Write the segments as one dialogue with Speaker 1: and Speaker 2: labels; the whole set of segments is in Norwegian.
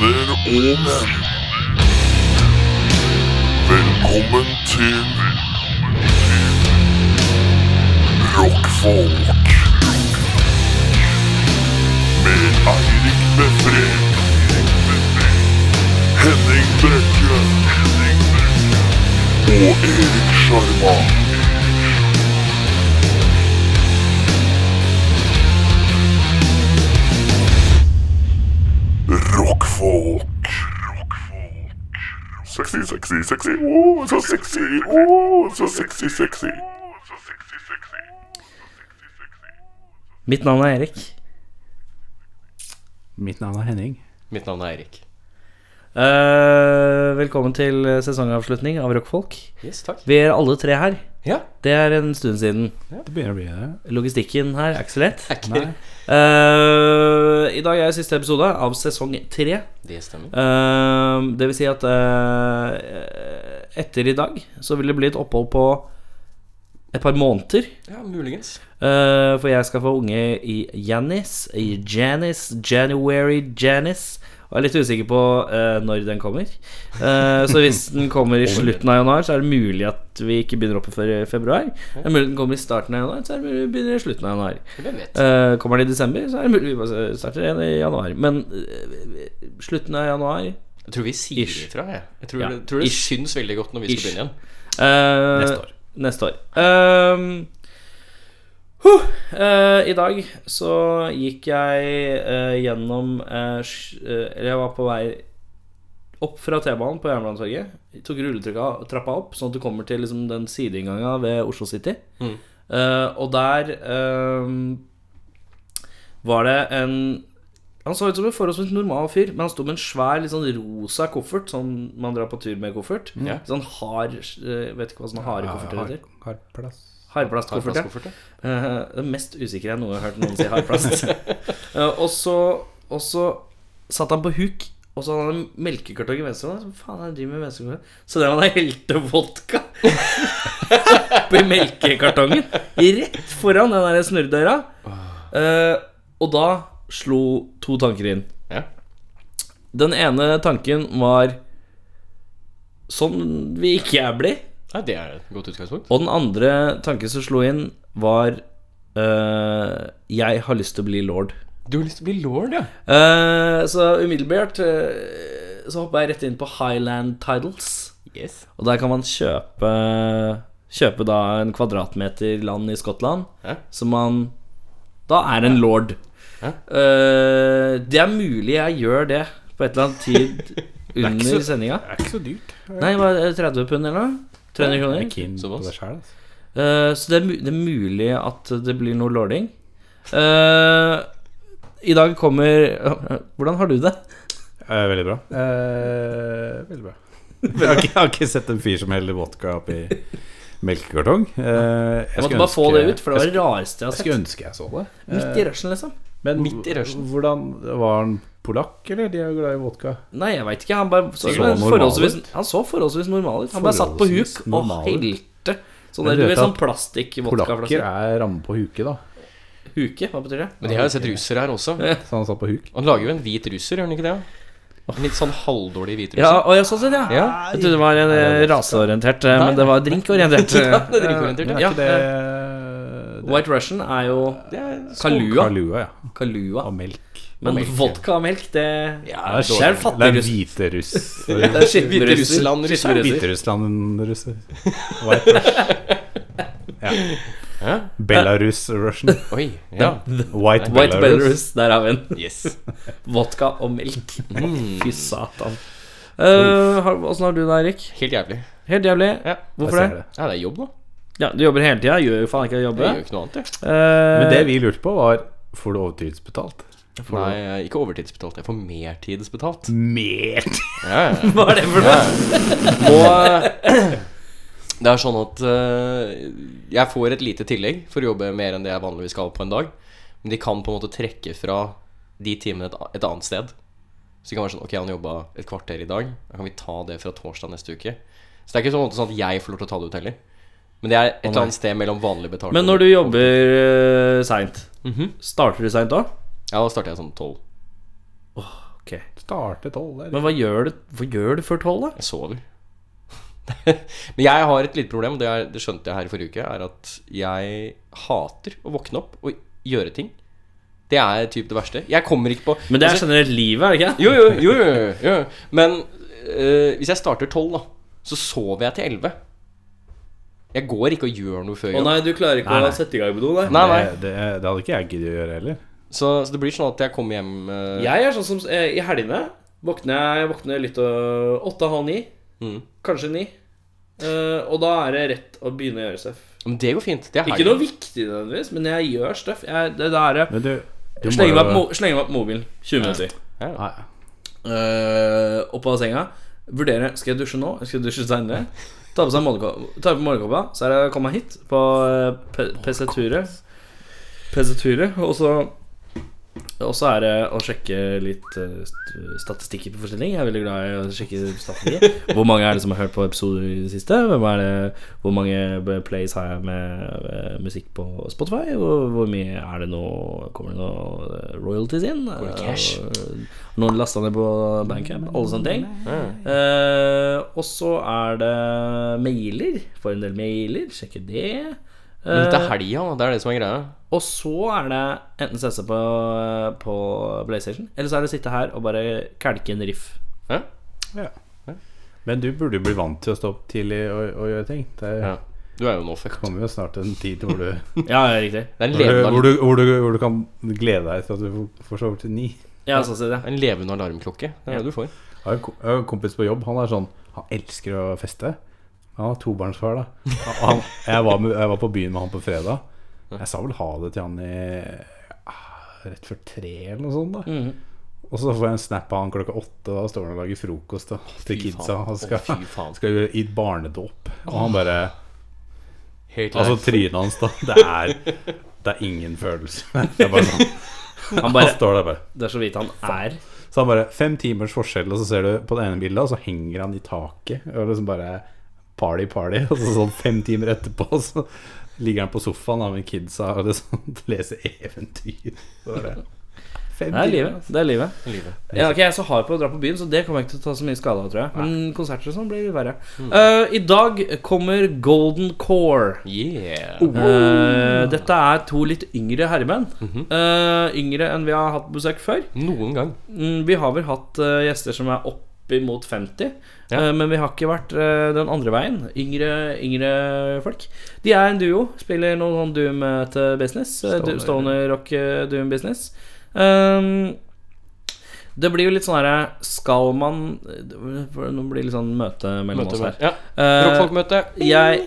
Speaker 1: Omen. Velkommen til Rockfolk. Med Eirik Befre. Henning Brekke. Og Erik Sjarma. Rockfolk. Sexy, sexy, sexy. Oh, så sexy. Oh, så sexy, sexy.
Speaker 2: Mitt navn er Erik.
Speaker 3: Mitt navn er Henning.
Speaker 4: Mitt navn er Erik.
Speaker 2: Eh, velkommen til sesongavslutning av Rockfolk.
Speaker 4: Yes, takk.
Speaker 2: Vi er alle tre her.
Speaker 4: Ja.
Speaker 2: Det er en stund siden.
Speaker 3: Det begynner å bli eh, det.
Speaker 2: Logistikken her er ikke så lett.
Speaker 3: Nei.
Speaker 2: Eh, I dag er siste episode av sesong tre.
Speaker 4: Det stemmer.
Speaker 2: Eh, det vil si at eh, etter i dag så vil det bli et opphold på et par måneder.
Speaker 4: Ja, muligens.
Speaker 2: Eh, for jeg skal få unge i Janis, i Janis, January Janis. Og jeg er litt usikker på eh, når den kommer. Eh, så hvis den kommer i slutten av januar, så er det mulig at vi ikke begynner opp før i februar. Det er mulig den kommer i starten av januar, så er det mulig vi begynner i slutten av januar.
Speaker 4: Hvem vet?
Speaker 2: Eh, kommer den i desember, så er det mulig vi bare starter igjen i januar. Men eh, slutten av januar
Speaker 4: Jeg tror vi sier
Speaker 2: Ish.
Speaker 4: ifra, jeg. Jeg tror,
Speaker 2: Ja,
Speaker 4: det, tror det
Speaker 2: ish.
Speaker 4: syns veldig godt når vi
Speaker 2: Ish.
Speaker 4: skal begynne igjen.
Speaker 2: Eh,
Speaker 3: Neste år.
Speaker 2: Neste år. Ehm, huh, eh, I dag så gikk jeg eh, gjennom eh, sj- eh, Eller jeg var på vei opp fra T-banen på Jernbanetorget. Tok rulletrappa opp, sånn at du kommer til liksom, den sideinngangen ved Oslo City.
Speaker 4: Mm.
Speaker 2: Eh, og der ehm, var det en han så ut som en forholdsvis normal fyr, men han sto med en svær, litt sånn rosa koffert, sånn man drar på tur med koffert.
Speaker 4: Ja.
Speaker 2: Sånn hard eh, Vet ikke hva sånne harde kofferter
Speaker 3: Har,
Speaker 2: heter.
Speaker 3: har plass.
Speaker 2: Hardplastkoffert, ja.
Speaker 4: Plastkoffert, ja.
Speaker 2: Eh, det mest usikre jeg noe har hørt noen si hardplast. Eh, og, så, og så satt han på huk, og så hadde han en melkekartong i venstre hånd. Hva faen er det han driver med i venstre hånd? Så drev han og helte vodka oppi melkekartongen rett foran den der snurredøra. Eh, og da slo to tanker inn.
Speaker 4: ja.
Speaker 2: Den ene tanken var Sånn vil ikke jeg bli.
Speaker 4: Nei, det er et godt utgangspunkt.
Speaker 2: Og den andre tanken som slo inn, var øh, Jeg har lyst til å bli lord.
Speaker 4: Du har lyst til å bli lord, ja.
Speaker 2: Eh, så umiddelbart øh, så hoppa jeg rett inn på Highland Titles.
Speaker 4: Yes.
Speaker 2: Og der kan man kjøpe Kjøpe da en kvadratmeter land i Skottland.
Speaker 4: Ja.
Speaker 2: Som man Da er en lord.
Speaker 4: Ja.
Speaker 2: Eh, det er mulig jeg gjør det på et eller annet tid
Speaker 3: så-
Speaker 2: under sendinga.
Speaker 3: Det er ikke så dyrt.
Speaker 2: Nei, var det 30 pund eller noe? 300
Speaker 3: Jeg
Speaker 2: kroner?
Speaker 3: er keen på
Speaker 4: Såpass.
Speaker 3: det selv, altså.
Speaker 2: Eh, så det er, mu- det er mulig at det blir noe lording. Eh, I dag kommer Hvordan har du det?
Speaker 3: Eh, veldig bra. Eh, veldig bra. jeg, har ikke, jeg har ikke sett en fyr som heller vodka oppi melkekartong. Eh, jeg,
Speaker 2: Jeg måtte
Speaker 3: skulle
Speaker 2: bare få
Speaker 3: ønske-
Speaker 2: det ut, for det var det rareste jeg har
Speaker 3: Jeg skulle
Speaker 2: sett.
Speaker 3: ønske jeg så det.
Speaker 2: Midt i rushen, liksom.
Speaker 3: Men
Speaker 4: Midt i rushen.
Speaker 3: hvordan Var han polakk, eller? De er jo glad i vodka.
Speaker 2: Nei, jeg veit ikke. Han, bare så,
Speaker 3: Så
Speaker 2: men
Speaker 3: normal
Speaker 2: forholdsvis, han så forholdsvis normal ut. Han bare satt på
Speaker 3: Forholdsvis
Speaker 2: huk og
Speaker 3: normal ut.
Speaker 2: helte. Sånn
Speaker 3: Men
Speaker 2: der,
Speaker 3: du
Speaker 2: du
Speaker 3: vet
Speaker 2: vet, sånn
Speaker 3: at Polakker
Speaker 2: plastikk-vodkaflaske.
Speaker 3: er ramme på huke, da.
Speaker 2: Huke, hva betyr det?
Speaker 4: Men de har jo sett russere her også.
Speaker 3: Så han satt på huk.
Speaker 4: Han lager jo en hvit russer, gjør han ikke det? ja? En litt sånn halvdårlig hvit russer.
Speaker 2: Ja, og jeg, sånn sett, ja.
Speaker 4: Ja.
Speaker 2: Jeg trodde det var en eh, raseorientert, eh, men det var drinkorientert.
Speaker 4: Ja, det er drinkorientert,
Speaker 3: Men
Speaker 2: Ja,
Speaker 3: er
Speaker 4: ja.
Speaker 3: ikke det, det
Speaker 2: White Russian er jo
Speaker 4: Det er
Speaker 3: er
Speaker 2: Kalua.
Speaker 3: Kalua, ja.
Speaker 2: Kalua.
Speaker 3: Av melk.
Speaker 2: Men
Speaker 4: melk, ja.
Speaker 2: vodka og melk, det
Speaker 4: Ja,
Speaker 2: Det
Speaker 3: det er
Speaker 2: er
Speaker 3: Det er
Speaker 2: fattig russ.
Speaker 3: hviteruss.
Speaker 2: Det er skitten
Speaker 4: Hvite
Speaker 2: russer. Skitten
Speaker 4: Russland, russer.
Speaker 2: russer.
Speaker 3: Hviterussland-russer. White Rush. Ja.
Speaker 4: Hæ?
Speaker 3: Belarus-russian.
Speaker 4: Oi. Ja.
Speaker 2: White
Speaker 3: White, Belarus.
Speaker 2: Belarus, der har vi den.
Speaker 4: Yes.
Speaker 2: Vodka og melk. Fy satan. Mm. Eh, har- Åssen har du det, Eirik?
Speaker 4: Helt jævlig.
Speaker 2: Helt jævlig.
Speaker 4: Ja.
Speaker 2: Hvorfor
Speaker 3: Jeg
Speaker 2: det?
Speaker 3: ser det.
Speaker 4: Ja, det er jobb, da.
Speaker 2: Ja, Du jobber hele tida. Gjør jo faen ikke
Speaker 4: Det gjør jo
Speaker 2: jobbe.
Speaker 4: ikke noe annet, jeg.
Speaker 2: Eh,
Speaker 3: Men det vi lurte på, var Får du overtidsbetalt?
Speaker 4: Nei, jeg er ikke overtidsbetalt. Jeg får mertidsbetalt.
Speaker 3: Mer
Speaker 4: Ja, ja.
Speaker 2: Hva er det for noe?
Speaker 4: Og det er sånn at eh, jeg får et lite tillegg for å jobbe mer enn det jeg vanligvis skal på en dag. Men de kan på en måte trekke fra de timene et, et annet sted. Så det kan være sånn Ok, han jobba et kvarter i dag. Da kan vi ta det fra torsdag neste uke. Så det er ikke sånn, sånn at jeg får lov til å ta det ut heller. Men det er et eller annet sted mellom vanlig betaling
Speaker 2: Men når du Mhm. jobber uh, seint, starter du seint òg?
Speaker 4: Ja, da starter jeg sånn tolv.
Speaker 2: Ok.
Speaker 3: Starte tolv der.
Speaker 2: Men hva gjør du, hva gjør du før tolv, da?
Speaker 4: Jeg sover. Men jeg har et lite problem, og det, er, det skjønte jeg her i forrige uke, er at jeg hater å våkne opp og gjøre ting. Det er typ det verste. Jeg kommer ikke på
Speaker 2: Men det er
Speaker 4: Altså,
Speaker 2: generelt livet, er det ikke?
Speaker 4: jo, jo, jo, jo, jo, jo. Men øh, hvis jeg starter tolv, da, så sover jeg til elleve. Jeg går ikke og gjør noe før
Speaker 2: Å
Speaker 4: jobb.
Speaker 2: nei, du klarer ikke
Speaker 3: Nei, nei.
Speaker 2: å sette i gang med noe, nei.
Speaker 4: Nei, nei.
Speaker 3: Det, det, det hadde ikke jeg giddet å gjøre heller.
Speaker 4: Så, så det blir sånn at jeg kommer hjem øh,
Speaker 2: Jeg er sånn som eh, i helgene våkner jeg våkner litt og åtte-halv ni,
Speaker 4: mm.
Speaker 2: kanskje ni. Eh, og da er det rett å begynne å gjøre stuff.
Speaker 4: Men det går fint. Det er
Speaker 2: Ikke noe viktig nødvendigvis, men jeg gjør stuff. Jeg, det, det er,
Speaker 3: Men du, du
Speaker 2: jeg slenger, meg på, mo- slenger meg på mobilen. 20 minutter.
Speaker 4: Ja.
Speaker 3: Nei.
Speaker 2: Eh, opp av senga. Vurdere skal jeg dusje nå, skal jeg dusje seinere. Ta på seg morgenkåpa, ta på morgenkåpa, så er det å komme meg hit på eh, P- PC-ture. PC-ture, og så og så er det å sjekke litt eh, st- statistikker på forskjellige ting. Jeg er veldig glad i å sjekke statistikker. Hvor mange er det som har hørt på episoder i det siste? Hvem er det, hvor mange b- plays har jeg med eh, musikk på Spotify? Og hvor mye er det nå? Kommer det noe eh, royalties inn?
Speaker 4: det cash?
Speaker 2: Eh, Noen lasta ned på Bandcamp? Alle sånne ting.
Speaker 4: Mm.
Speaker 2: Eh, og så er det mailer. Får en del mailer. Sjekke det.
Speaker 4: Men dette er
Speaker 2: Eh,
Speaker 4: helga, da. Det er det som er greia.
Speaker 2: og så er det enten sette seg på, på PlayStation, eller så er det å sitte her og bare kelke en riff.
Speaker 4: Ja?
Speaker 3: Ja. Men du burde jo bli vant til å stå opp tidlig og, og gjøre ting. Det
Speaker 4: Ja. Du er jo nå fucked.
Speaker 3: kommer jo snart en tid hvor du,
Speaker 2: Ja, ja, riktig.
Speaker 4: Det er en
Speaker 3: hvor, du,
Speaker 4: levende,
Speaker 3: hvor,
Speaker 4: alarm,
Speaker 3: du, hvor, du, hvor du kan glede deg til at du får sove til ni.
Speaker 2: Ja, sånn ser det.
Speaker 4: en levende alarmklokke. Det er det du får.
Speaker 3: Jeg har en ko- jeg har en kompis på jobb. Han er sånn Han elsker å feste. Han har tobarnsfar, da. Og Han, jeg, var med, jeg var på byen med han på fredag. Jeg sa vel ha det til han i ah, rett før tre, eller noe sånt. da
Speaker 2: Mhm.
Speaker 3: Og så får jeg en snap av han klokka åtte, og da står han og lager frokost da, til
Speaker 4: fy
Speaker 3: kidsa.
Speaker 4: faen.
Speaker 3: Han
Speaker 4: Å,
Speaker 3: skal,
Speaker 4: fy faen.
Speaker 3: skal gjøre- i barnedåp. Og han bare
Speaker 4: Helt
Speaker 3: Altså trynet hans, da. Det er, det er ingen følelse. Det er bare sånn.
Speaker 2: Han
Speaker 3: Han
Speaker 2: bare,
Speaker 3: står der bare.
Speaker 2: det er så vidt han er.
Speaker 3: Så han bare Fem timers forskjell, og så ser du på det ene bildet, og så henger han i taket. Og liksom bare Party, party. Og så sånn fem timer etterpå, så ligger han på sofaen da, med kidsa og liksom leser eventyr. Så Bare, fem
Speaker 2: Det er
Speaker 3: timer.
Speaker 2: livet. det er livet
Speaker 4: livet.
Speaker 2: Ja, ok, Jeg er så hard på å dra på byen, så det kommer jeg ikke til å ta så mye skade av. tror jeg Men konserter og sånn blir litt verre. Eh, I dag kommer Golden Core.
Speaker 4: Yeah.
Speaker 3: Oh.
Speaker 2: Eh, dette er to litt yngre herreband. Eh, yngre enn vi har hatt besøk før.
Speaker 4: Noen gang.
Speaker 2: Mm, Vi har vel hatt eh, gjester som er oppimot 50, eh, men vi har ikke vært eh, den andre veien. Yngre, yngre folk. De er en duo. Spiller noen sånn doom eh, til business. eh, du-
Speaker 3: Stoner.
Speaker 2: Stoner rock eh, doom business. Um, det blir jo litt sånn herre Skal man for Nå blir det litt sånn møte mellom
Speaker 4: Møte
Speaker 2: oss her.
Speaker 4: med. Ja.
Speaker 2: Eh,
Speaker 4: Rockfolkmøte.
Speaker 2: jeg,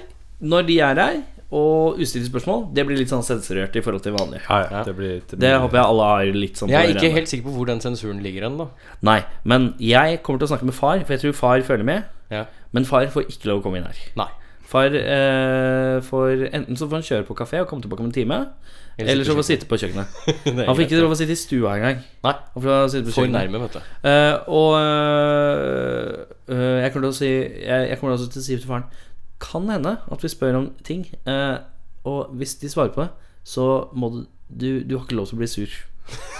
Speaker 2: når de er her og ustilte spørsmål, det blir litt sånn sensurert i forhold til vanlig.
Speaker 3: Ja, ja, det blir, det blir
Speaker 2: Det håper jeg alle har litt sånn på
Speaker 4: Jeg er
Speaker 2: det
Speaker 4: ikke
Speaker 2: rene.
Speaker 4: helt sikker på hvor den sensuren ligger hen, da.
Speaker 2: Nei, men jeg kommer til å snakke med far, for jeg tror far følger med.
Speaker 4: Ja.
Speaker 2: Men far får ikke lov å komme inn her.
Speaker 4: Nei.
Speaker 2: Far eh, får Enten så får han kjøre på kafé og komme tilbake om en time,
Speaker 4: Eller
Speaker 2: eller så
Speaker 4: sitte
Speaker 2: får
Speaker 4: på
Speaker 2: han sitte på kjøkkenet.
Speaker 4: Det er
Speaker 2: Han får
Speaker 4: greit.
Speaker 2: ikke lov å sitte i stua engang.
Speaker 4: Nei.
Speaker 2: Han får lov å sitte på
Speaker 4: For
Speaker 2: kjøkkenet.
Speaker 4: nærme, vet du.
Speaker 2: Eh, og eh, eh, jeg kommer til å si jeg, jeg kommer også til å si til faren Kan hende at vi spør om ting, eh, og hvis de svarer på det, så må du Du, du har ikke lov til å bli sur.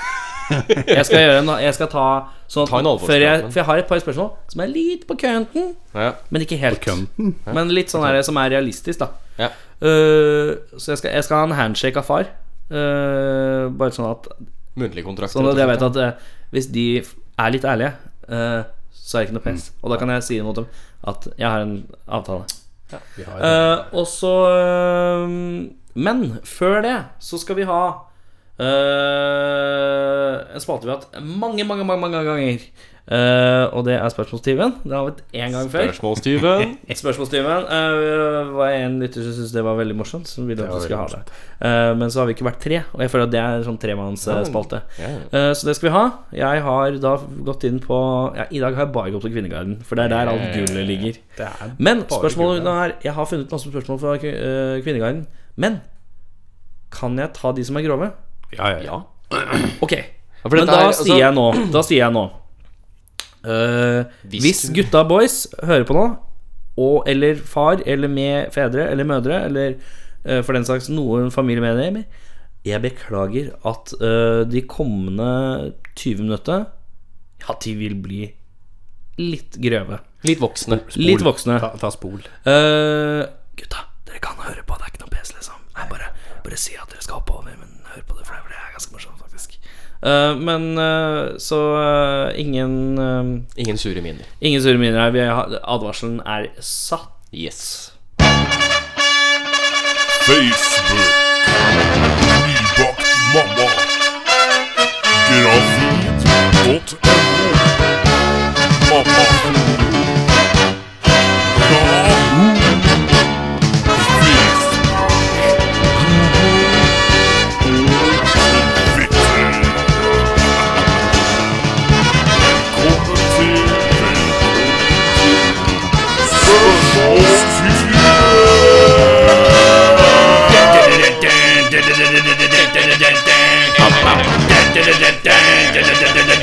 Speaker 2: jeg skal gjøre en Jeg skal ta sånn at
Speaker 4: Ta en alvorsprat,
Speaker 2: før jeg,
Speaker 4: men.
Speaker 2: For jeg har et par spørsmål som er litt på kønten,
Speaker 4: Ja.
Speaker 2: men ikke helt.
Speaker 3: Kønten.
Speaker 2: Men litt sånn her som er realistisk, da.
Speaker 4: Ja.
Speaker 2: Eh, så jeg skal, jeg skal ha en handshake av far. Eh, bare sånn at
Speaker 4: Muntlig kontrakt.
Speaker 2: Sånn
Speaker 4: rett og
Speaker 2: at jeg vet
Speaker 4: slett,
Speaker 2: at eh, hvis de f- er litt ærlige, eh, så er det ikke noe pes. Og da kan jeg si imot dem at jeg har en avtale.
Speaker 3: Vi har
Speaker 2: Eh, og så eh, Men før det så skal vi ha eh, en spalte vi har hatt mange, mange, mange, mange ganger. Eh, og det er spørsmålstyven. Det har vi hatt én gang
Speaker 4: ja.
Speaker 2: før.
Speaker 4: Spørsmålstyven.
Speaker 2: Spørsmålstyven uh, var en lytter som syntes det var veldig morsomt. Som ville
Speaker 3: Det
Speaker 2: at
Speaker 3: var
Speaker 2: vi skulle ha
Speaker 3: veldig
Speaker 2: det Eh, Men så har vi ikke vært tre, og jeg føler at det er en sånn tremannsspalte.
Speaker 4: Ja, ja.
Speaker 2: Eh, Så det skal vi ha. Jeg har da gått inn på ja, I dag har jeg bare gått til Kvinneguiden, for det er der alt gullet ligger.
Speaker 3: det er
Speaker 2: Men
Speaker 3: bare
Speaker 2: spørsmålet
Speaker 3: gullet.
Speaker 2: er Jeg har funnet masse spørsmål fra eh, Kvinneguiden, men kan jeg ta de som er grove?
Speaker 3: Ja, ja, ja.
Speaker 4: Ja.
Speaker 2: Ok,
Speaker 4: Ja, for
Speaker 2: men
Speaker 4: dette
Speaker 2: da
Speaker 4: er, altså-
Speaker 2: sier jeg nå Da sier jeg nå eh,
Speaker 4: Hvis
Speaker 2: Hvis
Speaker 4: du-
Speaker 2: gutta boys hører på nå og, Eller far, eller med fedre Eller mødre, eller eh, for den saks Noen familiemedlemmer Jeg beklager at eh, de kommende 20 minutter at de vil bli litt grøve.
Speaker 4: Litt voksne.
Speaker 2: Litt voksne.
Speaker 3: Ta, ta spol.
Speaker 2: Eh, gutta, dere kan høre på. Det er ikke noe pes, liksom. Jeg bare, bare si at dere skal hoppe over, men hør på det, for det- for det er ganske morsomt, faktisk. Eh, men eh, så eh, ingen eh,
Speaker 4: Ingen sure miner.
Speaker 2: Ingen sure miner her. Vi har- Advarselen er satt.
Speaker 4: Yes.
Speaker 1: Facebook. Nybakt mamma. Gravid.no. Mamma. Yahoo. Facebook. Google. Twitter. Velkommen til Velkommen til Spørsmålstid.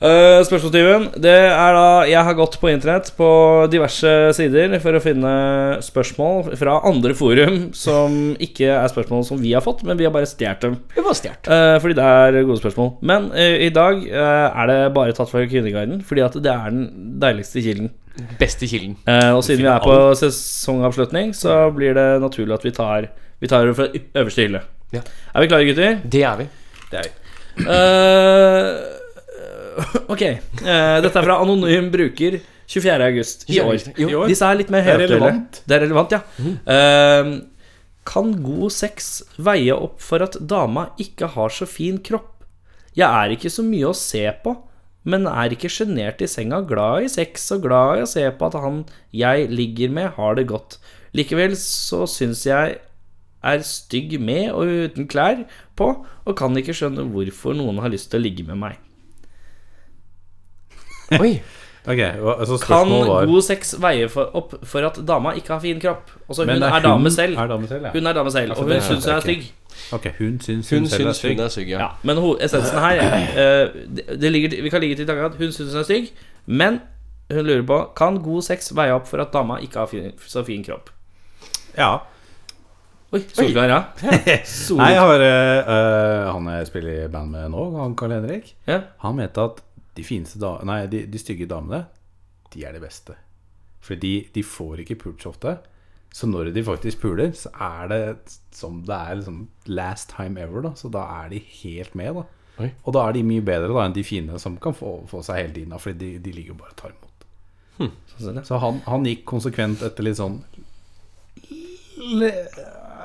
Speaker 2: Uh, spørsmålstyven. Det er da Jeg har gått på internett på diverse sider for å finne spørsmål fra andre forum som ikke er spørsmål som vi har fått, men vi har bare stjålet dem.
Speaker 4: Det var stjålet.
Speaker 2: Eh, fordi det er gode spørsmål. Men eh, i dag eh, er det bare tatt fra Kvinneguiden, fordi at det er den deiligste kilden.
Speaker 4: Beste kilden.
Speaker 2: Eh, og siden vi er på sesongavslutning, så blir det naturlig at vi tar Vi tar det fra ø- øverste hylle.
Speaker 4: Ja.
Speaker 2: Er vi klare, gutter?
Speaker 4: Det er vi.
Speaker 2: Eh, ok. Eh, dette er fra anonym bruker 24. august i
Speaker 4: I
Speaker 2: år.
Speaker 4: august, i år.
Speaker 2: Disse er litt mer
Speaker 3: Det er
Speaker 2: helaktuelle.
Speaker 3: relevant. Mhm.
Speaker 2: Det er relevant, ja. Eh, kan god sex veie opp for at dama ikke har så fin kropp? Jeg er ikke så mye å se på, men er ikke sjenert i senga, glad i sex og glad i å se på at han jeg ligger med, har det godt. Likevel så syns jeg er stygg med og uten klær på, og kan ikke skjønne hvorfor noen har lyst til å ligge med meg.
Speaker 4: Oi.
Speaker 3: Ok, hva- altså
Speaker 2: Kan
Speaker 3: spørsmålet var
Speaker 2: god sex veie for, opp for at dama ikke har fin kropp? Altså, hun
Speaker 3: Men
Speaker 2: er, dame selv.
Speaker 3: Er dame selv ja.
Speaker 2: Hun er dame selv,
Speaker 3: Altså,
Speaker 2: og hun
Speaker 3: det-
Speaker 2: syns hun er
Speaker 3: ok.
Speaker 2: stygg.
Speaker 3: Ok, hun syns hun,
Speaker 4: Hun
Speaker 3: selv er
Speaker 4: syns
Speaker 3: stygg.
Speaker 4: hun er sugg, ja.
Speaker 2: Ja, men ho essensen her eh, det, det ligger, til- Vi kan ligge til tanken at hun syns hun er stygg, men hun lurer på Kan god sex veie opp for at dama ikke har fin, så fin kropp.
Speaker 3: Ja.
Speaker 2: Oi, solklar, ja. Sol,
Speaker 3: Nei, jeg har eh, eh, han jeg spiller i band med nå, han Carl Henrik,
Speaker 2: ja.
Speaker 3: han mente at de fineste da Nei, de, de stygge damene, de er de beste. For de, de får ikke pult så ofte. Så når de faktisk puler, så er det som det er liksom last time ever, da. Så da er de helt med, da.
Speaker 4: Oi.
Speaker 3: Og da er de mye bedre da enn de fine som kan få, få seg hele tiden, da, fordi de, de ligger jo bare og tar imot.
Speaker 2: Sånn ser det.
Speaker 3: Så han, han gikk konsekvent etter litt sånn le,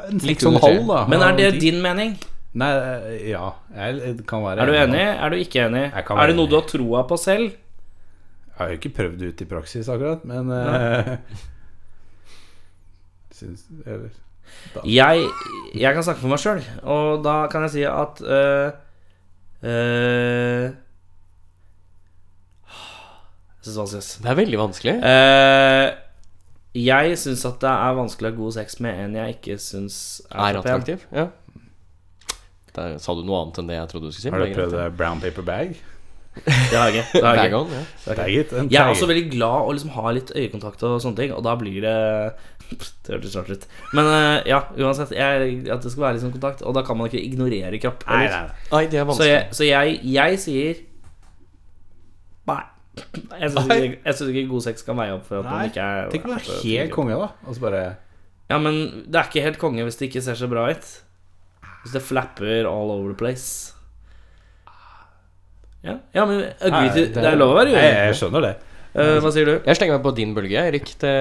Speaker 3: En
Speaker 4: Litt
Speaker 3: seks og en
Speaker 4: under
Speaker 3: halv,
Speaker 4: tre.
Speaker 3: da.
Speaker 2: Men er det
Speaker 3: Ja,
Speaker 2: din mening?
Speaker 3: Nei, eh, ja. Jeg jeg kan være
Speaker 2: Er du enig? Er du ikke enig?
Speaker 3: Jeg kan
Speaker 2: Er det
Speaker 3: være
Speaker 2: noe
Speaker 3: enig.
Speaker 2: du har troa på selv?
Speaker 3: Jeg har jo ikke prøvd det ut i praksis akkurat, men eh, syns, eller,
Speaker 2: Jeg, jeg kan snakke for meg sjøl, og da kan jeg si at øh, øh, Jeg syns det er vanskelig. ass.
Speaker 4: Det er veldig vanskelig.
Speaker 2: Eh, jeg syns at det er vanskelig å ha god sex med en jeg ikke syns er,
Speaker 4: Er
Speaker 2: så pen.
Speaker 4: attraktiv. Ja. Der sa du noe annet enn det jeg trodde du skulle si.
Speaker 3: Har du prøvd eh, brown paper bag?
Speaker 2: Det har jeg ikke. Det har jeg, ikke.
Speaker 4: Bagon, ja.
Speaker 3: Tagget,
Speaker 2: jeg
Speaker 3: en
Speaker 2: er
Speaker 3: tagget.
Speaker 2: også veldig glad å liksom ha litt øyekontakt og sånne ting, og da blir det Det hørtes rart ut. Men øh, ja, uansett. Jeg, at det skal være liksom kontakt, og da kan man ikke ignorere kropp.
Speaker 3: Nei,
Speaker 2: eller?
Speaker 3: nei, nei.
Speaker 4: Nei, det er
Speaker 2: Så
Speaker 4: vanskelig.
Speaker 2: jeg, så jeg, jeg sier Nei. Jeg syns
Speaker 3: Nei.
Speaker 2: ikke, jeg synes ikke god sex kan veie opp for at man
Speaker 3: Nei,
Speaker 2: ikke er
Speaker 3: Tenk om Altså, det er
Speaker 2: at-
Speaker 3: helt konge, da. Og så bare
Speaker 2: Ja, men det er ikke helt konge hvis det ikke ser så bra ut. Hvis det flapper all over the place. Ja, ja men agree
Speaker 3: Nei,
Speaker 2: to
Speaker 3: det-
Speaker 2: Det er lov å være
Speaker 3: Nei,
Speaker 2: uenig.
Speaker 3: jeg skjønner det.
Speaker 2: Eh, hva sier du?
Speaker 4: Jeg slenger meg på din bølge, Erik. Det,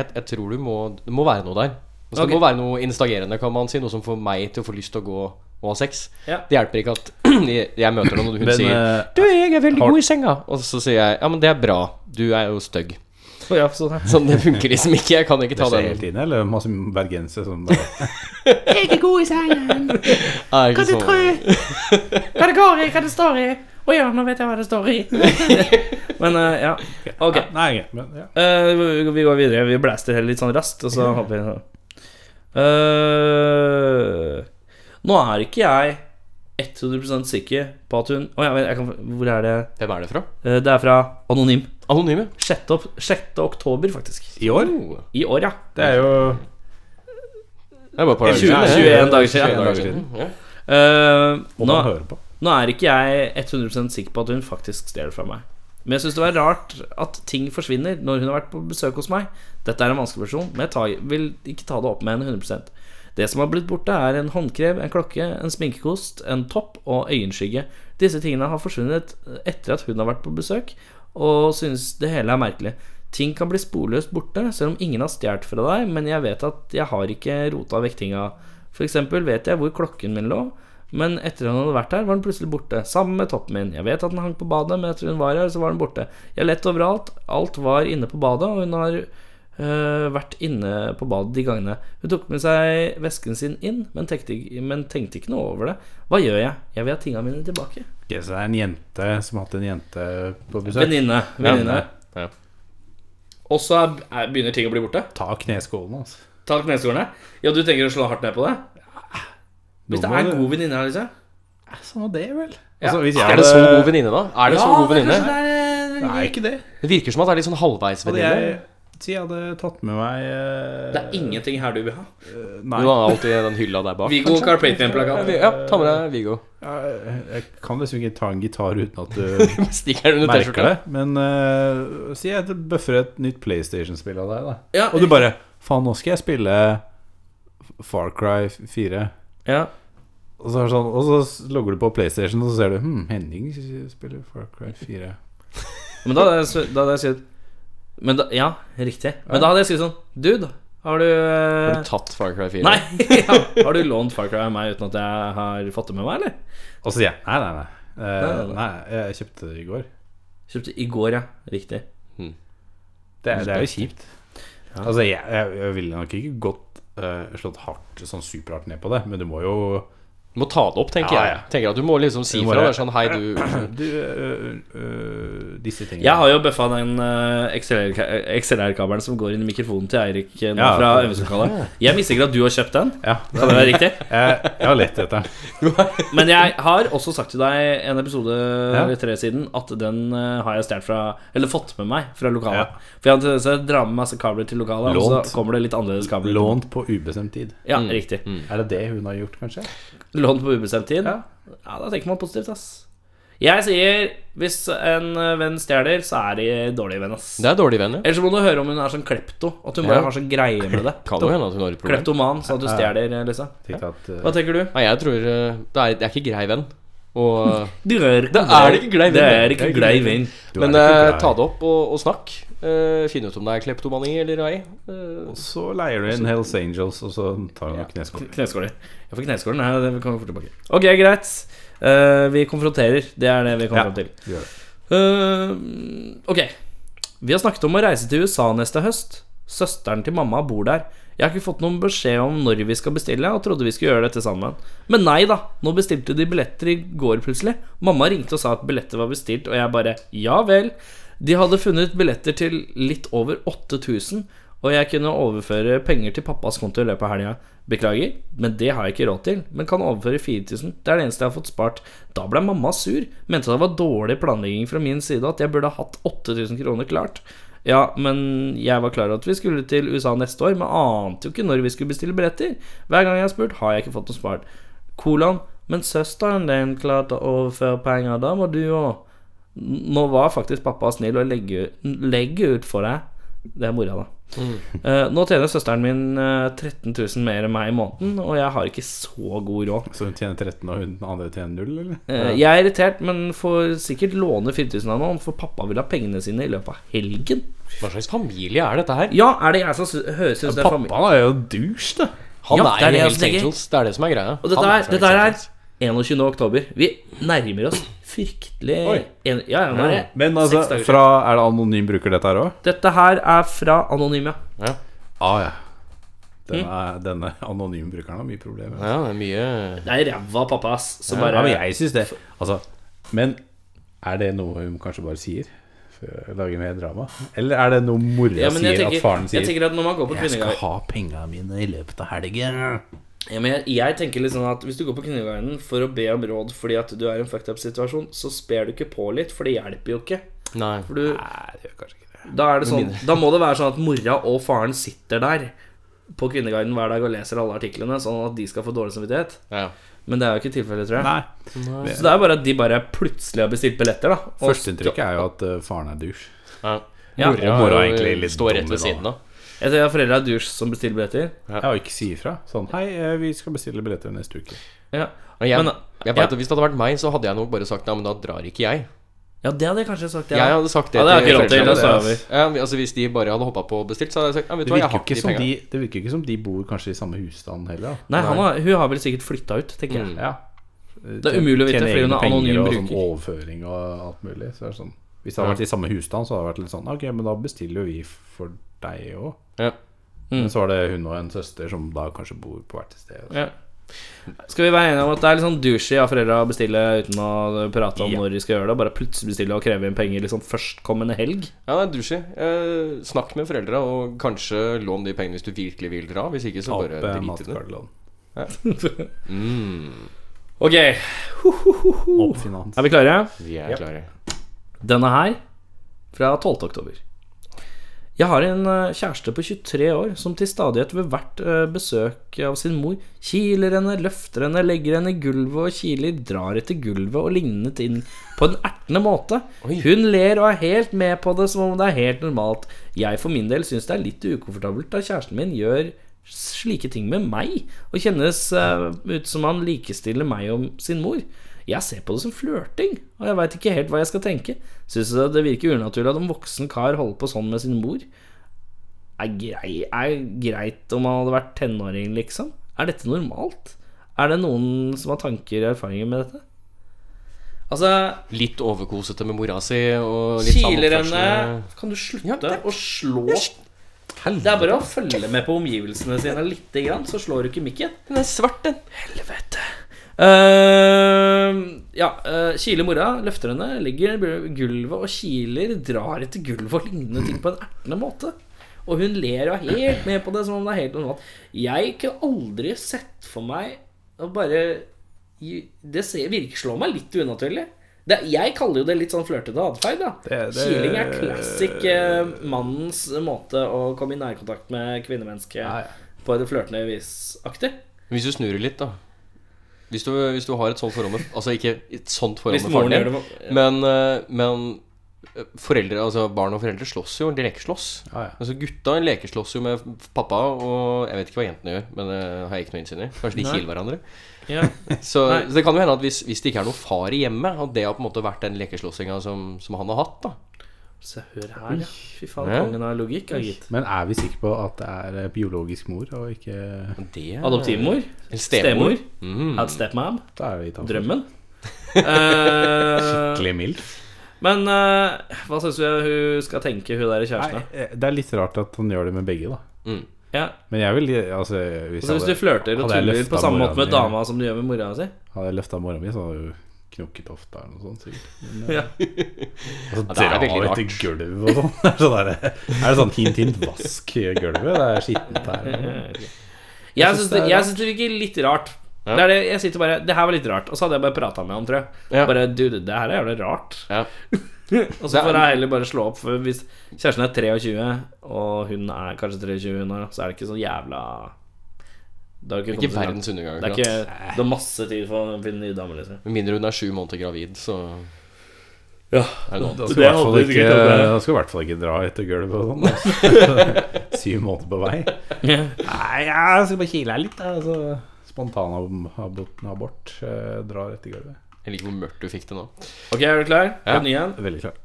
Speaker 4: jeg, jeg tror du må, det må være noe der.
Speaker 2: Ok.
Speaker 4: Altså, Det må være noe instagerende, kan man si. Noe som får meg til å få lyst til å gå og ha sex.
Speaker 2: Ja.
Speaker 4: Det hjelper ikke at jeg, jeg møter noen, og hun
Speaker 3: Men,
Speaker 4: sier
Speaker 3: eh,
Speaker 4: 'Du, jeg er veldig
Speaker 3: har-
Speaker 4: god i senga'. Og så sier jeg 'Ja, men det er bra. Du er jo stygg'.
Speaker 2: Ja, sånn her.
Speaker 4: Sånn, det funker liksom ikke. Jeg kan ikke
Speaker 3: det
Speaker 4: ta
Speaker 3: skjer
Speaker 4: den.
Speaker 3: hele tiden, eller masse bergensere som bare
Speaker 5: Jeg er god i sengen.
Speaker 4: Nei, ikke
Speaker 5: Hva du
Speaker 4: sånn.
Speaker 5: tror? Hva det går i? Hva det står i? Å ja, nå vet jeg hva det står i.
Speaker 2: Men eh, ja, ok.
Speaker 3: Nei, nei, men, ja.
Speaker 2: Eh, vi- vi går videre. Vi blaster heller litt sånn raskt, og så hopper vi Eh, Nå er ikke jeg 100 sikker på at hun Å ja, men jeg kan, hvor er det
Speaker 4: Hvem er det fra?
Speaker 2: Eh, Det er fra Anonym.
Speaker 4: Anonyme.
Speaker 2: 6. Opp, 6. oktober, faktisk.
Speaker 3: I år?
Speaker 4: Oh.
Speaker 2: I år, ja.
Speaker 3: Det er jo
Speaker 4: Det er bare et par
Speaker 2: 20,
Speaker 4: dager siden. det.
Speaker 2: 21 dager siden.
Speaker 4: 21 dager
Speaker 3: siden.
Speaker 4: siden. Ja.
Speaker 2: Eh,
Speaker 3: Må
Speaker 2: nå,
Speaker 3: man høre på.
Speaker 2: nå er ikke jeg 100 sikker på at hun faktisk stjal fra meg. Men jeg syns det var rart at ting forsvinner når hun har vært på besøk hos meg. Dette er en vanskelig person, men jeg tar, vil ikke ta det opp med henne 100 Det som har blitt borte, er en håndkrem, en klokke, en sminkekost, en topp og øyenskygge. Disse tingene har forsvunnet etter at hun har vært på besøk, og synes det hele er merkelig. Ting kan bli sporløst borte, selv om ingen har stjålet fra deg, men jeg vet at jeg har ikke rota vekk tinga. For eksempel vet jeg hvor klokken min lå, men etter hun hadde vært her, var den plutselig borte. Sammen med toppen min. Jeg vet at den hang på badet, men etter hun var her, så var den borte. Jeg lett overalt. Alt var inne på badet, og hun har øh, vært inne på badet de gangene. Hun tok med seg vesken sin inn, men tenkte, men tenkte ikke noe over det. Hva gjør jeg? Jeg vil ha tinga mine tilbake.
Speaker 3: Ok, så det er en jente som har hatt en jente på besøk.
Speaker 2: Venninne. venninne.
Speaker 4: Ja.
Speaker 2: Og så er- er- begynner ting å bli borte.
Speaker 3: Ta kneskålene, altså.
Speaker 2: Ta kneskålene. Ja, du tenker å slå hardt ned på det? Hvis
Speaker 3: Nå
Speaker 2: det
Speaker 3: må
Speaker 2: er en
Speaker 3: du-
Speaker 2: god venninne her, liksom.
Speaker 3: Sånn var det, vel.
Speaker 2: Ja.
Speaker 3: Altså, hvis jeg
Speaker 4: Er det så god venninne, da? Er det så god
Speaker 2: det er
Speaker 4: venninne?
Speaker 2: kanskje det er-
Speaker 3: Nei, ikke det.
Speaker 4: Det virker som at det er litt sånn
Speaker 3: Hadde jeg
Speaker 4: halvveisvenninne.
Speaker 3: Si jeg hadde tatt med meg eh,
Speaker 2: Det er ingenting her du vil ha.
Speaker 3: Nei.
Speaker 4: Du har alltid den hylla der bak.
Speaker 2: Viggo
Speaker 4: Ja,
Speaker 2: Carpathian-plakat.
Speaker 4: vi- ja, ta med deg Viggo.
Speaker 3: Jeg, jeg kan liksom ikke ta en gitar uten at du
Speaker 4: Stikker den under
Speaker 3: merker
Speaker 4: T-skjorta.
Speaker 3: det. Men eh, si jeg bøffer et nytt PlayStation-spill av deg, da.
Speaker 2: Ja,
Speaker 3: Og du bare Faen, nå skal jeg spille Far Cry 4.
Speaker 2: ja.
Speaker 3: Og så, er det sånn, og så logger du på PlayStation, og så ser du Hm, Henning spiller Far Cry 4.
Speaker 2: Men da hadde jeg, s- da hadde jeg skrevet men da, Ja, riktig. Men da hadde jeg skrevet sånn Dude, har du, eh,
Speaker 4: Har du tatt Far Cry 4?
Speaker 2: Nei! ja, har du lånt Far Cry av meg uten at jeg har fått det med meg, eller?
Speaker 3: Og så sier jeg Nei, nei, nei. Eh,
Speaker 2: Nei, nei, nei.
Speaker 3: nei, jeg kjøpte det i går.
Speaker 2: Kjøpte i går, ja. Riktig.
Speaker 3: Det, er- det er jo kjipt. Altså, jeg, jeg, jeg ville nok ikke gått eh, slått hardt, sånn superhardt ned på det, men du må jo
Speaker 4: Du må ta det opp, tenker
Speaker 3: Ja,
Speaker 4: jeg.
Speaker 3: ja.
Speaker 4: Tenker at Du må liksom si
Speaker 3: Du må
Speaker 4: fra. Det
Speaker 3: det.
Speaker 4: er sånn, hei, du
Speaker 3: Du, eh, eh, disse tingene
Speaker 2: Jeg har jo bøffa den eh, XLR ka- XLR-kabelen som går inn i mikrofonen til Eirik eh, nå
Speaker 3: Ja.
Speaker 2: fra øvingslokalet. Jeg visste ikke at du har kjøpt den.
Speaker 3: Ja,
Speaker 2: Kan det være riktig?
Speaker 3: jeg, jeg har lett etter den.
Speaker 2: Men jeg har også sagt til deg en episode
Speaker 3: Ja.
Speaker 2: eller tre siden at den eh, har jeg stjålet fra Eller fått med meg fra lokalet. For jeg hadde tendens til å dra med masse kabler til lokalet, og
Speaker 3: Lånt.
Speaker 2: så kommer det litt annerledes kabler.
Speaker 3: Lånt på ubestemt tid.
Speaker 2: Ja, riktig.
Speaker 3: Er det det hun har gjort, kanskje?
Speaker 2: Lånt på ubestemt tid.
Speaker 3: Ja.
Speaker 2: Ja. da tenker man positivt, ass. Jeg sier hvis en eh, venn stjeler, så er de dårlige venn, ass.
Speaker 4: Det er dårlig venn, ja.
Speaker 2: Ellers så må du høre om hun er sånn klepto, at hun
Speaker 4: Ja.
Speaker 2: bare har sånn greie med det.
Speaker 4: Kan jo hende at hun har et problem.
Speaker 2: Kleptoman, sånn at du stjeler, eh, liksom.
Speaker 3: Tenkte at eh,
Speaker 2: Hva tenker du?
Speaker 4: Nei, jeg tror eh, det er, det er ikke grei venn. Og, eh,
Speaker 2: Du er
Speaker 4: det er ikke glei venn.
Speaker 2: Det er ikke glei venn.
Speaker 3: du
Speaker 4: men
Speaker 3: er ikke
Speaker 4: eh,
Speaker 3: glad i-
Speaker 4: ta det opp og, og snakk. Eh, Finn ut om det er kleptomani eller ei. Eh,
Speaker 3: Og så leier du inn Hells Angels, og så tar hun kneskåler.
Speaker 2: Kneskåler. Jeg får kneskåler. Nei, det kan vi fort tilbake. Ok, greit. Eh, vi konfronterer. Det er det vi kommer
Speaker 3: Ja.
Speaker 2: fram til.
Speaker 3: Du gjør det.
Speaker 2: Eh, ok. Vi har snakket om å reise til USA neste høst. Søsteren til mamma bor der. Jeg har ikke fått noen beskjed om når vi skal bestille, og trodde vi skulle gjøre dette sammen. Men nei da, nå bestilte de billetter i går plutselig. Mamma ringte og sa at billetter var bestilt, og jeg bare ja vel. De hadde funnet billetter til litt over 8000, og jeg kunne overføre penger til pappas konto i løpet av helga. Beklager, men det har jeg ikke råd til. Men kan overføre 4000. Det er det eneste jeg har fått spart. Da ble mamma sur. Mente det var dårlig planlegging fra min side at jeg burde hatt 8000 kroner klart. Ja, men jeg var klar over at vi skulle til USA neste år, men ante jo ikke når vi skulle bestille billetter. Hver gang jeg har spurt, har jeg ikke fått noe spart. Kolon, men søsteren din klarte å overføre penger, da må du òg. Nå var faktisk pappa snill og legge, legge ut for deg. Det er mora, da. Eh, nå tjener søsteren min eh, 13 000 mer enn meg i måneden, og jeg har ikke så god råd.
Speaker 3: Så hun tjener 13, og hun andre tjener null, eller?
Speaker 2: Eh, jeg er irritert, men får sikkert låne 4000 av noen, for pappa vil ha pengene sine i løpet av helgen.
Speaker 4: hva slags familie er dette her?
Speaker 2: Ja, er det jeg som sy- høres ut som det er familie?
Speaker 3: Pappaen er jo douche, da.
Speaker 4: Han
Speaker 2: Ja, det er
Speaker 4: er
Speaker 2: det
Speaker 4: i
Speaker 2: jeg
Speaker 4: Hells
Speaker 2: tenker.
Speaker 4: Angels. Det er det som er greia.
Speaker 2: Og dette
Speaker 4: Han
Speaker 2: er,
Speaker 4: fra
Speaker 2: dette
Speaker 4: Hells
Speaker 2: er
Speaker 4: Angels.
Speaker 2: 21. oktober. Vi nærmer oss fryktelig
Speaker 3: Oi.
Speaker 2: en, Ja, ja, nå er det
Speaker 3: Men
Speaker 2: seks
Speaker 3: altså,
Speaker 2: dager
Speaker 3: fra Er det anonym bruker dette her òg?
Speaker 2: siden. Dette her er fra Anonyme.
Speaker 4: ja.
Speaker 3: Ah, ja. Denne, denne anonyme brukeren har mye problemer.
Speaker 4: ja, det er mye
Speaker 2: Det er ræva pappa, ass. Som
Speaker 3: Ja,
Speaker 2: bare
Speaker 3: men jeg syns det. Altså, men er det noe hun kanskje bare sier? For å lage mer drama? Eller er det noe mora
Speaker 2: Ja, men jeg
Speaker 3: sier at faren
Speaker 2: tenker, jeg
Speaker 3: sier?
Speaker 2: tenker at når man går på
Speaker 3: Jeg skal
Speaker 2: kvinneguiden
Speaker 3: ha penga mine i løpet av helgen.
Speaker 2: ja, men jeg, jeg tenker litt sånn at Hvis du går på kvinneguiden for å be om råd fordi at du er i en fucked up-situasjon, så sper du ikke på litt, for det hjelper jo ikke.
Speaker 4: Nei.
Speaker 2: For du,
Speaker 3: Nei, det gjør kanskje ikke det.
Speaker 2: da, er det sånn, da må det være sånn at mora og faren sitter der på Kvinneguiden hver dag og leser alle artiklene, sånn at de skal få dårlig samvittighet.
Speaker 4: Ja.
Speaker 2: Men det er jo ikke tilfellet, tror jeg.
Speaker 3: Nei.
Speaker 2: Så det er bare at de bare plutselig har bestilt billetter, da. Og-
Speaker 3: Førsteinntrykket er jo at eh, faren er douche.
Speaker 4: ja.
Speaker 2: Ja.
Speaker 4: Mora
Speaker 3: Og mora
Speaker 4: er
Speaker 3: er
Speaker 4: jo-
Speaker 3: egentlig litt
Speaker 4: står
Speaker 3: dum liksom.
Speaker 4: rett
Speaker 3: i
Speaker 4: ved
Speaker 3: dag.
Speaker 4: siden av.
Speaker 2: Jeg tror jeg har foreldre er douche som bestiller billetter.
Speaker 3: Ja, og ikke si ifra. Sånn Hei, eh, vi skal bestille billetter neste uke.
Speaker 2: Ja,
Speaker 4: Men jeg,
Speaker 2: Men-
Speaker 4: jeg vet, at Hvis det hadde vært meg, så hadde jeg nok bare sagt Nei, men da drar ikke jeg.
Speaker 2: ja det hadde jeg kanskje sagt.
Speaker 4: Jeg hadde sagt det
Speaker 2: Ja, det har jeg ikke råd til.
Speaker 4: foreldrene.
Speaker 2: Det står jeg over.
Speaker 4: Ja, men altså Hvis de bare hadde hoppa på og bestilt, så hadde jeg sagt Nei, vet
Speaker 3: Det
Speaker 4: du hva, jeg
Speaker 3: virker, ikke
Speaker 4: har ikke de
Speaker 3: som
Speaker 4: pengene.
Speaker 3: de, det virker ikke som de bor kanskje i samme husstand heller. da.
Speaker 2: Nei, han har, hun har vel sikkert flytta ut, tenker
Speaker 4: Mm.
Speaker 2: jeg.
Speaker 3: Ja.
Speaker 2: Det er umulig å vite,
Speaker 3: Tjene
Speaker 2: fordi hun
Speaker 3: egne
Speaker 2: er anonym
Speaker 3: penger og
Speaker 2: bruker.
Speaker 3: Sånn overføring og alt mulig. Så er det sånn. Hvis det hadde vært i samme husstand, så hadde det vært litt sånn Ok, men da bestiller jo vi for deg òg.
Speaker 4: Ja.
Speaker 2: Mm.
Speaker 3: Men så var det hun og en søster som da kanskje bor på hvert sted.
Speaker 2: Ja. Skal vi være enige om at det er litt sånn douchey av foreldra å bestille uten å prate om når de skal gjøre det, og bare plutselig bestille og kreve inn penger liksom førstkommende helg?
Speaker 4: Ja, nei, dusj i. Eh, snakk med foreldra, og kanskje lån de pengene hvis du virkelig vil dra. Hvis ikke, så bare
Speaker 3: Ape
Speaker 4: drit i det.
Speaker 3: matkardelån.
Speaker 2: Ok, er
Speaker 3: Oppfinans.
Speaker 2: vi klare?
Speaker 4: Vi er klare.
Speaker 2: Denne her, fra 12. oktober. Jeg har en eh, kjæreste på 23 år som til stadighet ved hvert eh, besøk av sin mor kiler henne, løfter henne, legger henne i gulvet og kiler, drar etter gulvet og lignende ting på en ertende måte. Hun ler og er helt med på det som om det er helt normalt. Jeg for min del syns det er litt ukomfortabelt da kjæresten min gjør slike ting med meg, og kjennes eh, ut som han likestiller meg og sin mor. Jeg ser på det som flørting, og jeg veit ikke helt hva jeg skal tenke. Syns det det virker unaturlig at en voksen kar holder på sånn med sin mor. Er, grei, er greit om han hadde vært tenåring, liksom? Er dette normalt? Er det noen som har tanker og erfaringer med dette? Altså,
Speaker 4: Litt overkosete med mora si og litt samme
Speaker 2: kiler henne
Speaker 4: oppførsel.
Speaker 2: Kan du slutte å slå? Det er bare å følge med på omgivelsene sine lite grann, så slår du ikke mikken.
Speaker 4: Den er svart, den.
Speaker 2: Helvete. Ehm, ja, eh, kiler mora, løfter henne, legger i gulvet og kiler, drar etter gulvet og lignende ting på en ertende måte. Og hun ler og er helt med på det som om det er helt normalt. Jeg kunne aldri sett for meg å bare Det ser, virker slår meg litt unaturlig. Det, jeg kaller jo det litt sånn flørtete atferd. da.
Speaker 3: Det- det-
Speaker 2: Kiling er classic eh, mannens måte å komme i nærkontakt med kvinnemennesket
Speaker 3: Ja, ja.
Speaker 2: på et flørtende vis-aktig.
Speaker 4: Hvis du snur det litt, da. Hvis du, hvis du har et sånt forhold med Altså ikke et sånt forhold
Speaker 2: Hvis
Speaker 4: med
Speaker 2: moren
Speaker 4: faren
Speaker 2: gjør
Speaker 4: din,
Speaker 2: det ja.
Speaker 4: men, eh, men eh, foreldre, altså barn og foreldre slåss jo. De lekeslåss.
Speaker 3: Ja, ja.
Speaker 4: Altså Gutta lekeslåss jo med pappa, og jeg vet ikke hva jentene gjør. Men det har jeg ikke noe innsyn i. Kanskje de
Speaker 2: Nei.
Speaker 4: kiler hverandre.
Speaker 2: Ja.
Speaker 4: Så,
Speaker 2: Nei.
Speaker 4: så det kan jo hende at hvis, hvis det ikke er noen far i hjemmet, at det har på en måte vært den lekeslåssinga som, som han har hatt, da.
Speaker 2: Se, hør her, ja. Fy faen,
Speaker 4: Ja.
Speaker 2: kongen av logikk, ja, gitt.
Speaker 3: Men er vi sikre på at det er eh, biologisk mor, og ikke
Speaker 4: Men Det er-
Speaker 2: Adoptivmor.
Speaker 4: Eller
Speaker 2: Stemor.
Speaker 4: Stemor. Mm.
Speaker 2: Had stepmam.
Speaker 3: Da er vi tatt
Speaker 2: Drømmen. Eh,
Speaker 3: Skikkelig mild.
Speaker 2: men eh, hva syns du hun skal tenke, hun der
Speaker 3: Nei,
Speaker 2: kjæresten? da?
Speaker 3: eh, det er litt rart at han gjør det med begge, da.
Speaker 2: Ja.
Speaker 3: Men jeg vil altså, hvis,
Speaker 2: Altså, hvis du flørter og
Speaker 3: hadde jeg
Speaker 2: tuller
Speaker 3: løftet
Speaker 2: på samme
Speaker 3: mora
Speaker 2: måte med
Speaker 3: mi-
Speaker 2: dama som du gjør med mora si
Speaker 3: Hadde jeg løfta mora mi, så hadde hun knokket hofta eller noe sånt. sikkert
Speaker 2: ja.
Speaker 3: Og så
Speaker 4: det er
Speaker 3: dra
Speaker 4: veldig rart.
Speaker 3: ut i gulvet og sånn. Det er sånn der, er det sånn hint, hint, vask gulvet? Det er skittent her.
Speaker 2: Jeg syns det, jeg synes det virker litt rart. Det, er det, jeg sitter bare, det her var litt rart, og så hadde jeg bare prata med han, tror jeg.
Speaker 4: Ja.
Speaker 2: Bare, du, det her er jævlig rart.
Speaker 4: Ja.
Speaker 2: Og så får jeg heller bare slå opp, for hvis kjæresten er 23, og hun er kanskje 23 hun er, så er det ikke så jævla Det er jo
Speaker 4: Ikke
Speaker 2: kommet så langt.
Speaker 4: verdens undergang.
Speaker 2: Det er
Speaker 4: akkurat.
Speaker 2: ikke Det er masse tid for å finne nye damer, liksom.
Speaker 4: Med mindre hun er sju måneder gravid, så
Speaker 2: Ja.
Speaker 4: er det noe annet.
Speaker 3: Da skal i hvert fall
Speaker 2: hadde
Speaker 3: ikke,
Speaker 2: sikkert vært-
Speaker 3: da skal i hvert fall ikke dra etter gulvet og sånn. da. Syv måneder på vei. Nei, jeg skal bare kile her litt. da, Altså. Spontanabort eh, drar etter gulvet.
Speaker 4: Jeg liker hvor mørkt du fikk det nå.
Speaker 2: Ok, er du klar?
Speaker 4: Ja.
Speaker 2: En ny en.
Speaker 3: Veldig klart.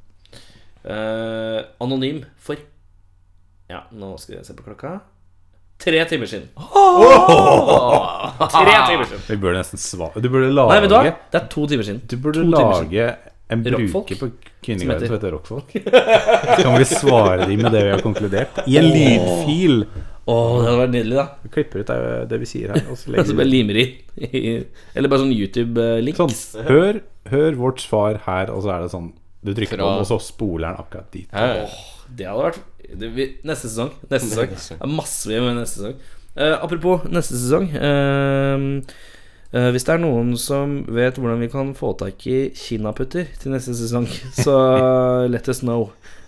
Speaker 2: Eh, anonym for Ja, nå skal jeg se på klokka. Tre timer siden. Tre timer siden.
Speaker 3: Vi burde nesten svare Du burde lage
Speaker 2: Nei, vet du hva? Det er to timer siden.
Speaker 3: Du burde
Speaker 2: To timer siden.
Speaker 3: lage en
Speaker 2: Rockfolk,
Speaker 3: bruker på Kvinneguiden
Speaker 2: heter-
Speaker 3: som heter Rockfolk. Så kan vi svare de med det vi har konkludert. I en lydfil.
Speaker 2: Å, det hadde vært nydelig, da.
Speaker 3: Vi klipper ut det- det vi sier her. Og så
Speaker 2: Altså
Speaker 3: legger
Speaker 2: bare
Speaker 3: vi
Speaker 2: limer inn. i- Eller bare sånn YouTube-link.
Speaker 3: sånn. Hør, hør vårt svar her, og så er det sånn Du trykker
Speaker 4: Fra-
Speaker 3: på den, og så spoler den akkurat dit.
Speaker 4: Ja, ja.
Speaker 2: Det hadde vært det, vi, Neste sesong. Neste sesong. Det er masse vi gjør med neste sesong. Eh, apropos neste sesong. eh, eh, hvis det er noen som vet hvordan vi kan få tak i kinaputter til neste sesong, så let us know.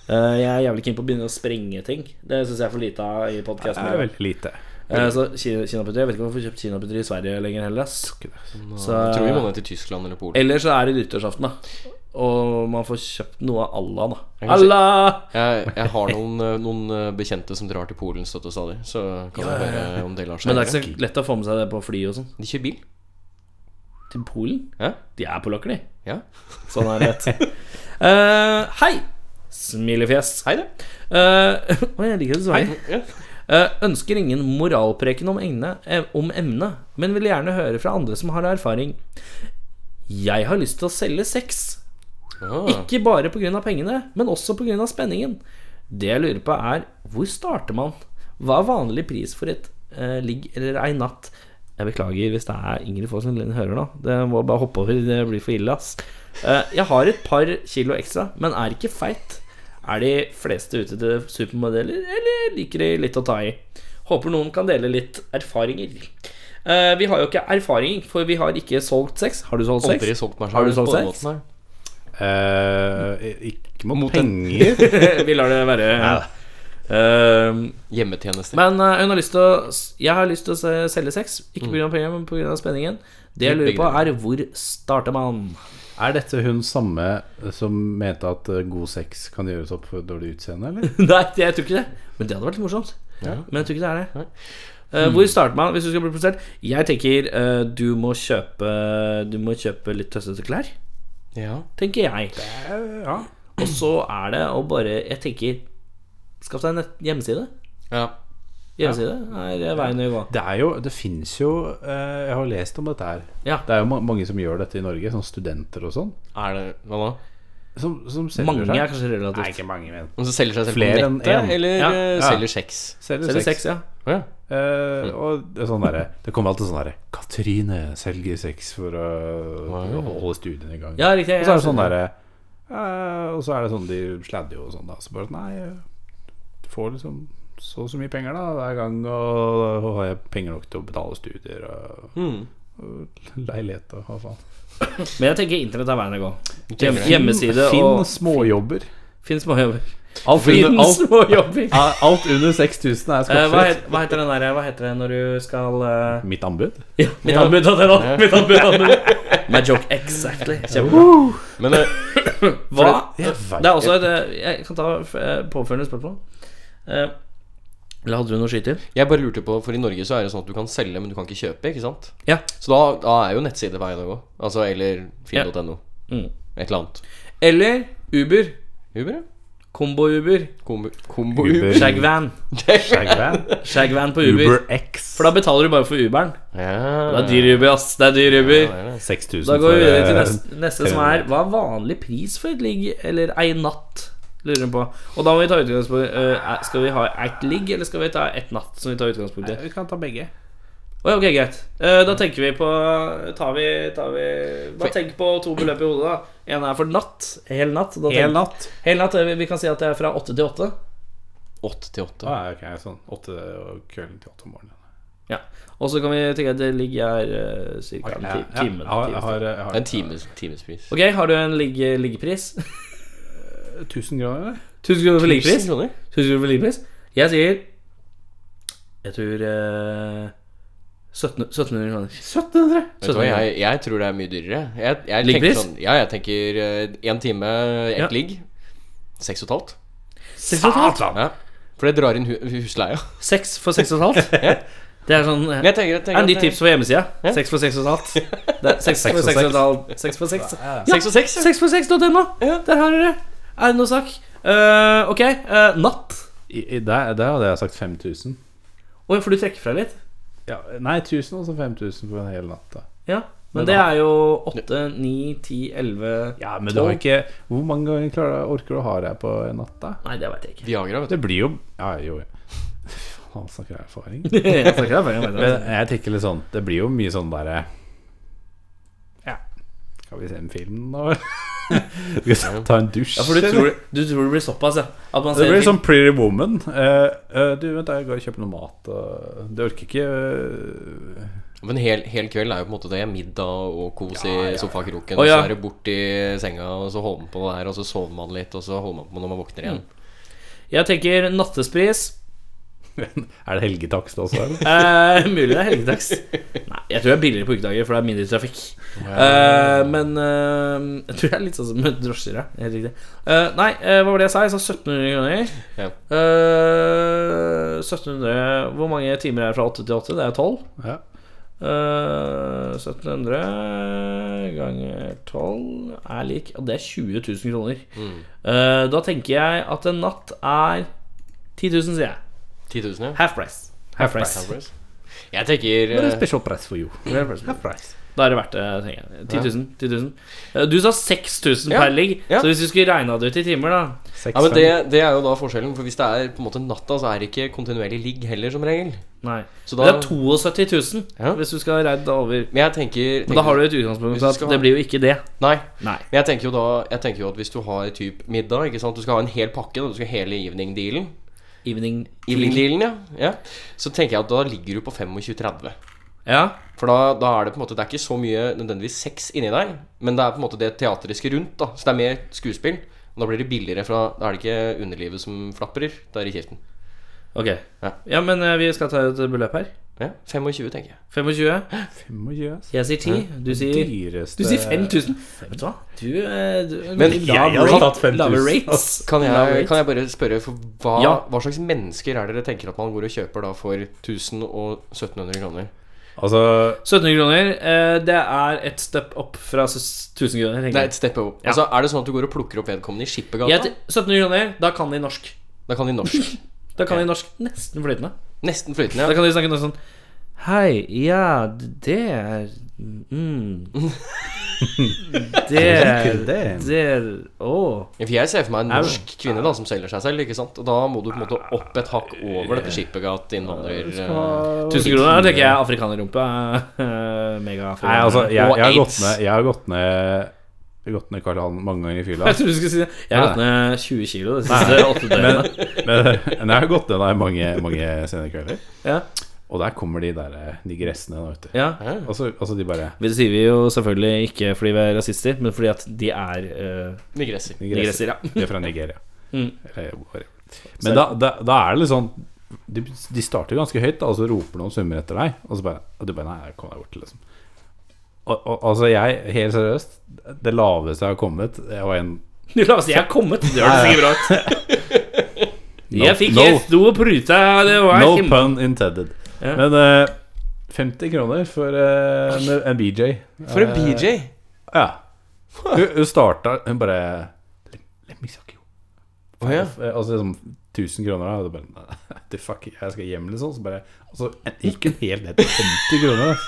Speaker 2: Eh, jeg er jævlig keen på å begynne å sprenge ting. Det syns jeg er for lite av i
Speaker 3: Det er
Speaker 2: podkasten.
Speaker 3: veldig lite.
Speaker 2: Eh, så Kina- kinaputeri Jeg vet ikke om man får kjøpt kinaputeri i Sverige lenger heller. ass. Så-
Speaker 4: Mm.
Speaker 2: eh,
Speaker 4: jeg tror vi må ned til Tyskland eller Polen.
Speaker 2: Eller så er det nyttårsaften, da. Og man får kjøpt noe av Allah, da.
Speaker 4: Jeg kan si-
Speaker 2: Allah!
Speaker 4: Jeg, jeg har noen, eh, noen eh, bekjente som drar til Polen støtt og stadig, så kan vi høre om det lar seg
Speaker 2: Men det er
Speaker 4: gjøre.
Speaker 2: ikke så lett å få med seg det på fly og sånn.
Speaker 4: De kjører bil.
Speaker 2: Til Polen?
Speaker 4: Ja?
Speaker 2: De er polakker, de.
Speaker 4: ja.
Speaker 2: Sånn er det. Eh, hei! Smilefjes.
Speaker 4: Hei, det.
Speaker 2: Eh, Oi, jeg liker det så hei.
Speaker 4: Ja.
Speaker 2: Eh, ønsker ingen moralpreken om, egne, eh, om emnet, men vil gjerne høre fra andre som har erfaring. Jeg har lyst til å selge sex.
Speaker 4: Ah.
Speaker 2: Ikke bare pga. pengene, men også pga. spenningen. Det jeg lurer på, er hvor starter man? Hva er vanlig pris for et eh, ligg eller ei natt? Jeg beklager hvis det er Ingrid Foss som hører nå. Det må bare hoppe over, det blir for ille, ass. Eh, jeg har et par kilo ekstra, men er ikke feit. Er de fleste ute til supermodeller, eller liker de litt å ta i? Håper noen kan dele litt erfaringer. Eh, vi har jo ikke erfaring, for vi har ikke solgt sex. Har du solgt sex?
Speaker 4: Aldri solgt meg selv
Speaker 2: Har du solgt
Speaker 4: på den
Speaker 2: sex?
Speaker 4: måten her.
Speaker 3: Eh, ikke mot,
Speaker 4: Mot en-
Speaker 3: penger.
Speaker 2: vi lar det være. Ehm,
Speaker 4: Hjemmetjenester.
Speaker 2: men eh, hun har lyst til å Jeg har lyst til å se- selge sex. Ikke pga. penger, men pga. spenningen. Det jeg lurer på, er hvor starter man?
Speaker 3: Er dette hun samme som mente at eh, god sex kan gjøres opp for dårlig utseende, eller?
Speaker 2: Nei, det- jeg tror ikke det. Men det hadde vært litt morsomt. Men jeg tror ikke det er det. Eh,
Speaker 3: Hmm.
Speaker 2: hvor starter man hvis du skal bli produsert? Jeg tenker eh, du må kjøpe Du må kjøpe litt tøssete klær.
Speaker 4: Ja.
Speaker 2: Tenker jeg. Og så er det å bare Jeg tenker Skaff deg en nett- hjemmeside.
Speaker 4: ja.
Speaker 2: Hjemmeside er veien å gå.
Speaker 3: Det er jo, det finnes jo eh, Jeg har lest om dette her.
Speaker 2: Ja.
Speaker 3: Det er jo ma mange som gjør dette i Norge, sånn studenter og sånn.
Speaker 4: Er det Hva da?
Speaker 3: Som, som selger
Speaker 2: Mange er
Speaker 3: seg.
Speaker 2: kanskje relativt
Speaker 3: Nei, ikke mange, men
Speaker 4: Om du selger seg selv
Speaker 3: Flere
Speaker 4: på
Speaker 3: enn
Speaker 4: nettet,
Speaker 3: en.
Speaker 4: eller
Speaker 2: Ja.
Speaker 4: eh,
Speaker 3: Ja.
Speaker 4: selger sex?
Speaker 3: selger,
Speaker 2: Selger
Speaker 3: sex.
Speaker 2: sex, ja. Mm.
Speaker 4: Å ja.
Speaker 3: Eh, og det er sånn derre Det kommer alltid sånn derre Katrine selger sex for å, å holde studiene i gang.
Speaker 2: Ja, riktig.
Speaker 3: og
Speaker 2: ja,
Speaker 3: så er det sånn
Speaker 2: skjønner.
Speaker 3: derre eh, Og så er det sånn de sladder jo og sånn, da. Så bare sånn, Nei, jeg får liksom så og så mye penger da hver gang, og da har jeg penger nok til å betale studier og,
Speaker 2: Mm.
Speaker 3: og leilighet og hva faen.
Speaker 2: Men jeg tenker internett er veien å gå.
Speaker 4: tenker
Speaker 2: Hjem, hjemmeside
Speaker 3: Finn
Speaker 2: og
Speaker 3: småjobber.
Speaker 2: Finn småjobber.
Speaker 3: Alt
Speaker 2: Finn
Speaker 3: under, alt,
Speaker 2: småjobber!
Speaker 3: alt under 6000 er
Speaker 2: Eh, hva,
Speaker 3: skattefritt.
Speaker 2: het, hva heter den der Hva heter det når du skal eh,
Speaker 3: Mitt anbud?
Speaker 2: Ja, mitt anbud av det, da! Mitt anbud av det. My joke exactly. Kjempebra.
Speaker 4: Men eh,
Speaker 2: Hva?
Speaker 3: Jeg vet
Speaker 2: Det er også et eh, Jeg kan ta eh, påfølgende spørsmål. Eh, Eller hadde du noe å skyte inn?
Speaker 4: jeg bare lurte på, for i Norge så er det sånn at du kan selge, men du kan ikke kjøpe, ikke sant?
Speaker 2: Ja.
Speaker 4: Så da, da er jo nettside veien å gå. Altså, eller finn.no.
Speaker 2: Mm.
Speaker 4: Et eller annet.
Speaker 2: Eller Uber.
Speaker 4: Uber, ja.
Speaker 2: Kombo-Uber.
Speaker 4: Kombo, kombo
Speaker 3: Uber.
Speaker 4: Uber.
Speaker 2: Shagvan.
Speaker 3: Shagvan.
Speaker 2: Shagvan på Uber.
Speaker 3: Uber X.
Speaker 2: For da betaler du bare for Uberen. Det
Speaker 4: Ja.
Speaker 2: er dyr Uber, ass. Det er dyr Uber.
Speaker 3: 6000
Speaker 2: Da går vi videre til
Speaker 3: eh,
Speaker 2: neste, neste som er Hva er vanlig pris for et ligg eller ei natt? Lurer hun på. Og da må vi ta utgangspunkt eh, er- Skal vi ha ett ligg, eller skal vi ta ett natt? Som vi tar utgangspunkt i.
Speaker 3: Vi kan ta begge.
Speaker 2: Oi, ok, greit. Eh, da tenker vi på Tar vi, tar vi Bare tenk på to beløp i hodet, da. En er for natt. Hel natt. Da
Speaker 3: Én
Speaker 2: tenk,
Speaker 3: natt.
Speaker 2: hel natt. eh, Vi, vi kan si at det er fra åtte til åtte.
Speaker 4: Åtte til åtte.
Speaker 3: Ah, ok, sånn åtte og kvelden til åtte om morgenen.
Speaker 2: Ja. Og så kan vi tenke at det ligg er uh, ca. en
Speaker 3: Ja,
Speaker 2: ti- time.
Speaker 3: jeg har, jeg
Speaker 2: time.
Speaker 3: har, jeg har,
Speaker 4: Det er en times, timespris.
Speaker 2: Ok, har du en ligg- liggpris?
Speaker 3: 1000 kroner, eller?
Speaker 2: 1000 kroner for liggpris?
Speaker 4: Tusen kroner?
Speaker 2: Syns du det var livpris? Jeg sier Jeg tror eh, 1700 1700 kroner.
Speaker 3: 1700.
Speaker 4: Vet du hva, jeg, jeg tror det er mye dyrere. Jeg, jeg tenker
Speaker 2: Liggpris?
Speaker 4: sånn, ja, jeg tenker én time, eh, ett
Speaker 2: Ja.
Speaker 4: ligg. Seks og et halvt.
Speaker 3: Satan!
Speaker 4: Ja. For det drar inn hu husleia.
Speaker 2: Seks for seks og et halvt? Det er sånn eh,
Speaker 4: Men jeg tenker,
Speaker 2: det
Speaker 4: jeg
Speaker 2: er
Speaker 4: tenker
Speaker 2: et
Speaker 4: at
Speaker 2: nytt
Speaker 4: det-
Speaker 2: tips for hjemmesida. Seks for seks og et halvt. Det er Seks for seks og et halvt. Seks for seks.
Speaker 4: Seks og seks?
Speaker 2: Seks for seks.no. Der har dere. Er det noe sak? Eh, ok, eh, natt.
Speaker 3: I, i, der, der hadde jeg sagt 5000.
Speaker 2: Oi, får du trekke fra litt?
Speaker 3: Ja, nei, 1000 og så 5000 for en hel natt. Da.
Speaker 2: Ja. Men det er jo åtte, ni, ti, elleve
Speaker 3: Ja, men du har ikke Hvor mange ganger klarer, orker du å ha deg på en natt, da?
Speaker 2: Nei, det veit jeg ikke.
Speaker 4: Viagra, vet du.
Speaker 3: Det blir jo Ja, jo, jo. Han snakker av erfaring.
Speaker 2: Jeg snakker her, jeg vet det.
Speaker 3: Men jeg tenker litt sånn Det blir jo mye sånn derre Ja, skal vi se en film nå? skal vi ta en dusj?
Speaker 2: Ja, for du tror, du tror det blir såpass, ja? At man
Speaker 3: det
Speaker 2: ser
Speaker 3: blir sånn Pretty Woman. Eh, eh, du, vent, da, jeg går og kjøper noe mat. Og det orker ikke eh,
Speaker 4: Men hel, hel kveld er jo på en måte det. Middag og kos i sofakroken.
Speaker 2: Å, ja.
Speaker 4: Og så er det bort i senga, og så holder man på det der,
Speaker 2: Mm.
Speaker 4: og så sover man litt, og så holder man på når man våkner igjen.
Speaker 2: Jeg tenker nattespris
Speaker 3: eh, Er det helgetakst også, eller?
Speaker 2: Eh, mulig det er helgedags. Nei, jeg tror det er billigere på ukedager, for det er mindre trafikk. Eh, men eh, jeg tror det er litt sånn som med drosjer, ja. Helt riktig. Eh, nei, eh, hva var det jeg sa? Jeg sa 1700 kroner.
Speaker 4: Ja.
Speaker 2: Eh, 1700 Hvor mange timer er det fra 8 til 8? Det er 12.
Speaker 3: Ja.
Speaker 2: Eh, 1700 ganger 12 er lik Ja, det er 20 000 kroner. Eh, da tenker jeg at en natt er 10 000, sier jeg.
Speaker 4: 10 000, ja.
Speaker 2: Half price. Half price.
Speaker 4: Halvveis. Jeg tenker
Speaker 3: Det er
Speaker 4: eh,
Speaker 3: special price for you. Half price.
Speaker 2: Da er det verdt det, tenker jeg. 10 000. 10 000. Eh, Du sa 6000
Speaker 4: Ja,
Speaker 2: per ligg,
Speaker 4: ja.
Speaker 2: så hvis du skulle regna det ut i timer, da
Speaker 4: ja, men det, det er jo da forskjellen, for hvis det er på en måte natta, så er det ikke kontinuerlig ligg heller, som regel.
Speaker 2: Nei.
Speaker 4: Så
Speaker 2: Men det er
Speaker 4: da-
Speaker 2: 72 000
Speaker 4: Ja.
Speaker 2: hvis du skal regne det over.
Speaker 4: Men jeg tenker,
Speaker 2: Men da har du et utgangspunkt
Speaker 4: Hvis du
Speaker 2: for at
Speaker 4: skal-
Speaker 2: det blir jo ikke det.
Speaker 4: Nei.
Speaker 2: Nei.
Speaker 4: Men jeg tenker jo da Jeg tenker jo at hvis du har typ middag ikke sant? Du skal ha en hel pakke, da, du skal ha hele evening-dealen.
Speaker 2: Evening
Speaker 4: Evening-dealen, ja. ja. Så tenker jeg at da ligger du på 25-30.
Speaker 2: Ja.
Speaker 4: For da, da er det på en måte Det er ikke så mye nødvendigvis sex inni deg, men det er på en måte det teatriske rundt. da Så det er mer skuespill. Og da blir det billigere, for da- da er det ikke underlivet som flaprer. Det er i kjeften.
Speaker 2: Ok.
Speaker 4: Ja.
Speaker 2: Ja, men eh, vi skal ta et beløp her.
Speaker 4: Ja, 25, tenker jeg.
Speaker 2: 25.
Speaker 3: 25, ass.
Speaker 2: Jeg sier 10. Du sier
Speaker 3: Dyreste
Speaker 2: du sier
Speaker 4: Eh,
Speaker 2: 5000. Vet du hva? Du, eh, du lav
Speaker 4: Men
Speaker 3: jeg hadde
Speaker 2: rate-
Speaker 3: tatt 5000,
Speaker 2: lave rates.
Speaker 3: ass.
Speaker 4: Kan
Speaker 2: Lave
Speaker 4: jeg,
Speaker 2: rates.
Speaker 4: kan jeg bare spørre, for hva,
Speaker 2: Ja.
Speaker 4: hva slags mennesker er det dere tenker at man går og kjøper da for 1000 og 1700 kroner?
Speaker 2: Mm.
Speaker 3: Altså
Speaker 2: 1700 kroner. eh, Det er et step up fra 1000 kroner. tenker
Speaker 4: Det er
Speaker 2: jeg.
Speaker 4: et step up.
Speaker 2: Ja.
Speaker 4: Altså, er det sånn at du går og plukker opp vedkommende i
Speaker 2: Jeg
Speaker 4: Skippergata?
Speaker 2: t- 1700 kroner, da kan de norsk.
Speaker 4: Da kan de norsk.
Speaker 2: Da kan de norsk nesten flytende.
Speaker 4: Nesten
Speaker 2: Da
Speaker 4: flytende. Ja.
Speaker 2: kan de snakke noe sånn Hei, ja, det er mm, Det er Eh, Det er Å.
Speaker 4: For jeg ser for meg en norsk kvinne da som selger seg selv, ikke sant? Og da må du på en måte opp et hakk over dette Skippergat-innvandrer...
Speaker 2: 1000
Speaker 4: eh,
Speaker 2: kroner, tenker jeg. Afrikanerrumpe. eh, Mega
Speaker 3: Nei, altså, jeg, jeg, har
Speaker 4: Og
Speaker 3: gått
Speaker 4: AIDS.
Speaker 3: ned, jeg har gått ned Gått ned Karl Johan mange ganger i fylla.
Speaker 2: Jeg trodde du skulle si det. Jeg har gått ned 20 kilo de siste åtte
Speaker 3: Men,
Speaker 2: døgnene.
Speaker 3: men, men jeg har gått ned der mange, mange sene kvelder.
Speaker 2: Ja,
Speaker 3: Og der kommer de der eh, digressene da, vet du.
Speaker 2: ja.
Speaker 3: Altså, altså de bare
Speaker 2: Det sier vi jo selvfølgelig ikke fordi vi er rasister, men fordi at de er eh,
Speaker 4: Digresser.
Speaker 2: digresser, ja.
Speaker 3: De er fra Nigeria.
Speaker 2: Mm.
Speaker 3: Eller hvor- Men da, da, da er det litt sånn de, de starter ganske høyt, da, og så roper noen summer etter deg. Og så bare, og du bare Nei, kom deg bort, liksom. Og, og, altså, jeg, helt seriøst, det laveste jeg har kommet, det var en
Speaker 2: Du la oss si jeg er kommet. Det høres ikke bra ut. Jeg fikk
Speaker 3: no,
Speaker 2: en stor prute. Det var
Speaker 3: no
Speaker 2: kjempe-
Speaker 3: pun intended.
Speaker 2: Ja.
Speaker 3: Men eh, 50 kroner for eh, en, en BJ.
Speaker 4: For en BJ!
Speaker 3: Ja. Hun, hun starta Hun bare "Let- Let me suck you.
Speaker 4: Å ja.
Speaker 3: Eh, Altså liksom 1000 kroner da, og da bare, "Nei, du fuck, jeg skal hjem liksom Så bare, og så gikk hun helt ned til 50 kroner ass.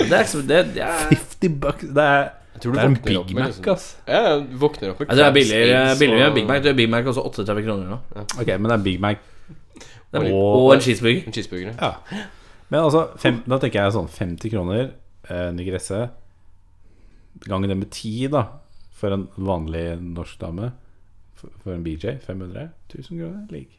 Speaker 2: Det er ikke så det, det er
Speaker 3: 50 bucks, det er,
Speaker 4: Jeg tror
Speaker 3: det
Speaker 4: du
Speaker 3: er en
Speaker 4: våkner
Speaker 3: Big
Speaker 4: opp med
Speaker 3: Mac
Speaker 4: liksom.
Speaker 3: ass
Speaker 4: Ja, ja, du våkner opp med
Speaker 2: Ja, det er
Speaker 4: crabs,
Speaker 2: billigere,
Speaker 4: eggs
Speaker 2: billigere
Speaker 4: og-
Speaker 2: enn Big Mac. Det er Big Mac også 38 kroner nå.
Speaker 3: Ok, men det er Big Mac
Speaker 2: Det er-
Speaker 3: Og-
Speaker 2: Og en cheeseburger.
Speaker 4: En cheeseburger.
Speaker 3: ja. Men altså, fem, da tenker jeg sånn 50 kroner, eh, Nigresse Gangen det med 10 da For en vanlig norsk dame For, for en BJ, 500 1000 kroner, ligg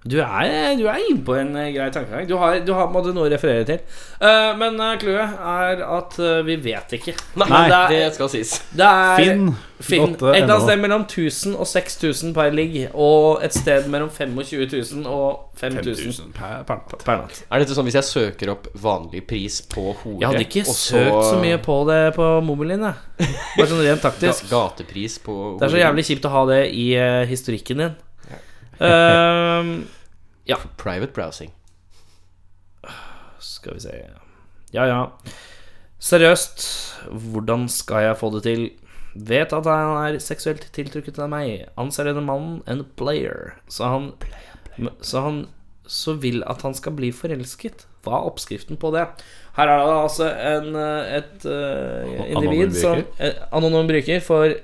Speaker 2: Du er, du er inne på en eh, grei tankegang. Du har, du har på en måte noe å referere til. Eh, men eh, clouet er at eh, vi vet ikke.
Speaker 4: Nei,
Speaker 2: Men det,
Speaker 4: det
Speaker 2: er,
Speaker 4: skal sies.
Speaker 2: det er
Speaker 3: Finn,
Speaker 2: Finn. Et
Speaker 3: Lotte,
Speaker 2: eller annet
Speaker 3: NO.
Speaker 2: sted mellom 1000 og 6000 per ligg. Og et sted mellom 25 000 og 5000
Speaker 3: 5000 per, per natt
Speaker 2: per natt.
Speaker 4: Er dette sånn hvis jeg søker opp vanlig pris på hore
Speaker 2: Jeg hadde ikke
Speaker 4: og
Speaker 2: søkt så mye på det på mobilen din. jeg. Bare sånn rent
Speaker 4: ga
Speaker 2: taktisk.
Speaker 4: gatepris på hore?
Speaker 2: Det er så jævlig kjipt å ha det i eh, historikken din. Ehm,
Speaker 4: Private browsing.
Speaker 2: Skal vi se Ja, ja. Seriøst, hvordan skal jeg få det til? Vet at han er seksuelt tiltrukket av meg. Anser denne mannen en player. Så han Så han så vil at han skal bli forelsket. Hva er oppskriften på det? Her er det altså en, eh, et eh,
Speaker 3: Anonym
Speaker 2: individ som eh, Anonym bruker for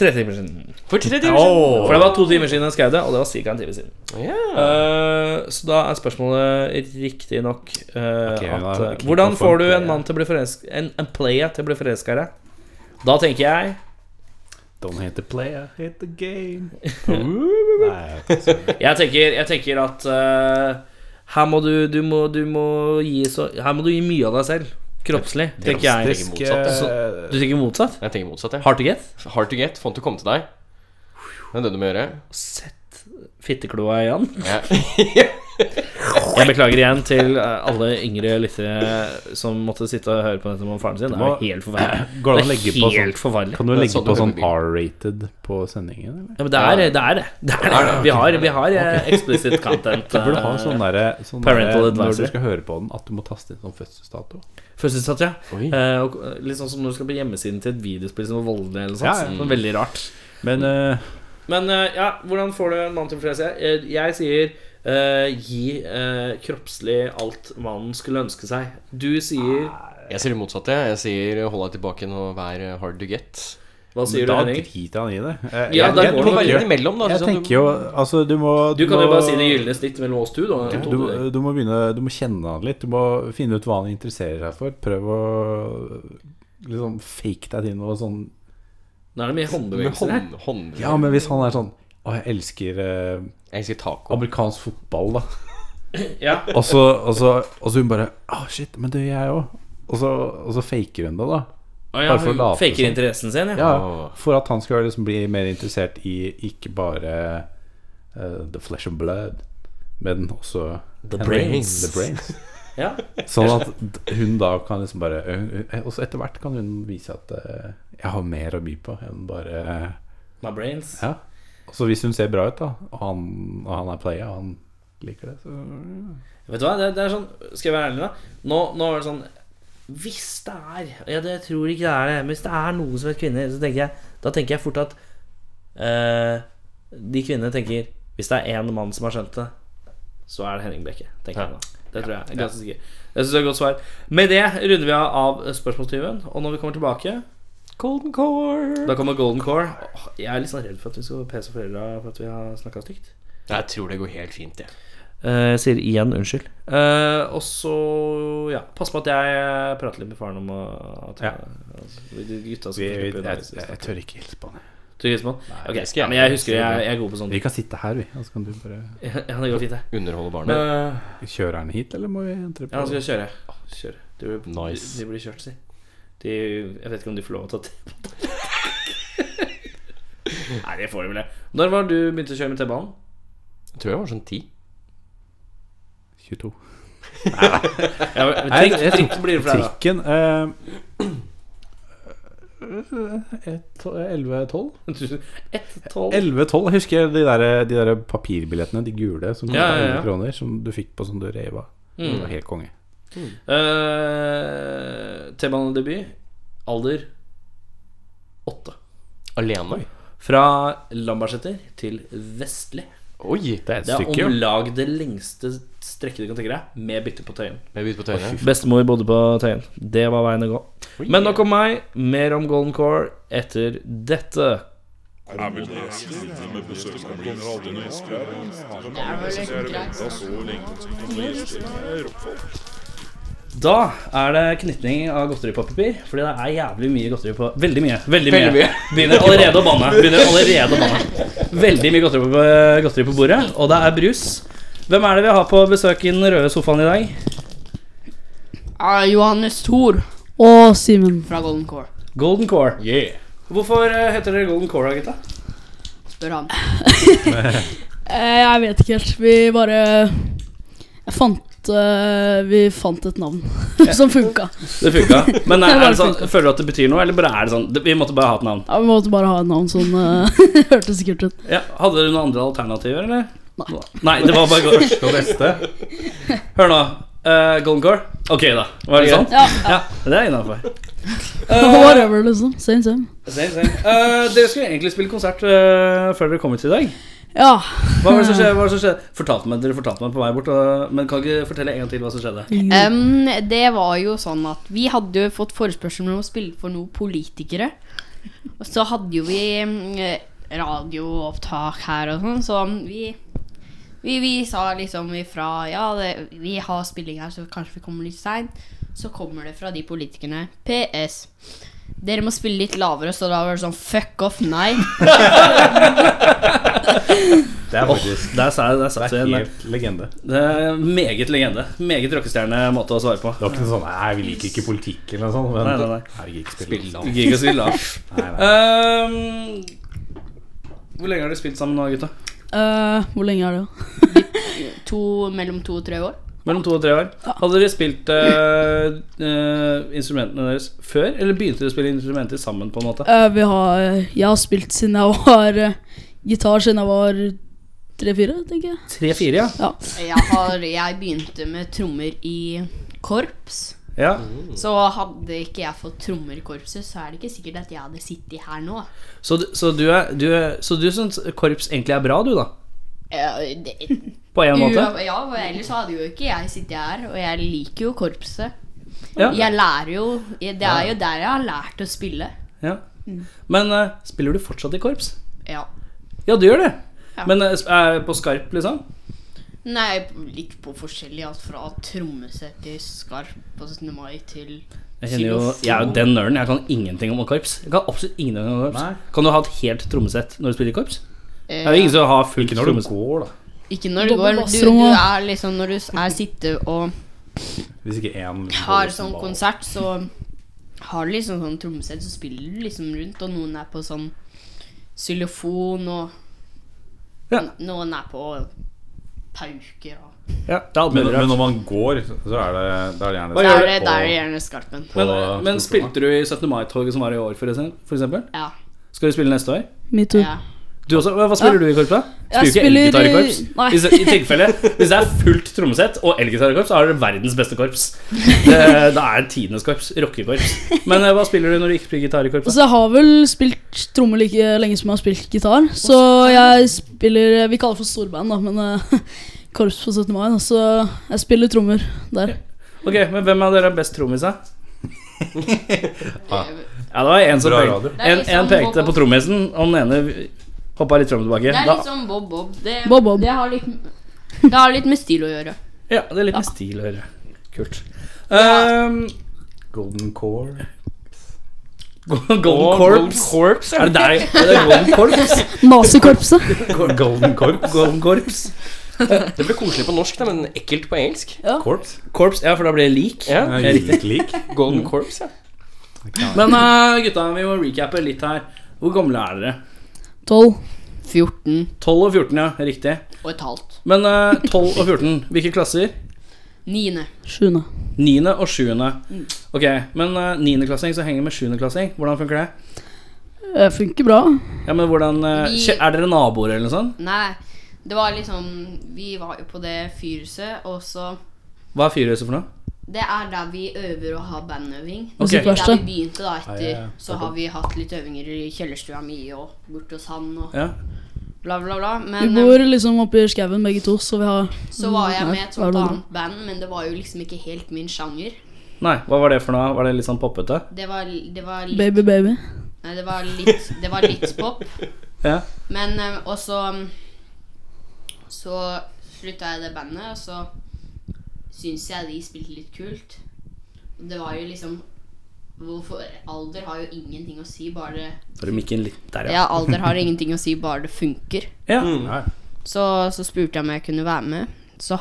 Speaker 2: tre timer siden. Oh.
Speaker 4: For tre timer
Speaker 2: For det var to timer siden jeg skrev det, og det var ca. en time siden.
Speaker 4: siden! Ja.
Speaker 2: Eh, så da er spørsmålet riktig nok eh,
Speaker 3: Ok,
Speaker 2: at,
Speaker 3: da
Speaker 2: eh,
Speaker 3: klikker
Speaker 2: Hvordan
Speaker 3: man på
Speaker 2: får
Speaker 3: en
Speaker 2: du en
Speaker 3: player.
Speaker 2: mann til å bli forelska En, en player til å bli forelska i deg? Da tenker jeg
Speaker 3: Don't hate the player, hate the game. Nei, altså,
Speaker 2: Jeg tenker, jeg tenker at eh, her må du, du, må, du må gi så Her må du gi mye av deg selv. Kroppslig, tenker jeg.
Speaker 3: drastisk,
Speaker 4: tenker motsatt,
Speaker 3: eh,
Speaker 2: Du tenker motsatt?
Speaker 4: Jeg tenker motsatt, jeg.
Speaker 2: Hard to get?
Speaker 4: Hard to get. Font å komme til deg. Det er det du må gjøre.
Speaker 2: Sett fittekloa i han.
Speaker 4: Ja.
Speaker 2: Jeg beklager igjen til eh, alle yngre lyttere som måtte sitte og høre på dette med faren sin. Det er jo helt forferdelig.
Speaker 3: Går det an å
Speaker 2: Det
Speaker 3: legge
Speaker 2: er
Speaker 3: på sånn
Speaker 2: helt forferdelig.
Speaker 3: Kan du
Speaker 4: Det er
Speaker 3: legge
Speaker 4: sånn
Speaker 3: på
Speaker 4: du
Speaker 3: sånn
Speaker 4: bygger.
Speaker 3: R-rated på sendingen, eller?
Speaker 2: Ja, men det er det. Er det. det, er det. Vi har, vi har eh, explicit content.
Speaker 3: Du burde ha
Speaker 2: eh,
Speaker 3: sånn derre sånn
Speaker 2: Parental
Speaker 3: derre Når
Speaker 2: advisory.
Speaker 3: du skal høre på den, at du må taste inn sånn fødselsdato.
Speaker 2: Fødselsdatt, ja.
Speaker 4: Oi.
Speaker 2: Eh, og, eh, litt sånn som når du skal på hjemmesiden til et videospill som var voldelig eller sånt.
Speaker 3: Ja, ja.
Speaker 2: Sånn veldig rart.
Speaker 3: Men eh,
Speaker 2: Men eh, ja, hvordan får du en mann til å forfrese? Jeg, jeg sier eh, gi eh, kroppslig alt mannen skulle ønske seg. Du sier
Speaker 3: Ah,
Speaker 4: Jeg sier det motsatte. jeg. Jeg sier eh, hold deg tilbake og vær eh, hard to get.
Speaker 2: Hva sier du,
Speaker 3: da
Speaker 2: Henning?
Speaker 3: driter han i det. Eh,
Speaker 2: Ja, da
Speaker 4: Jeg,
Speaker 2: går det
Speaker 4: du må
Speaker 2: nok,
Speaker 4: velge
Speaker 2: ja.
Speaker 4: imellom, da.
Speaker 3: Jeg
Speaker 4: sånn at du-
Speaker 3: tenker jo Altså, du må
Speaker 2: Du kan jo
Speaker 3: må-
Speaker 2: bare si det gylne snitt mellom oss to, da.
Speaker 3: du,
Speaker 2: Tone.
Speaker 3: du, må begynne, du må kjenne han litt. Du må finne ut hva han interesserer seg for. Prøv å liksom fake deg til noe sånn
Speaker 2: Nå er det mye
Speaker 4: med
Speaker 2: håndbevegelser her.
Speaker 4: hånd, hånd.
Speaker 3: Ja, men hvis han er sånn Å, jeg elsker eh,
Speaker 4: Jeg elsker taco.
Speaker 3: amerikansk fotball, da.
Speaker 2: Ja.
Speaker 3: Og så, og så, og så hun bare Å, shit, men det gjør jeg òg. Og så, og så faker hun det, da.
Speaker 2: Å, ja
Speaker 3: Bare for å
Speaker 2: hun
Speaker 3: late
Speaker 2: faker
Speaker 3: som.
Speaker 2: interessen sin, ja.
Speaker 3: Ja, For at han skal liksom bli mer interessert i ikke bare eh, the flesh and blood, men også
Speaker 4: The
Speaker 3: Henry.
Speaker 4: brains.
Speaker 3: The brains.
Speaker 2: ja.
Speaker 3: Sånn at d- hun da kan liksom bare ø- ø- Og så etter hvert kan hun vise at eh, jeg har mer å by på enn bare eh,
Speaker 2: My brains.
Speaker 3: Ja. Og så hvis hun ser bra ut, da, og han, og han er playa, og han liker det, så
Speaker 2: Vet du hva, det, det er sånn Skal jeg være ærlig, da? Nå, nå er det sånn Hvis det er Ja, det, jeg tror ikke det er det. Men hvis det er noe som heter kvinner, så tenker jeg Da tenker jeg fort at eh, De kvinnene tenker Hvis det er én mann som har skjønt det, så er det Henning Brekke. Tenker jeg da. Det tror jeg. jeg er ganske sikker. Jeg syns det er et godt svar. Med det runder vi av av spørsmålstyven. Og når vi kommer tilbake
Speaker 4: Golden core.
Speaker 2: Da kommer Golden Core. Åh, Jeg er litt sånn redd for at vi skal pese foreldra for at vi har snakka stygt.
Speaker 4: Jeg tror det går helt fint, jeg.
Speaker 2: Eh, Jeg sier igjen unnskyld. Eh, og så ja, pass på at jeg prater litt med faren om eh, at
Speaker 3: Ja.
Speaker 2: altså, de gutta som
Speaker 3: vi, vi,
Speaker 2: slipper
Speaker 3: jeg,
Speaker 2: unna
Speaker 3: jeg,
Speaker 2: hvis vi snakker.
Speaker 3: tør ikke hilse på han. jeg.
Speaker 2: Til Gismond? Ok,
Speaker 4: det skal jeg.
Speaker 2: Men jeg husker jeg, jeg er god på sånt.
Speaker 3: Vi kan sitte her, vi. Og så kan du bare
Speaker 2: Ja, det går fint, det.
Speaker 4: Underholde barnet.
Speaker 2: Men,
Speaker 3: Kjører han hit, eller må vi entre
Speaker 2: ja,
Speaker 3: på?
Speaker 2: han skal kjøre. Kjøre. De, blir-
Speaker 4: Nice.
Speaker 2: de, de blir kjørt, si. De, jeg vet ikke om de får lov til å ta T-banen. Nei, det får de vel. det. Når var det du begynte å kjøre med T-banen?
Speaker 4: Jeg tror jeg var sånn ti.
Speaker 3: 22.
Speaker 2: Ja, men
Speaker 3: Nei,
Speaker 2: trikk,
Speaker 3: jeg tror-
Speaker 2: trikk blir det for deg, da.
Speaker 3: Trikken eh, eh, to- 11-12?
Speaker 2: 1-12
Speaker 3: 11-12. Jeg husker de der, de der papirbillettene, de gule, som kostet
Speaker 2: Ja, Mm. ja, ja.
Speaker 3: 11 kroner, som du fikk på som du rev av. Det var helt konge.
Speaker 2: Eh, T-banedebut. Alder 8.
Speaker 4: Alene.
Speaker 2: Fra Lambertseter til Vestli.
Speaker 4: Oi!
Speaker 3: Det er et
Speaker 2: Det er
Speaker 3: stykke,
Speaker 2: om
Speaker 3: jo.
Speaker 2: lag det lengste strekket du kan tenke deg, med bytte på Tøyen.
Speaker 4: Med bytte på tøyene.
Speaker 2: Bestemor bodde på Tøyen. Det var veien å gå. Men nok om meg. Mer om Golden Core etter dette. Da er det knytning av godteripapir, fordi det er jævlig mye godteri på Veldig mye. Veldig mye.
Speaker 4: Veldig mye.
Speaker 2: Begynner allerede å banne. Begynner allerede å banne. Veldig mye godteri på, godteri på bordet, og det er brus. Hvem er det vi har på besøk i den røde sofaen i dag?
Speaker 6: Ah, Johannes Thor og Simen fra Golden Core.
Speaker 2: Golden Core. Hvorfor eh, heter dere Golden Core, da, gutta?
Speaker 6: Spør han. Eh, jeg vet ikke helt. Vi bare Jeg fant eh, Vi fant et navn som funka.
Speaker 2: Det funka. Men er,
Speaker 6: Det
Speaker 2: er
Speaker 6: bare
Speaker 2: det sånn,
Speaker 6: funka.
Speaker 2: føler du at det betyr noe, eller bare er det sånn det- Vi måtte bare ha et navn.
Speaker 6: Ja, vi måtte bare ha et navn som eh, hørtes kult ut.
Speaker 2: Ja, hadde dere noen andre alternativer, eller? Nei. det var bare Golden
Speaker 3: Det beste.
Speaker 2: Hør nå. eh, Golden Core. Ok, da. Var det sånn?
Speaker 6: Ja,
Speaker 2: Ja, det er innafor.
Speaker 6: Whatever, liksom. Same, same.
Speaker 2: Same, same. Eh, dere skulle egentlig spille konsert eh, før dere kom hit i dag.
Speaker 6: Ja.
Speaker 2: Hva var det som skjedde? Hva var det som skjedde? Fortalte meg, dere fortalte meg på vei bort, og, men kan ikke fortelle en gang til hva som skjedde?
Speaker 7: Um, det var jo sånn at vi hadde jo fått forespørsel om å spille for noen politikere. Og så hadde jo vi mm, radioopptak her og sånn, så vi, vi, vi sa liksom ifra Ja, det, vi har spilling her, så kanskje vi kommer litt seint. Så kommer det fra de politikerne. PS. Dere må spille litt lavere, så da var det sånn fuck off, nei.
Speaker 3: Det er faktisk
Speaker 2: Der sa jeg der satt vi
Speaker 3: Det er
Speaker 2: en-
Speaker 3: helt legende.
Speaker 2: Det er meget legende. Meget rockestjernemåte å svare på.
Speaker 3: Det var ikke noe sånn Nei, vi liker ikke politikk eller noe sånt. Men
Speaker 2: Nei, nei, nei. Eh,
Speaker 3: Herregud, ikke spill.
Speaker 2: Du gidder ikke å si Lars.
Speaker 3: Nei, nei.
Speaker 2: Ehm, hvor lenge har dere spilt sammen nå, gutta?
Speaker 6: Eh, hvor lenge er det? da?
Speaker 7: To, mellom to og tre år.
Speaker 2: Mellom to og tre år. Hadde dere spilt eh, eh, instrumentene deres før, eller begynte dere å spille instrumenter sammen? på en måte?
Speaker 6: Eh, vi har, jeg har spilt siden jeg var eh, Gitar siden jeg var tre-fire, tenker jeg.
Speaker 2: Tre-fire, ja.
Speaker 6: Ja.
Speaker 7: Jeg, har, jeg begynte med trommer i korps.
Speaker 2: ja.
Speaker 7: Så hadde ikke jeg fått trommer i korpset, så er det ikke sikkert at jeg hadde sittet her nå.
Speaker 2: Så, du- så du, er- du, er- så du syns korps egentlig er bra, du, da?
Speaker 7: Eh, det-
Speaker 2: På en måte?
Speaker 7: Ua- Ja, for ellers hadde jo ikke jeg sittet her, og jeg liker jo korpset.
Speaker 2: Ja.
Speaker 7: Jeg lærer jo Det er jo der jeg har lært å spille.
Speaker 2: ja. Men eh, spiller du fortsatt i korps?
Speaker 7: Ja.
Speaker 2: Ja, du gjør det.
Speaker 7: Ja.
Speaker 2: Men eh, sp- er på skarp, liksom?
Speaker 7: Nei, litt på forskjellig. Alt fra trommesett til skarp på 17. mai til
Speaker 2: Jeg, kjenner jo, jeg er jo den nerden. Jeg kan ingenting om korps. Jeg Kan absolutt ingenting om korps
Speaker 3: Nei.
Speaker 2: Kan du ha et helt trommesett når du spiller i korps? Det
Speaker 7: eh,
Speaker 2: er jo ingen som har fullt
Speaker 3: Ikke når du
Speaker 2: trommesett.
Speaker 3: går, da.
Speaker 7: Ikke når det
Speaker 6: Dobbel
Speaker 7: går. Du,
Speaker 6: bassrom
Speaker 7: du
Speaker 6: og-
Speaker 7: er liksom Når du s- er sitte og
Speaker 3: Hvis ikke én
Speaker 7: har sånn konsert, så har du liksom sånn trommesett, så spiller du liksom rundt, og noen er på sånn xylofon, og
Speaker 2: Ja.
Speaker 7: noen er på pauker og
Speaker 2: Ja, det er alt
Speaker 3: Men,
Speaker 2: mulig
Speaker 3: men
Speaker 2: rart.
Speaker 3: når man går, så er det, da er det gjerne sånn
Speaker 2: Hva
Speaker 7: Da
Speaker 2: gjør
Speaker 7: er
Speaker 2: du?
Speaker 7: det, da er det gjerne skarpen.
Speaker 3: på-
Speaker 2: Men,
Speaker 3: på-
Speaker 2: men spilte du i 17. mai-toget som var i år, for ekse- for eksempel?
Speaker 7: Ja.
Speaker 2: Skal du spille neste år?
Speaker 6: Me too.
Speaker 7: ja.
Speaker 2: Du også? Hva hva spiller du i korps, da?
Speaker 6: Jeg
Speaker 2: Spiller du ikke elgitar
Speaker 6: spiller i-
Speaker 2: i korps?
Speaker 6: Nei.
Speaker 2: Hvis, I tilfelle, hvis det er fullt trommesett og elgitar i korps, så har dere verdens beste korps. Det, det er tidenes korps. Rockekorps. Men eh, hva spiller du når du ikke spiller gitar i korps? da?
Speaker 6: Altså, jeg har vel spilt trommer like lenge som jeg har spilt gitar. Så jeg spiller Vi kaller det for storband, da, men eh, korps på 17. mai. Da, så jeg spiller trommer der.
Speaker 2: Ok, men hvem av dere er best trommis, da? Ja, det sånn var en som
Speaker 3: Bra
Speaker 2: pekte,
Speaker 3: radio.
Speaker 2: en,
Speaker 7: liksom
Speaker 2: en pekte på trommisen, og den ene hoppa litt fram og tilbake.
Speaker 7: Det er
Speaker 2: Da-
Speaker 7: litt sånn Bob Bob. Det,
Speaker 6: Bob Bob.
Speaker 7: det har litt det har litt med stil å gjøre.
Speaker 2: Ja, det er litt med stil å gjøre. Kult. Ehm,
Speaker 3: Golden core.
Speaker 2: Golden Corps.
Speaker 4: Corps,
Speaker 2: Er det deg? Er det Golden Corps?
Speaker 6: Nazikorpset.
Speaker 3: Golden corps.
Speaker 2: Golden Corps.
Speaker 4: Det ble koselig på norsk, da, men ekkelt på engelsk.
Speaker 3: Corps.
Speaker 2: Corps, ja, for da blir det lik.
Speaker 4: Ja,
Speaker 3: Ja, lik, lik.
Speaker 4: Golden
Speaker 2: Mm.
Speaker 4: Corps, ja.
Speaker 2: Men eh, gutta, vi må recappe litt her. Hvor gamle er dere?
Speaker 6: 12.
Speaker 7: 14
Speaker 2: 12 og 14, ja. Riktig.
Speaker 7: og et halvt.
Speaker 2: Men eh, 12 og 14, hvilke klasser?
Speaker 7: Niende.
Speaker 6: 7.
Speaker 2: 9. og 7. Ok, men eh, 9.-klassing som henger med 7.-klassing, hvordan funker det?
Speaker 6: Eh, funker bra.
Speaker 2: Ja, men hvordan eh,
Speaker 7: Vi-
Speaker 2: kje- Er dere naboer eller noe sånt?
Speaker 7: Nei, det var liksom Vi var jo på det fyrhuset, og så
Speaker 2: Hva er fyrhuset for noe?
Speaker 7: Det er der vi øver og har bandøving.
Speaker 2: Ok.
Speaker 7: Der
Speaker 6: Musikkverksted.
Speaker 7: vi begynte, da, etter
Speaker 3: Ja, ja, ja.
Speaker 7: Så har vi hatt litt øvinger i kjellerstua mi og borte hos han og
Speaker 2: Ja.
Speaker 7: bla, bla, bla.
Speaker 6: Vi
Speaker 7: Men
Speaker 6: bor liksom oppe i skauen begge to, så vi har
Speaker 7: eh, så var jeg med i et sånt
Speaker 6: Hva er det?
Speaker 7: annet band, men det var jo liksom ikke helt min sjanger.
Speaker 2: Nei, hva var det for noe? Var det litt sånn poppete?
Speaker 7: Det var, det var litt
Speaker 6: Baby Baby.
Speaker 7: Nei, det var litt, det var litt pop.
Speaker 2: Ja.
Speaker 7: Men eh, Og så mm, Så slutta jeg i det bandet, og så syns jeg de spilte litt kult. Og Det var jo liksom Hvorfor Alder har jo ingenting å si, bare
Speaker 2: Bare mikken litt der, ja. Mm.
Speaker 7: Ja, alder har ingenting å si, bare det funker.
Speaker 2: Ja,
Speaker 3: Nei.
Speaker 7: Så, så spurte jeg om jeg kunne være med. Så,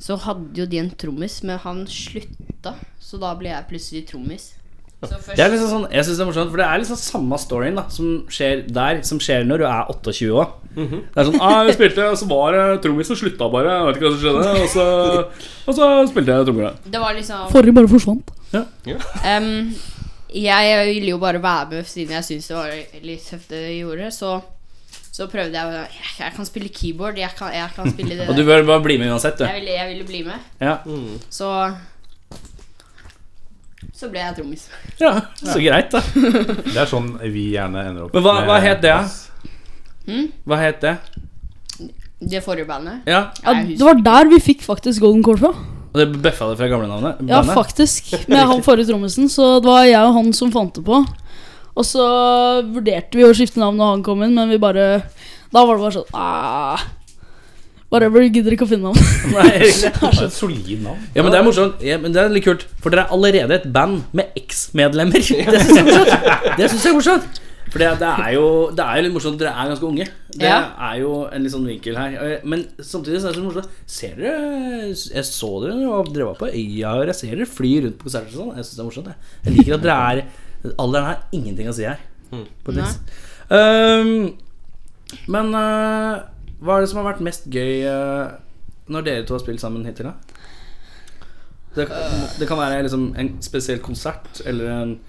Speaker 7: så hadde jo de en trommis, men han slutta. Så da ble jeg plutselig trommis. Så først-
Speaker 2: Det er liksom sånn, jeg synes det er morsomt, for det er liksom samme storyen da som skjer der, som skjer når du er 28 år. Det er sånn ah, 'Jeg spilte, og så var det trommisen slutta bare.' Jeg vet ikke hva som skjedde. Og så, og så spilte jeg trommer.
Speaker 7: det var liksom
Speaker 6: Forrige bare forsvant.
Speaker 7: Em, jeg ville jo bare være med siden jeg syntes det var litt tøft det jeg gjorde, så så prøvde jeg å jeg, jeg kan spille keyboard, jeg kan, jeg kan spille det
Speaker 2: Og du
Speaker 7: der.
Speaker 2: bør bare bli med uansett, du.
Speaker 7: Jeg ville, jeg ville bli med,
Speaker 2: Ja.
Speaker 7: så Så ble jeg trommis.
Speaker 2: ja, Så greit, da.
Speaker 3: Det er sånn vi gjerne ender opp
Speaker 2: Men hva-
Speaker 3: med
Speaker 2: hva het det, da?
Speaker 3: bass.
Speaker 2: Hva het det?
Speaker 7: Det forrige bandet.
Speaker 2: Ja,
Speaker 6: Ja,
Speaker 7: Jeg
Speaker 6: det var der vi fikk faktisk Golden Core fra.
Speaker 2: Og det bøffa det fra gamlenavnet?
Speaker 6: Ja,
Speaker 2: bandet?
Speaker 6: faktisk. Med han forrige trommisen. Så det var jeg og han som fant det på. Og så vurderte vi å skifte navn når han kom inn, men vi bare Da var det bare sånn «Ah, Whatever, vi gidder ikke å finne navn.
Speaker 2: Nei,
Speaker 3: Det er et solid navn.
Speaker 2: Ja, men det er morsomt. Ja, men det er litt kult, for dere er allerede et band med eks-medlemmer. Det syns jeg er morsomt. Det synes jeg er morsomt. For det, det, er jo, det er jo litt morsomt. Dere er ganske unge. Det
Speaker 7: Ja.
Speaker 2: er jo en litt sånn vinkel her. Eh, Men samtidig så er det så morsomt. Ser dere Jeg så dere når dere var- dere var på Øya og jeg ser dere fly rundt på konserter og sånn. Jeg syns det er morsomt. Jeg, jeg liker at dere er Alderen har ingenting å si her. På et vis. Um, Men eh, hva er det som har vært mest gøy eh, når dere to har spilt sammen hittil, da? Det, det kan være liksom en spesiell konsert eller en,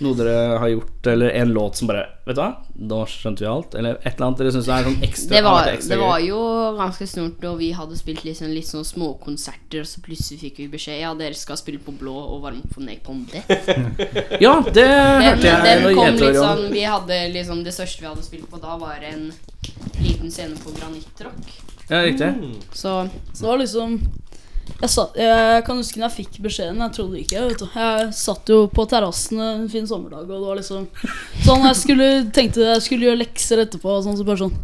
Speaker 2: noe dere har gjort, eller en låt som bare Vet du hva, nå skjønte vi alt. Eller et eller annet dere syns er sånn ekstra,
Speaker 7: Det var,
Speaker 2: har vært ekstra
Speaker 7: det var
Speaker 2: gøy.
Speaker 7: jo ganske snort når vi hadde spilt litt sånn, litt sånn småkonserter, og så plutselig fikk vi beskjed Ja, dere skal spille på blå og varme opp for Napalm Death.
Speaker 2: Ja, det
Speaker 7: Den,
Speaker 2: hørte jeg.
Speaker 7: den
Speaker 2: når
Speaker 7: kom
Speaker 2: Jethro
Speaker 7: litt
Speaker 2: John-
Speaker 7: sånn Vi hadde liksom Det største vi hadde spilt på da, var en liten scene på Granittrock.
Speaker 2: Ja, riktig.
Speaker 7: Så
Speaker 6: Så det var liksom jeg, satt, jeg kan huske når jeg fikk beskjeden. Jeg trodde ikke vet du. Jeg satt jo på terrassen en fin sommerdag, og det var liksom sånn Jeg skulle, tenkte jeg skulle gjøre lekser etterpå, og sånn, så bare sånn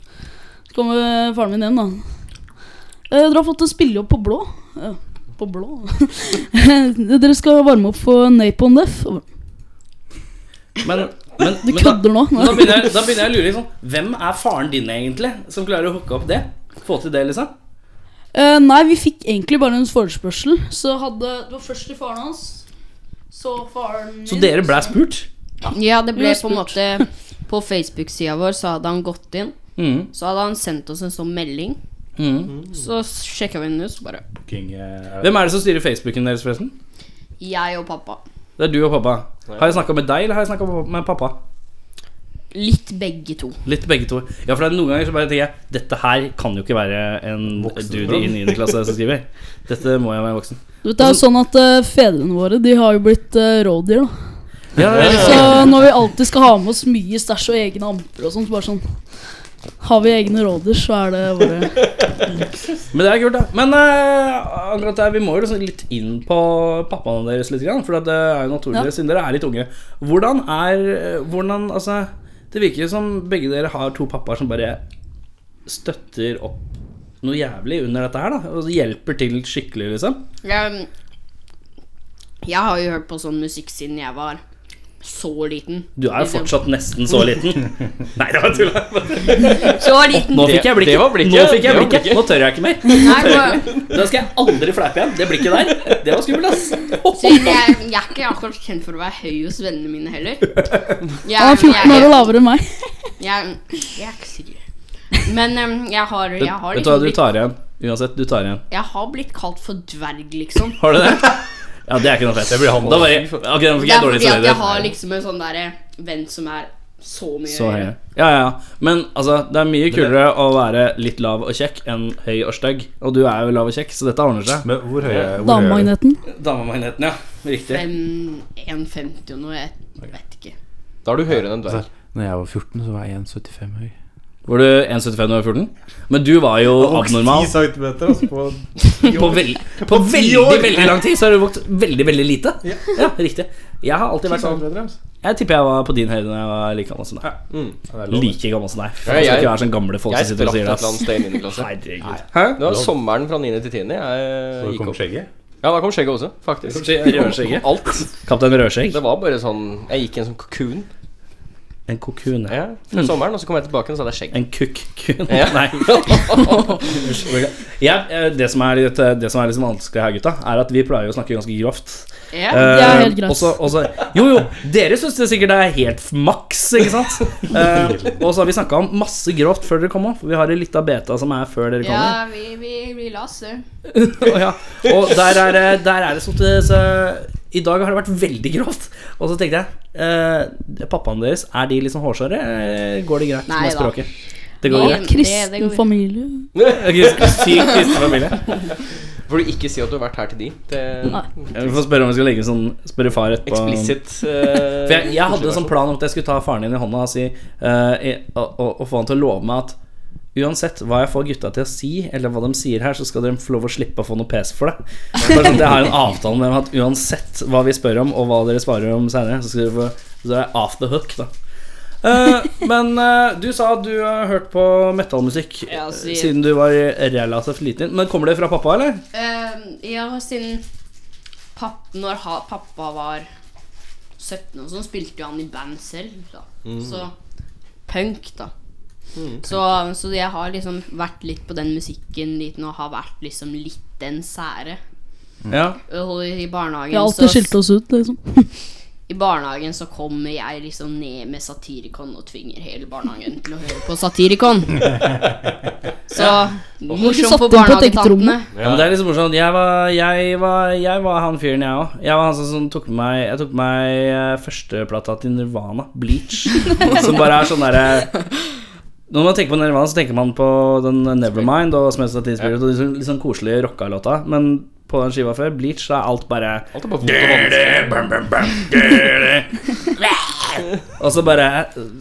Speaker 6: Så kommer faren min hjem, da. «Eh, Dere har fått en spillejobb på blå. Ja, På blå? Dere skal varme opp for Napon Def. Og bare,
Speaker 2: Men, men,
Speaker 6: Du
Speaker 2: men da,
Speaker 6: kødder nå?
Speaker 2: da, begynner jeg, da begynner jeg å lure. Liksom, hvem er faren din, egentlig, som klarer å hooke opp det? Få til det, liksom?
Speaker 6: Eh, nei, vi fikk egentlig bare en forespørsel. Så hadde, det var først til faren hans, så faren min
Speaker 2: Så dere ble spurt?
Speaker 7: Ja, det
Speaker 6: Vi
Speaker 7: ble
Speaker 6: har
Speaker 7: på en
Speaker 6: spurt.
Speaker 7: måte På Facebook-sida vår så hadde han gått inn.
Speaker 2: Mm.
Speaker 7: Så hadde han sendt oss en sånn melding.
Speaker 2: Mm.
Speaker 7: Så sjekka vi den ut, så bare
Speaker 3: Booking eh, er det-
Speaker 2: Hvem er det som styrer Facebooken deres, forresten?
Speaker 7: Jeg og pappa.
Speaker 2: Det er du og pappa. Har jeg snakka med deg, eller har jeg snakka med pappa?
Speaker 7: Litt begge to.
Speaker 2: Litt begge to. Ja, for det er noen ganger så bare tenker jeg Dette her kan jo ikke være en
Speaker 3: Voksen.
Speaker 2: dude i 9. klasse som skriver. Dette må jeg være voksen.
Speaker 6: Du vet, det er jo sånn at eh, fedrene våre De har jo blitt eh, rådyr. da
Speaker 2: Ja, ja, ja.
Speaker 6: Så når vi alltid skal ha med oss mye stæsj og egne amper og sånt, så bare sånn Har vi egne rådyr, så er det bare
Speaker 2: Men det er kult, da. Men eh, akkurat der, vi må jo liksom litt inn på pappaene deres litt, grann, for at det er jo naturlig,
Speaker 6: Ja.
Speaker 2: siden dere er litt unge. Hvordan er eh, Hvordan, altså Det virker jo som begge dere har to pappaer som bare støtter opp noe jævlig under dette her, da. Og hjelper til skikkelig, liksom.
Speaker 7: Jeg, Ehm, jeg har jo hørt på sånn musikk siden jeg var så liten.
Speaker 2: Du er jo
Speaker 7: Liksom.
Speaker 2: fortsatt nesten så liten. Nei, det var tulla.
Speaker 7: Så liten.
Speaker 2: Nå fikk jeg blikket.
Speaker 4: Det var blikket.
Speaker 2: Nå fikk jeg
Speaker 4: Det var
Speaker 2: blikket.
Speaker 4: blikket.
Speaker 2: Nå tør jeg ikke mer.
Speaker 7: Nei, for-
Speaker 2: Da skal jeg aldri fleipe igjen. Det blikket der, det var skummelt, ass.
Speaker 7: siden jeg, jeg er ikke akkurat kjent for å være høy hos vennene mine heller. Jeg,
Speaker 6: Han er 14 år og
Speaker 7: jeg,
Speaker 6: lavere enn meg.
Speaker 7: jeg, jeg er ikke sikker. Men em, jeg har, jeg har
Speaker 2: Vet du hva,
Speaker 7: liksom
Speaker 2: du
Speaker 7: blitt,
Speaker 2: tar igjen. Uansett, du tar igjen.
Speaker 7: jeg har blitt kalt for dverg, liksom.
Speaker 2: Har du det? Ja, det er ikke noe fett.
Speaker 3: Det blir han
Speaker 2: da bare, ok, da fikk
Speaker 7: Det
Speaker 2: jeg
Speaker 7: er
Speaker 2: dårlig
Speaker 7: fordi at jeg har
Speaker 2: samvittighet.
Speaker 7: liksom en sånn derre venn som er så mye
Speaker 2: Så høy.
Speaker 7: høyere.
Speaker 2: Ja, ja. Men altså, det er mye kulere å være litt lav og kjekk enn høy og stygg. Og du er jo lav og kjekk, så dette ordner seg.
Speaker 3: Men hvor høye hvor høye-
Speaker 6: Damemagneten.
Speaker 2: Damemagneten, ja. Riktig.
Speaker 7: Fem- 1,50 og noe, jeg vet ikke.
Speaker 4: Da er du høyere enn en dverg.
Speaker 3: Altså, Når jeg var 14, så var jeg 1,75 høy.
Speaker 2: Var du 1,75 da du var 14? Men du var jo abnormal.
Speaker 3: centimeter, altså. På
Speaker 2: På, vel- på veldig, veldig lang tid så har du vokst veldig, veldig lite. Ja, riktig. Jeg har alltid vært sånn Jeg tipper jeg var på din høyde da jeg var like gammel som deg.
Speaker 4: Mm.
Speaker 2: Like gammel som deg. Faen, jeg
Speaker 4: Ja,
Speaker 2: skal
Speaker 4: jeg-
Speaker 2: ikke være sånn gamle folk
Speaker 4: Jeg
Speaker 2: som sitter
Speaker 4: spratt
Speaker 2: og
Speaker 4: et
Speaker 2: sier det.
Speaker 4: eller
Speaker 2: ass.
Speaker 4: annet sted i 9. klasse.
Speaker 2: Herregud. Hæ?
Speaker 4: Det var sommeren fra 9. til 10. Jeg eh,
Speaker 3: Så
Speaker 4: gikk
Speaker 3: kom
Speaker 4: opp.
Speaker 3: skjegget.
Speaker 4: Ja, da kom skjegget også, faktisk.
Speaker 2: Rødskjegget.
Speaker 4: Alt.
Speaker 2: Kaptein Rødskjegg.
Speaker 4: Det var bare sånn Jeg gikk i en sånn kokun
Speaker 2: En kokun.
Speaker 4: ja, fra sommeren, og så kom jeg tilbake, og så hadde jeg skjegg.
Speaker 2: En kukk-kun.
Speaker 4: Ja.
Speaker 2: Mm. Nei. Ja, eh, det som er litt, eh, det som er litt vanskelig her, gutta, er at vi pleier å snakke ganske grovt.
Speaker 7: Ja.
Speaker 6: er helt
Speaker 2: Eh,
Speaker 6: greit.
Speaker 2: også- også- jo, jo, dere syns det sikkert er helt maks, ikke sant? Eh, og så har vi snakka om masse grovt før dere kom òg. Vi har en lita beta som er før dere kommer.
Speaker 7: Ja, vi, vi, vi la oss se.
Speaker 2: Og ja. Og der er, det- der er det sånn at så, I dag har det vært veldig grovt. Og så tenkte jeg eh, Pappaen deres, er de liksom hårsåre? Eh, går det greit
Speaker 7: Nei
Speaker 2: med
Speaker 7: da.
Speaker 2: språket? Det går
Speaker 7: Nei.
Speaker 2: greit.
Speaker 7: det- det
Speaker 6: Kristen
Speaker 7: går-
Speaker 6: familie.
Speaker 2: Ok, Sykt kristen familie.
Speaker 4: Får du ikke si at du har vært her til de? Det
Speaker 6: Nei.
Speaker 2: Vi får spørre om vi skal legge sånn Spørre far etterpå.
Speaker 4: Explicit eh,
Speaker 2: For jeg, jeg hadde en sånn plan om at jeg skulle ta faren din i hånda og, si, eh, i- og, og, og få han til å love meg at Uansett hva jeg får gutta til å si, eller hva de sier her, så skal de få lov å slippe å få noe pes for det. Bare sånn at jeg har en avtale med dem at uansett hva vi spør om, og hva dere svarer om senere, så, skal dere få, så er jeg off the hook, da. Eh, men eh, du sa at du har hørt på metallmusikk
Speaker 7: Ja, siden-
Speaker 2: siden du var relativt liten. Men kommer det fra pappa, eller?
Speaker 7: Eh, ja, siden papp, når ha, pappa var 17 og sånn, spilte jo han i band selv, da.
Speaker 2: Mm.
Speaker 7: Så punk, da. så, så jeg har liksom vært litt på den musikken liten og har vært liksom litt den sære.
Speaker 2: Ja.
Speaker 7: Og I barnehagen
Speaker 6: Vi har alltid skilt oss ut, liksom.
Speaker 7: I barnehagen så kommer jeg liksom ned med Satirikon og tvinger hele barnehagen til å høre på Satirikon. Så morsomt
Speaker 6: satt
Speaker 7: for
Speaker 6: inn på et eget rom.
Speaker 7: barnehagetantene.
Speaker 2: Ja, men det er liksom morsomt. Jeg var, jeg var, jeg var han fyren, jeg òg. Jeg var han som, som tok med meg Jeg tok med meg eh, førsteplata til Nirvana, Bleach. som bare er sånn derre Når man tenker på Nirvana, så tenker man på den Nevermind og Smells Like Teen Spirit og de sånn, litt sånn koselige rocka-låta. Men på den skiva før, Bleach, da er alt bare
Speaker 4: Alt er bare vondt og vanskelig.
Speaker 2: Og så bare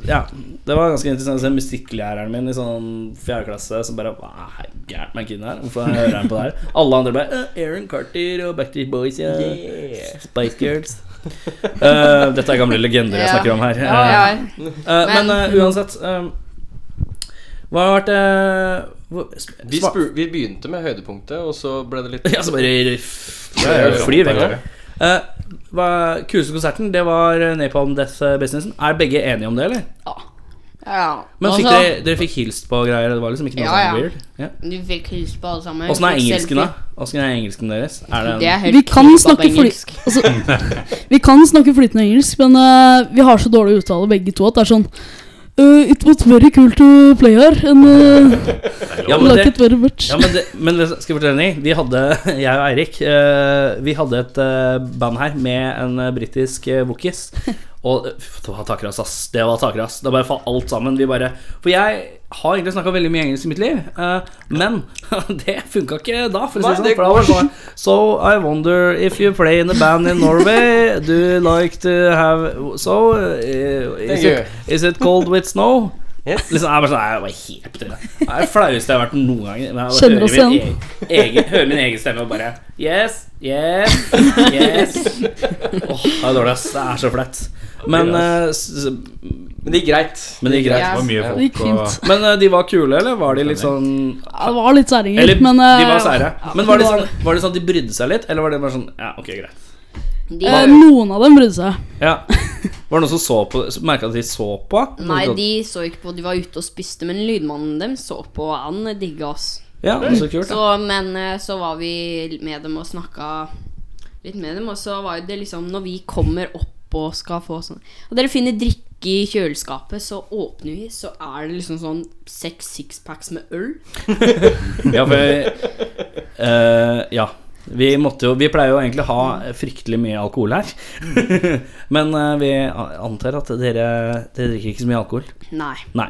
Speaker 2: Ja. Det var ganske interessant å se musikklæreren min i sånn fjerde klasse som bare Hva er gærent med kiden her? Hvorfor hører han på det her? Alle andre bare «Eh, Aaron Carter og Backstreet Boys ja. Spice Girls. Eh, dette er gamle legender jeg
Speaker 7: Ja.
Speaker 2: snakker om her.
Speaker 7: Ja, ja.
Speaker 2: Eh, men
Speaker 7: Men-
Speaker 2: eh, uansett eh, Hva har vært eh, hvor- sp-
Speaker 4: Vi,
Speaker 2: spa-
Speaker 4: spur, vi begynte med høydepunktet, og så ble det litt
Speaker 2: Ja, så bare
Speaker 4: Ja, ja, ja.
Speaker 2: flyr vekk. Eh, hva- Kuleste konserten, det var Napalm Death Businessen. Er begge enige om det, eller?
Speaker 7: ja.
Speaker 2: Men fikk dere,
Speaker 7: Altså,
Speaker 2: dere fikk hilst på og greier? Det var liksom ikke noe
Speaker 7: Ja,
Speaker 2: sånn
Speaker 7: ja.
Speaker 2: weird? Ja.
Speaker 7: Du fikk hilse på alle sammen.
Speaker 2: Åssen sånn er
Speaker 7: Fikk
Speaker 2: engelsken,
Speaker 7: selfie.
Speaker 2: da? Åssen er engelsken deres? Er det
Speaker 7: Det
Speaker 2: en,
Speaker 7: er helt
Speaker 6: Vi kan
Speaker 7: kjipt på
Speaker 6: snakke fly-
Speaker 7: engelsk.
Speaker 6: Altså, vi kan snakke flytende engelsk, men eh, vi har så dårlig uttale begge to at det er sånn eh, It was very cool to play here, and eh,
Speaker 2: ja, men
Speaker 6: like
Speaker 2: det,
Speaker 6: it very much.
Speaker 2: ja, men, det, men det- skal jeg fortelle deg, vi hadde, jeg og Eirik, eh, vi hadde et eh, band her med en eh, britisk eh, vokis. Og eh, fy, det var takras, ass. Det var takras. Det bare falt alt sammen. Vi bare For jeg har egentlig snakka veldig mye engelsk i mitt liv, eh, men det funka ikke da, for å si det sånn.
Speaker 4: Nei, det
Speaker 2: For da var det sånn So I wonder if you play in a band in Norway, do you like to have So eh, is
Speaker 4: Thank you.
Speaker 2: it, is it cold with snow?
Speaker 4: Yes.
Speaker 2: Liksom, jeg er bare sånn, jeg var helt på trynet. Det er det flaueste jeg har vært noen gang. Men jeg
Speaker 6: Kjenner
Speaker 2: bare
Speaker 6: oss
Speaker 2: hører min e- Egen, hører min egen stemme og bare Yes, yes, yes. Åh, det er dårlig, ass. Det er så flaut. Men, eh, s- s-
Speaker 4: Men det gikk greit.
Speaker 2: men det gikk greit.
Speaker 7: Ja.
Speaker 3: Det var mye
Speaker 6: Det gikk
Speaker 3: folk og
Speaker 6: fint.
Speaker 2: Men eh, de var kule, eller var de litt sånn
Speaker 6: Ja, det var litt særinger,
Speaker 2: Eller
Speaker 6: men eh,
Speaker 2: de var sære.
Speaker 6: ja,
Speaker 2: Men var det sånn, var det sånn at de brydde seg litt, eller var det bare sånn Ja, ok, greit.
Speaker 7: De,
Speaker 6: eh, Noen av dem brydde seg.
Speaker 2: Ja. Var det noen som så på Merka at de så på?
Speaker 7: nei, de så ikke på. De var ute og spiste, men lydmannen dem så på. Han digga oss.
Speaker 2: Ja, det var så kult. da.
Speaker 7: Så, men eh, så var vi med dem og snakka litt med dem, og så var jo det liksom Når vi kommer opp og skal få sånn Og dere finner drikke i kjøleskapet, så åpner vi, så er det liksom sånn seks sixpacks med øl.
Speaker 2: Ja, for eh, Ja. Vi, måtte jo, vi pleier jo egentlig å ha fryktelig mye alkohol her. Men eh, vi antar at dere, dere drikker ikke så mye alkohol.
Speaker 7: Nei.
Speaker 2: Nei.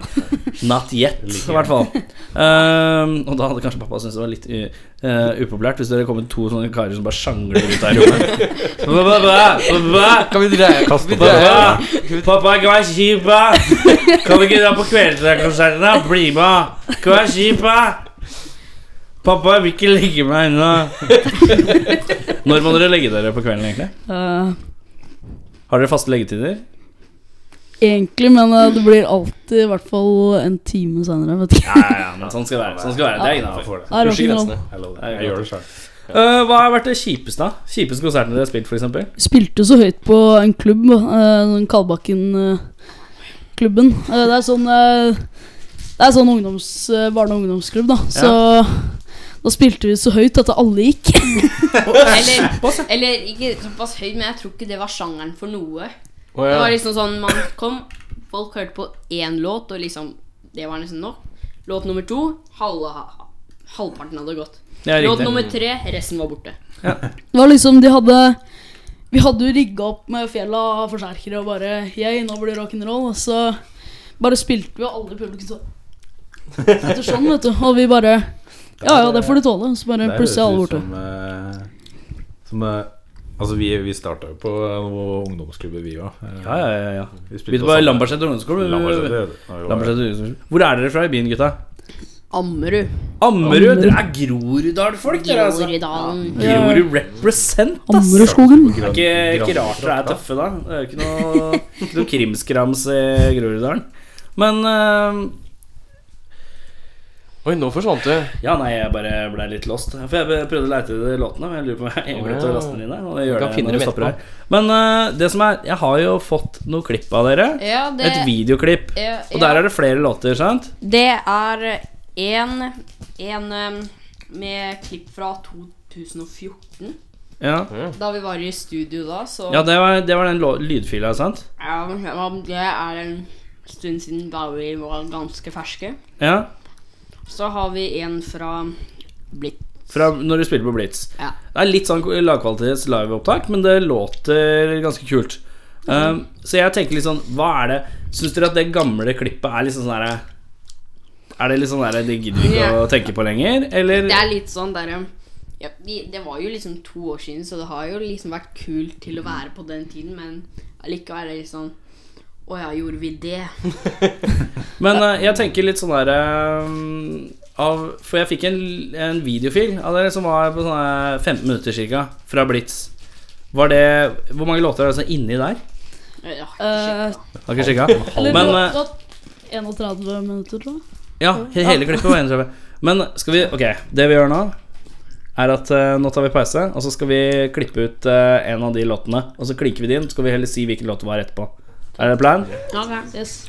Speaker 2: Not yet, i hvert fall. Ehm, og da hadde kanskje pappa syntes det var litt u- eh, upopulært hvis dere kom med to sånne karer som bare sjangler ut av rommet. Bæ, bæ, bæ, bæ,
Speaker 4: Kan vi dreie
Speaker 3: Kaste
Speaker 4: vi
Speaker 3: på det.
Speaker 4: dreie-
Speaker 2: bæ. Pappa, hva er kjipa? Kan vi ikke dra på kveldskonserten, da? Bli med! Hva er kjipa? Pappa, jeg vil ikke legge meg ennå. Når må dere legge dere på kvelden, egentlig?
Speaker 6: Eh,
Speaker 2: Har dere faste leggetider?
Speaker 6: egentlig, men eh, det blir alltid i hvert fall en time seinere, vet ikke.
Speaker 2: Ja, ja, ja, men sånn skal det være. Sånn skal det være. Det er
Speaker 3: Ja,
Speaker 2: innafor.
Speaker 3: for det.
Speaker 6: Det er
Speaker 4: Pushe
Speaker 6: rock'n'roll.
Speaker 4: grensene.
Speaker 3: Jeg lover det.
Speaker 2: Jeg
Speaker 3: Jeg gjør det selv.
Speaker 2: Eh, hva har vært det kjipeste? da? Kjipeste konserten dere har spilt, f.eks.?
Speaker 6: spilte så høyt på en klubb, eh, den Kalbakken-klubben. Eh, det er sånn eh, Det er sånn ungdoms, eh, barne- og ungdomsklubb, da. Så da spilte vi så høyt at alle gikk.
Speaker 7: Eller, eller ikke såpass høyt, men jeg tror ikke det var sjangeren for
Speaker 4: Å,
Speaker 7: noe. Det
Speaker 4: ja.
Speaker 7: var liksom sånn Man kom, folk hørte på én låt, og liksom Det var nesten nok. Låt nummer to, halve, halvparten hadde gått.
Speaker 2: Ja,
Speaker 7: Låt
Speaker 2: riktig.
Speaker 7: nummer tre, resten var borte.
Speaker 6: Det var liksom De hadde Vi hadde jo rigga opp med fjella forsterkere og bare Yeah, nå blir det rock'n'roll. Og så bare spilte vi, og alle i publikum så Etter sånn, vet du. Og vi bare Ja ja, det får du tåle. Så bare
Speaker 3: Det høres
Speaker 6: plutselig er alle
Speaker 3: ut
Speaker 6: borte.
Speaker 3: som, eh, som eh, Altså, vi, vi starta jo på noen ungdomsklubber, vi òg.
Speaker 2: Ja, ja, ja, ja.
Speaker 3: Vi
Speaker 2: Vi
Speaker 3: spilte
Speaker 2: var i
Speaker 3: sammen.
Speaker 2: Lambertseter ungdomsskole.
Speaker 3: Lambertseter,
Speaker 2: Lambertseter
Speaker 3: det- det var-
Speaker 2: ungdomsskole. Hvor er dere fra i byen, gutta?
Speaker 7: Ammerud.
Speaker 2: Ammerud? Dere er Groruddal-folk, dere, altså.
Speaker 7: Groruddalen.
Speaker 2: Grorud represent, ass.
Speaker 6: Ammerudskogen.
Speaker 2: Det er ikke, ikke rart dere er tøffe, da. Det er jo ikke noe, ikke noe krimskrams i Groruddalen. Men eh,
Speaker 4: Oi, nå forsvant du.
Speaker 2: Ja, nei, jeg bare ble litt lost. For jeg prøvde å leite etter låtene, men jeg lurer på om jeg glemte å laste den inn der. Og det
Speaker 4: Du
Speaker 2: gjør
Speaker 4: kan
Speaker 2: det
Speaker 4: finne
Speaker 2: når
Speaker 4: dem
Speaker 2: vi stopper
Speaker 4: etterpå.
Speaker 2: her. Men eh, det som er Jeg har jo fått noe klipp av dere.
Speaker 7: Ja, Eh, det,
Speaker 2: Et videoklipp.
Speaker 7: ja,
Speaker 2: Og der er det flere låter, sant?
Speaker 7: Det er en, en um, med klipp fra 2014.
Speaker 2: Ja,
Speaker 7: Da vi var i studio da, så
Speaker 2: Mm. ja det, var, det var den lå- lydfila, sant?
Speaker 7: Ja, men det er en stund siden da vi var ganske ferske.
Speaker 2: Ja.
Speaker 7: Så har vi en fra Blitt.
Speaker 2: Fra når du spiller på Blitz.
Speaker 7: Ja.
Speaker 2: Det er litt sånn lavkvalitets liveopptak, men det låter ganske kult. Um, så jeg tenker litt sånn Hva er det Syns dere at det gamle klippet er litt sånn derre Er det litt sånn derre Det gidder vi ikke å tenke på lenger, eller?
Speaker 7: Det er litt sånn derre ja, vi- Det var jo liksom to år siden, så det har jo liksom vært kult til å være på den tiden, men allikevel er det litt sånn Å ja, gjorde vi det?
Speaker 2: Men eh, jeg tenker litt sånn der eh, av, For jeg fikk en, en videofil av dere som var på sånne 15 minutter cirka fra Blitz. Var det Hvor mange låter er det som er inni der?
Speaker 7: Ja, ikke
Speaker 6: Eh,
Speaker 7: sjekk, da.
Speaker 2: Har ikke sjekka.
Speaker 6: Eller
Speaker 2: Men
Speaker 6: det var-
Speaker 2: eh,
Speaker 6: det var 31 minutter, tror jeg.
Speaker 2: Ja, he- hele klippet var 31. Men skal vi Ok, det vi gjør nå, er at eh, nå tar vi pause, og så skal vi klippe ut eh, en av de låtene. Og så klinker vi det inn, så skal vi heller si hvilken låt det var etterpå. Er det planen?
Speaker 6: Yes.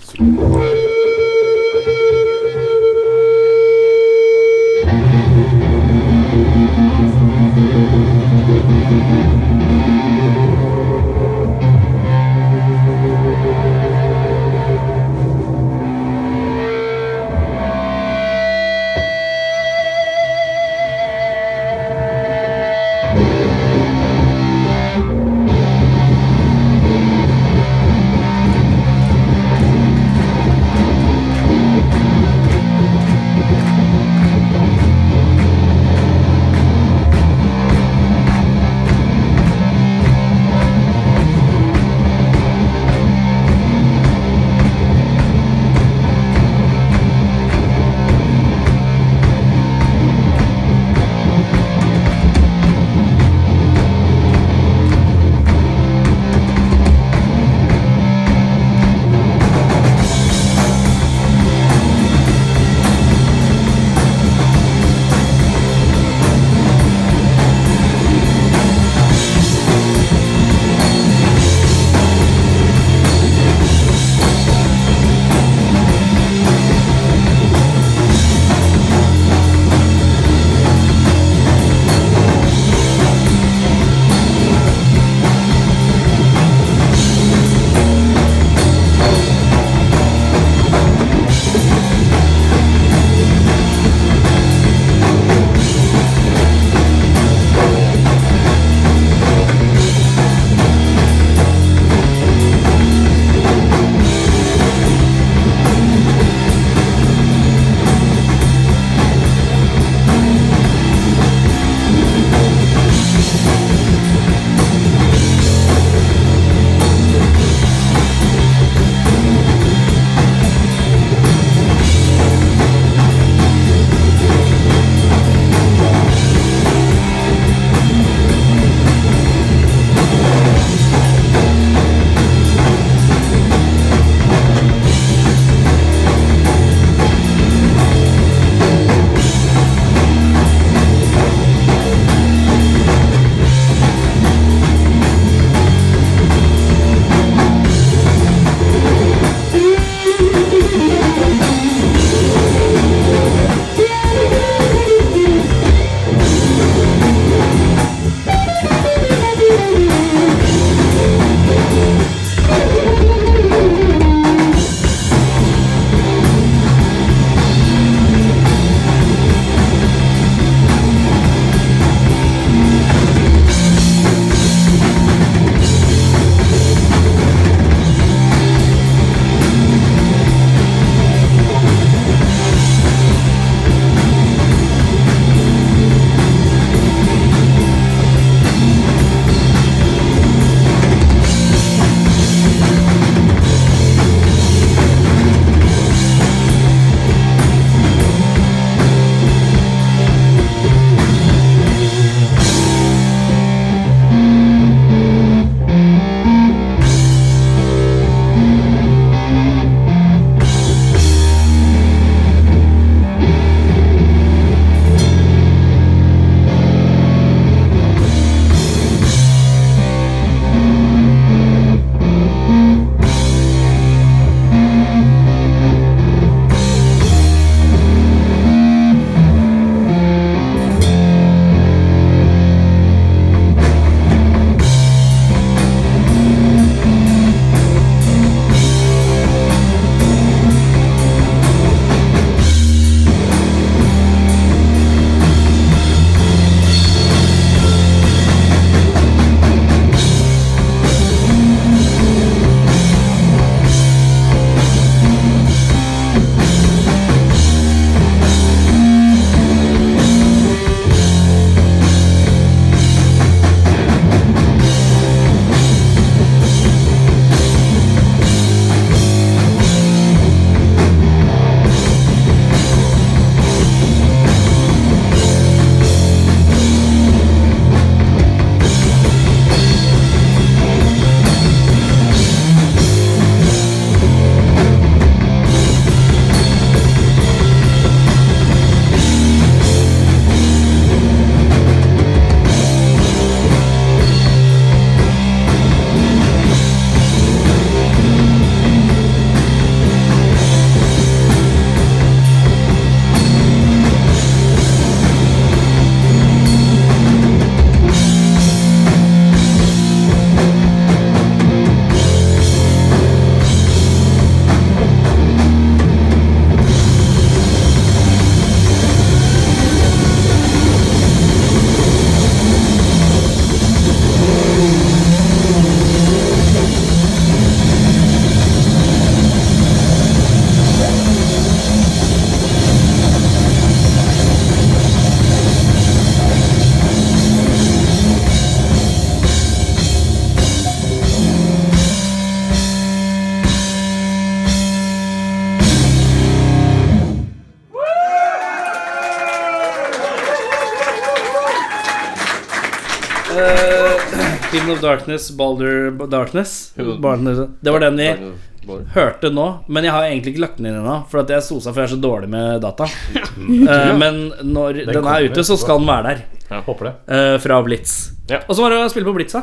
Speaker 2: Kingdom of Darkness, Balder Darkness. Barnes- Det var den vi hørte nå, men jeg har egentlig ikke lagt den inn ennå. For at jeg sosa for jeg er så dårlig med data. Eh, men når den,
Speaker 3: kommer
Speaker 2: er ute, så skal den være der.
Speaker 3: Håper det.
Speaker 2: eh, fra Blitz.
Speaker 8: Ja.
Speaker 2: Og så var det å spille på Blitz, da.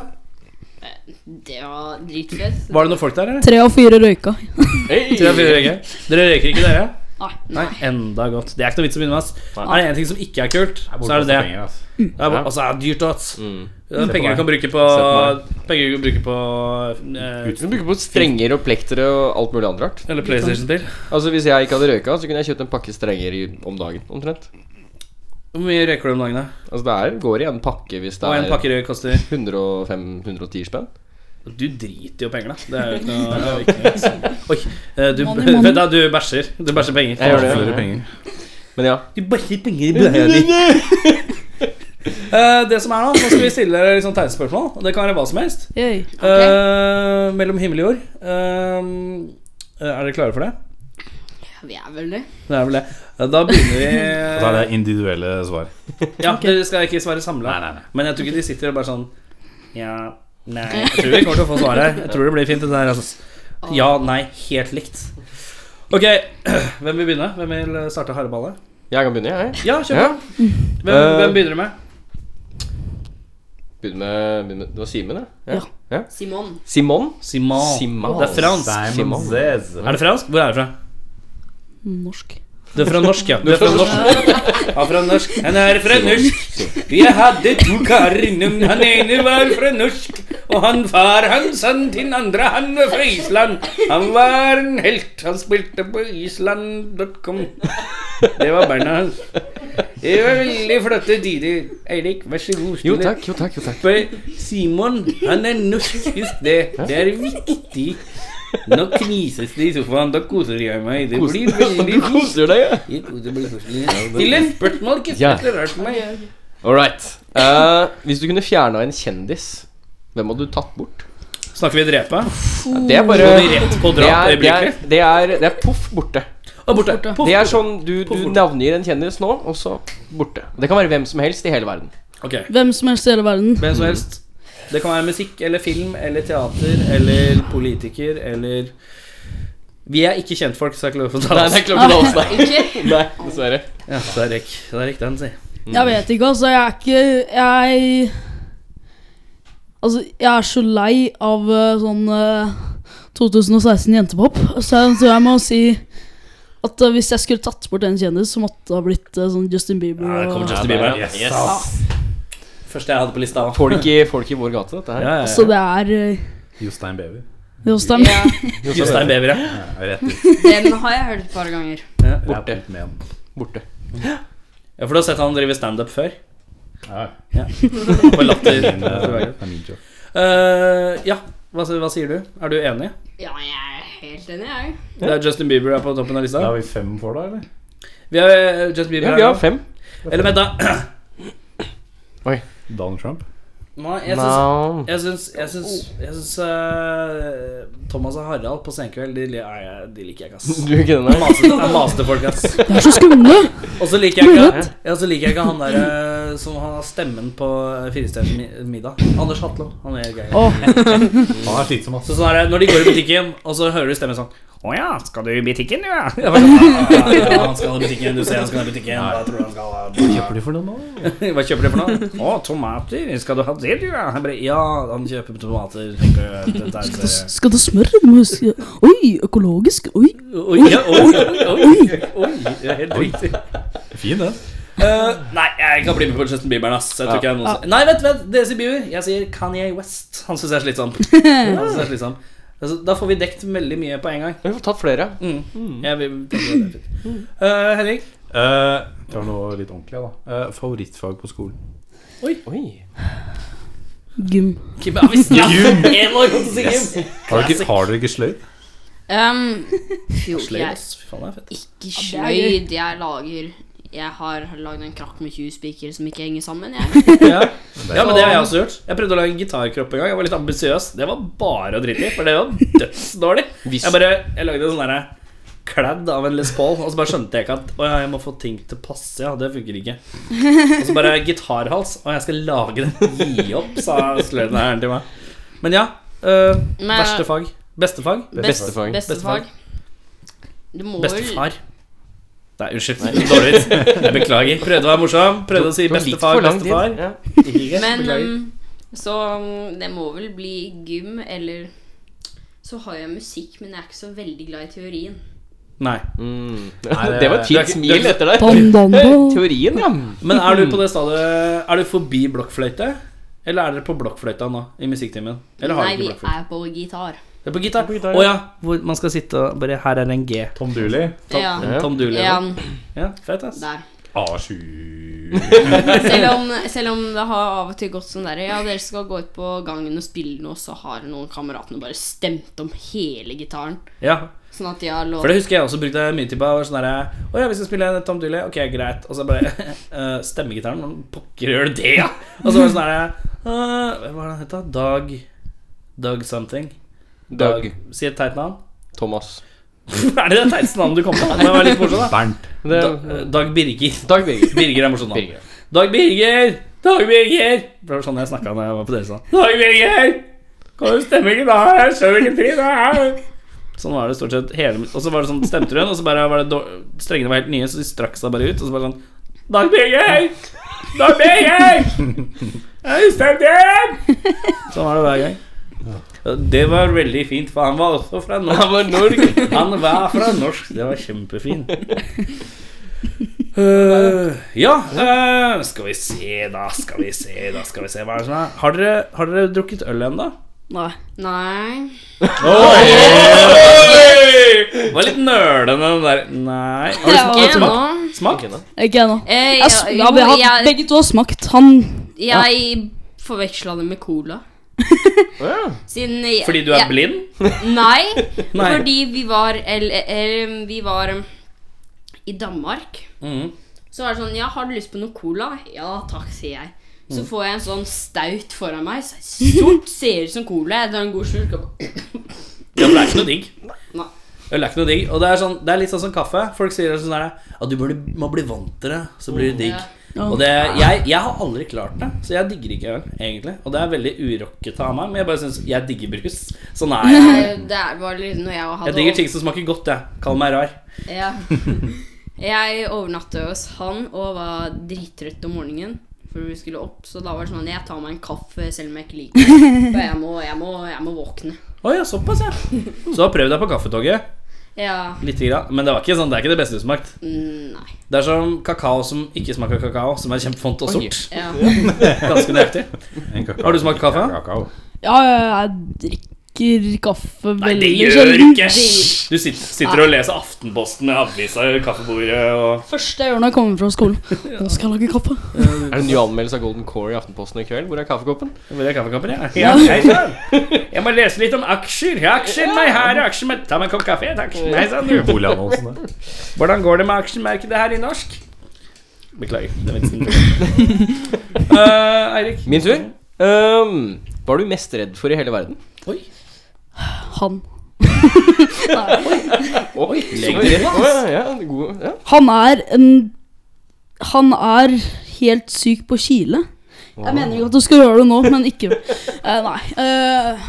Speaker 7: Det var dritfett.
Speaker 2: Var det noen folk der, eller?
Speaker 6: Tre av fire røyka.
Speaker 8: Hey!
Speaker 2: Tre, fire røyker. Dere røyker ikke, dere?
Speaker 7: Ah, Nei,
Speaker 2: Nei, enda godt. Det er ikke noe vits å begynne med. ass. Er det én ting som ikke er kult, så er det det.
Speaker 3: Penger, altså.
Speaker 2: Det er bare- Altså, det er dyrt, ass.
Speaker 4: Mm.
Speaker 2: Det er
Speaker 3: Se på
Speaker 2: penger du
Speaker 3: meg.
Speaker 2: kan bruke på Penger du kan bruke på eh,
Speaker 4: Vi bruker på strenger og plektere og alt mulig annet rart.
Speaker 2: Eller PlayStation til.
Speaker 4: Altså Hvis jeg ikke hadde røyka, så kunne jeg kjøpt en pakke strenger i- om dagen. omtrent
Speaker 2: Hvor mye røyker du om dagen, da?
Speaker 4: Altså Det er, går i en pakke hvis det
Speaker 2: Og en
Speaker 4: er
Speaker 2: pakke røyk koster
Speaker 4: 105-110 spenn.
Speaker 2: Du driter jo penger, da. Det er jo ikke noe, det er jo ikke noe vits. Oi. eh, Du,
Speaker 6: Money, money.
Speaker 2: Vet du, hva, du bæsjer. Du bæsjer penger.
Speaker 4: Jeg gjør det.
Speaker 3: Flere penger.
Speaker 4: Men ja.
Speaker 2: Du bæsjer penger i blæra di. Eh, det som er nå, nå skal vi stille dere litt sånn tegnespørsmål. Og det kan være hva som helst.
Speaker 6: Yay.
Speaker 2: Eh, mellom himmel og jord. Eh, er dere klare for det?
Speaker 7: vi er vel det.
Speaker 2: Det er vel det. Eh, Da begynner vi
Speaker 3: Og så er det individuelle svar.
Speaker 2: Ja, Dere skal ikke svare samla.
Speaker 3: Nei, nei, nei.
Speaker 2: Men jeg tror ikke de sitter og bare sånn Ja, nei Jeg tror vi kommer til å få svar her. Jeg tror det blir fint. Det der, altså. Ja, nei, helt likt. Ok, hvem vil begynne? Hvem vil starte hareballet?
Speaker 4: Jeg kan begynne, jeg.
Speaker 2: Ja, kjør på.
Speaker 4: Ja.
Speaker 2: Hvem,
Speaker 4: Eh,
Speaker 2: hvem begynner du med?
Speaker 4: Begynner med, begynner med Det var Simen, det? Ja. ja.
Speaker 7: Simon.
Speaker 4: Simon?
Speaker 2: Simon.
Speaker 4: Simon.
Speaker 2: Det er fransk.
Speaker 4: Simon.
Speaker 2: Er det fransk? Hvor er du fra?
Speaker 6: Norsk.
Speaker 2: Du er fra norsk, ja. Du er fra norsk. Ja, fra norsk. Han er fra norsk. Jeg hadde to karer innom. Han ene var fra norsk, og han far hans, han den andre, han var fra Island. Han var en helt. Han spilte på island.com. Det var barna hans. Det var veldig flotte tider. Eirik, vær så god.
Speaker 4: Jo
Speaker 2: stille.
Speaker 4: takk, jo takk. jo takk
Speaker 2: For Simon, han er norsk, husk det. Det er viktig. Nå knises det i sofaen. Da koser jeg meg. Det blir veldig
Speaker 4: Du koser deg, ja.
Speaker 2: fint. Det blir koselig. Still en spørsmål, ikke
Speaker 4: Ja.
Speaker 2: snakk rart med meg.
Speaker 4: All right. Eh, hvis du kunne fjerna en kjendis, hvem hadde du tatt bort?
Speaker 2: Snakker vi drepe?
Speaker 4: Ja, det er bare
Speaker 2: Går vi rett på drap
Speaker 4: det er, det, er,
Speaker 2: øyeblikkelig?
Speaker 4: det, er, det er poff borte.
Speaker 2: Og borte. Poff.
Speaker 4: Det er sånn du,
Speaker 2: Poff
Speaker 4: du
Speaker 2: borte.
Speaker 4: navngir en kjendis nå, og så borte. Det kan være hvem som helst i hele verden.
Speaker 2: Ok,
Speaker 6: Hvem som helst i hele verden.
Speaker 2: hvem som helst. Det kan være musikk eller film eller teater eller politiker eller Vi er ikke kjentfolk, så jeg klarer å få
Speaker 4: Nei,
Speaker 2: tale
Speaker 4: det er klart det er oss, nei. nei. Dessverre.
Speaker 2: Ja, så der gikk der gikk den, si.
Speaker 6: Jeg vet ikke, altså. Jeg er ikke Jeg Altså, jeg er så lei av eh, sånn eh, 2016 jentepop, så jeg, så jeg må si at eh, hvis jeg skulle tatt bort en kjendis, så måtte det ha blitt eh, sånn Justin Bieber.
Speaker 2: Ja, det kommer
Speaker 6: og-
Speaker 2: Justin Bieber.
Speaker 3: Yes,
Speaker 8: Yes.
Speaker 3: ass.
Speaker 2: Første jeg hadde på lista. da.
Speaker 4: Folk i, folk i vår gate, dette her.
Speaker 2: Ja, ja,
Speaker 6: Så
Speaker 2: ja.
Speaker 6: det er eh,
Speaker 3: Jostein Baby.
Speaker 6: Jostein.
Speaker 2: Jostein Bever, ja.
Speaker 3: Ja, rett ut.
Speaker 7: Den har jeg hørt et par ganger.
Speaker 3: Borte. Med han.
Speaker 4: Borte.
Speaker 2: Ja, for du har sett han drive standup før?
Speaker 3: Ja,
Speaker 2: På latter.
Speaker 3: det er det er min jobb.
Speaker 2: Eh, ja, hva, hva sier du? Er du enig?
Speaker 7: Ja, jeg er helt enig, jeg.
Speaker 2: Det er Justin Bieber er på toppen av lista.
Speaker 3: Da har vi fem for, da, eller?
Speaker 2: Vi har eh, Justin Bieber
Speaker 4: Ja,
Speaker 2: her
Speaker 4: vi har
Speaker 2: nå.
Speaker 4: fem.
Speaker 2: Eller vent, da.
Speaker 3: Donald Trump?
Speaker 2: Nei, jeg syns
Speaker 4: Nei.
Speaker 2: jeg syns, jeg syns, jeg syns eh, Thomas og Harald på Senkveld, de, li- nei, jeg- de liker jeg ikke, ass.
Speaker 4: Du er ikke den
Speaker 2: Jeg
Speaker 4: der?
Speaker 2: maste, jeg maste folk, ass.
Speaker 6: De er så skumle!
Speaker 2: Og så liker jeg ikke, ja, så liker jeg ikke han der eh, som har stemmen på eh, Firestjerners mi- middag. Anders Hatlo. Han er gøy.
Speaker 6: Åh.
Speaker 3: Han er slitsom, ass.
Speaker 2: Så sånn er det når de går i butikken, og så hører du stemmen sånn Å ja, skal du i butikken, du, ja? Jeg bare sånn, «Ja, ja, ja, han skal i butikken, du ser han skal i butikken. Hva tror du han skal ha?
Speaker 3: Kjøper de for noe nå?
Speaker 2: Hva kjøper du for noe? Å, tomater. Skal du ha det, du, ja? Jeg bare, ja, han kjøper tomater. tenker jeg, dette er
Speaker 6: Det s-
Speaker 2: det».
Speaker 6: Skal det smøre? Du må huske Oi, økologisk. Oi.
Speaker 2: Oi, ja, oi, oi, oi, oi. Det er helt riktig.
Speaker 3: Fin, den.
Speaker 2: Eh, nei, jeg kan bli med på Justin Bieber. ass. Jeg tror ikke jeg er noen som- Nei, vent, vent, dere sier Bieber. Jeg sier Kanye West. Han syns jeg er slitsom. Han synes jeg er slitsom. Altså, da får vi dekt veldig mye på en gang.
Speaker 4: Vi får tatt flere.
Speaker 2: Mm. Jeg vil tenke at det er fint. Eh, Henrik?
Speaker 3: Eh, det var noe litt ordentlig, da. Eh, favorittfag på skolen?
Speaker 4: Oi.
Speaker 6: Gym.
Speaker 2: Kim, ja, visst, ja. En var godt å si Kim.
Speaker 3: Har dere ikke, har dere ikke sløyd?
Speaker 7: Um, jo,
Speaker 2: Slay,
Speaker 7: jeg
Speaker 2: ass. Fy faen, det er fett.
Speaker 7: ikke sløyd. Jeg lager Jeg har lagd en krakk med 20 spiker som ikke henger sammen, jeg.
Speaker 2: Ja. ja, men det har jeg også gjort. Jeg prøvde å lage en gitarkropp en gang. Jeg var litt ambisiøs. Det var bare å drite i, for det var dødsdårlig.
Speaker 4: Hvis-
Speaker 2: Jeg bare Jeg lagde en sånn derre kledd av en Les Paul. Og så bare skjønte jeg ikke at Å ja, jeg må få ting til å passe. Ja, det funker ikke. Og så bare gitarhals. Å, jeg skal lage den. Gi opp, sa sløydlæreren til meg. Men ja. øh,
Speaker 7: Men- eh,
Speaker 2: verste fag. Beste fag.
Speaker 4: Bestefag.
Speaker 7: Bestefag. Du må vel
Speaker 2: Bestefar. Nei, unnskyld. Dårlig vits. Jeg beklager. Prøvde å være morsom. Prøvde å si
Speaker 4: Tok litt
Speaker 2: bestefar,
Speaker 4: for lang tid.
Speaker 2: bestefar.
Speaker 4: Ja.
Speaker 2: Gikk ikke.
Speaker 7: Men
Speaker 2: Beklager.
Speaker 7: um, så um, det må vel bli gym, eller så har jeg musikk, men jeg er ikke så veldig glad i teorien.
Speaker 2: Nei.
Speaker 4: Mm.
Speaker 3: det-
Speaker 4: Det
Speaker 2: Du
Speaker 4: var et
Speaker 2: er ikke-
Speaker 4: fint
Speaker 2: du er
Speaker 4: smil
Speaker 2: ikke-
Speaker 4: etter der.
Speaker 6: Bandanda.
Speaker 4: Teorien, ja.
Speaker 2: Men er du på det stadiet Er du forbi blokkfløyte? Eller er dere på blokkfløyta nå i musikktimen? Eller har
Speaker 7: Nei,
Speaker 2: dere
Speaker 7: vi
Speaker 2: ikke blokkfløyte?
Speaker 7: er på gitar.
Speaker 2: Det er på gitar. Å ja. Hvor man skal sitte og bare Her er en G.
Speaker 3: Tom Dooley.
Speaker 2: Tom,
Speaker 7: Ja.
Speaker 2: en Tom Dooley.
Speaker 7: Ja,
Speaker 2: Ja. fett, ass.
Speaker 7: der.
Speaker 3: A7.
Speaker 7: Selv om, selv om det har av og til gått sånn der Ja, dere skal gå ut på gangen og spille noe, så har noen kameratene bare stemt om hele gitaren.
Speaker 2: Ja.
Speaker 7: Sånn at de har
Speaker 2: For det
Speaker 7: lov
Speaker 2: husker jeg også brukte mye tid på. jeg var Sånn der, Å ja, vi skal spille en Tom Dooley. Ok, greit. Og så bare eh, Stemmegitaren. Hvordan pokker gjør du det, ja? Og så var det sånn derre Hva var det han het, da? Dag Dag something.
Speaker 4: Dag.
Speaker 2: Si et teit navn.
Speaker 4: Thomas.
Speaker 2: er det det teiteste navnet du kom på? Det var litt morsomt, da.
Speaker 3: Bernt.
Speaker 4: Det,
Speaker 2: Da, Dag Birger.
Speaker 4: Dag Birger.
Speaker 2: Birger er morsomt navn.
Speaker 4: Birger.
Speaker 2: Dag Birger! Dag Birger! Det var sånn jeg snakka når jeg var på deres land. Dag Birger! Kan du stemme ikke da? Jeg skjønner ikke pris det er. Sånn var det stort sett hele Og så var det sånn, stemte hun, og så bare var det dår- strengene var helt nye, så de strakk seg bare ut, og så bare sånn Dag Birger! Dag Birger! Er du stemt igjen? Sånn var det hver gang. Det var veldig fint, for han var også fra Norge.
Speaker 4: Han var norsk.
Speaker 2: Han var fra norsk. Det var kjempefin. Eh, ja, eh, skal vi se, da. Skal vi se, da. Skal vi se hva er det som er Har dere, har dere drukket øl ennå?
Speaker 6: Nei.
Speaker 7: Nei.
Speaker 2: Det var litt nølende, den der. Nei. Har
Speaker 6: Ja,
Speaker 2: du smakt?
Speaker 7: Ikke
Speaker 2: smakt?
Speaker 7: ennå.
Speaker 2: smakt?
Speaker 6: Ikke ennå.
Speaker 7: Eh,
Speaker 6: Jeg s- Ja,
Speaker 7: jo,
Speaker 6: vi har
Speaker 7: jeg,
Speaker 6: begge to har smakt. Han
Speaker 7: jeg forveksla det med cola. Siden jeg,
Speaker 2: Fordi du er
Speaker 7: jeg-
Speaker 2: blind?
Speaker 7: Nei,
Speaker 2: Nei.
Speaker 7: fordi vi var eller, eller, Vi var um, i Danmark.
Speaker 2: Mhm.
Speaker 7: Så var det sånn Ja, har du lyst på noe cola? Ja takk, sier jeg.
Speaker 2: Mm.
Speaker 7: Så får jeg en sånn staut foran meg. så- Sort, ser ut som cola. Jeg tar en god slurk og bare
Speaker 2: Ja, for det er ikke noe digg.
Speaker 7: Nei.
Speaker 2: Øl er ikke noe digg. Og det er, sånn, det er litt sånn som kaffe. Folk sier sånn der At du burde, må bli vant til det, så blir det digg.
Speaker 6: Ja.
Speaker 2: Og det, jeg, jeg har aldri klart det, så jeg digger ikke øl, egentlig. Og det er veldig urokkete av meg, men jeg bare syns jeg digger brus. Sånn er jeg.
Speaker 7: Eh, Det er bare litt når jeg hadde
Speaker 2: Jeg digger ting som smaker godt, jeg. Kall meg rar.
Speaker 7: Ja. Jeg overnatta hos han og var drittrøtt om morgenen. For vi skulle opp, så da var det sånn Jeg tar meg en kaffe selv om jeg ikke liker det. For jeg må, jeg må, jeg må våkne.
Speaker 2: Å ja, såpass, ja. Så da prøv deg på kaffetoget.
Speaker 7: Ja.
Speaker 2: Lite grann. Men det var ikke sånn, det er ikke det beste du smakte.
Speaker 7: mm, Nei.
Speaker 2: Det er som kakao som ikke smaker kakao, som er kjempefont og
Speaker 4: Oi.
Speaker 2: sort.
Speaker 7: Ja.
Speaker 2: Ganske nøyaktig.
Speaker 3: En kakao.
Speaker 2: Har du smakt kaffe?
Speaker 3: Kakao.
Speaker 6: Ja, jeg drikker kaffe
Speaker 2: Nei, det
Speaker 6: veldig
Speaker 2: gjør du ikke!
Speaker 6: Det-
Speaker 2: Du sitter, sitter og leser Aftenposten med avisa i kaffebordet og
Speaker 6: Første jeg gjør når jeg kommer fra skolen. Nå skal jeg lage kaffe.
Speaker 4: Er det ny anmeldelse av Golden Core i Aftenposten i kveld? Hvor er kaffekoppen?
Speaker 2: Hvor er kaffekoppen, ja? ja hei sann! Jeg må lese litt om aksjer. Ja, aksjen, nei, her er aksjen. men Ta meg en kopp kaffe, takk. Nei sann, du.
Speaker 3: Boligannonsen der.
Speaker 2: Hvordan går det med aksjemarkedet her i norsk? Beklager. den vitsen. Eh, Eirik?
Speaker 4: Min tur. Øhm, hva er du mest redd for i hele verden?
Speaker 2: Oi.
Speaker 6: Han.
Speaker 4: Oi, legger oh, ja, ja, god, ja.
Speaker 6: Han er en Han er helt syk på kile. Jeg mener ikke at du skal gjøre det nå, men ikke Eh, Nei. Eh,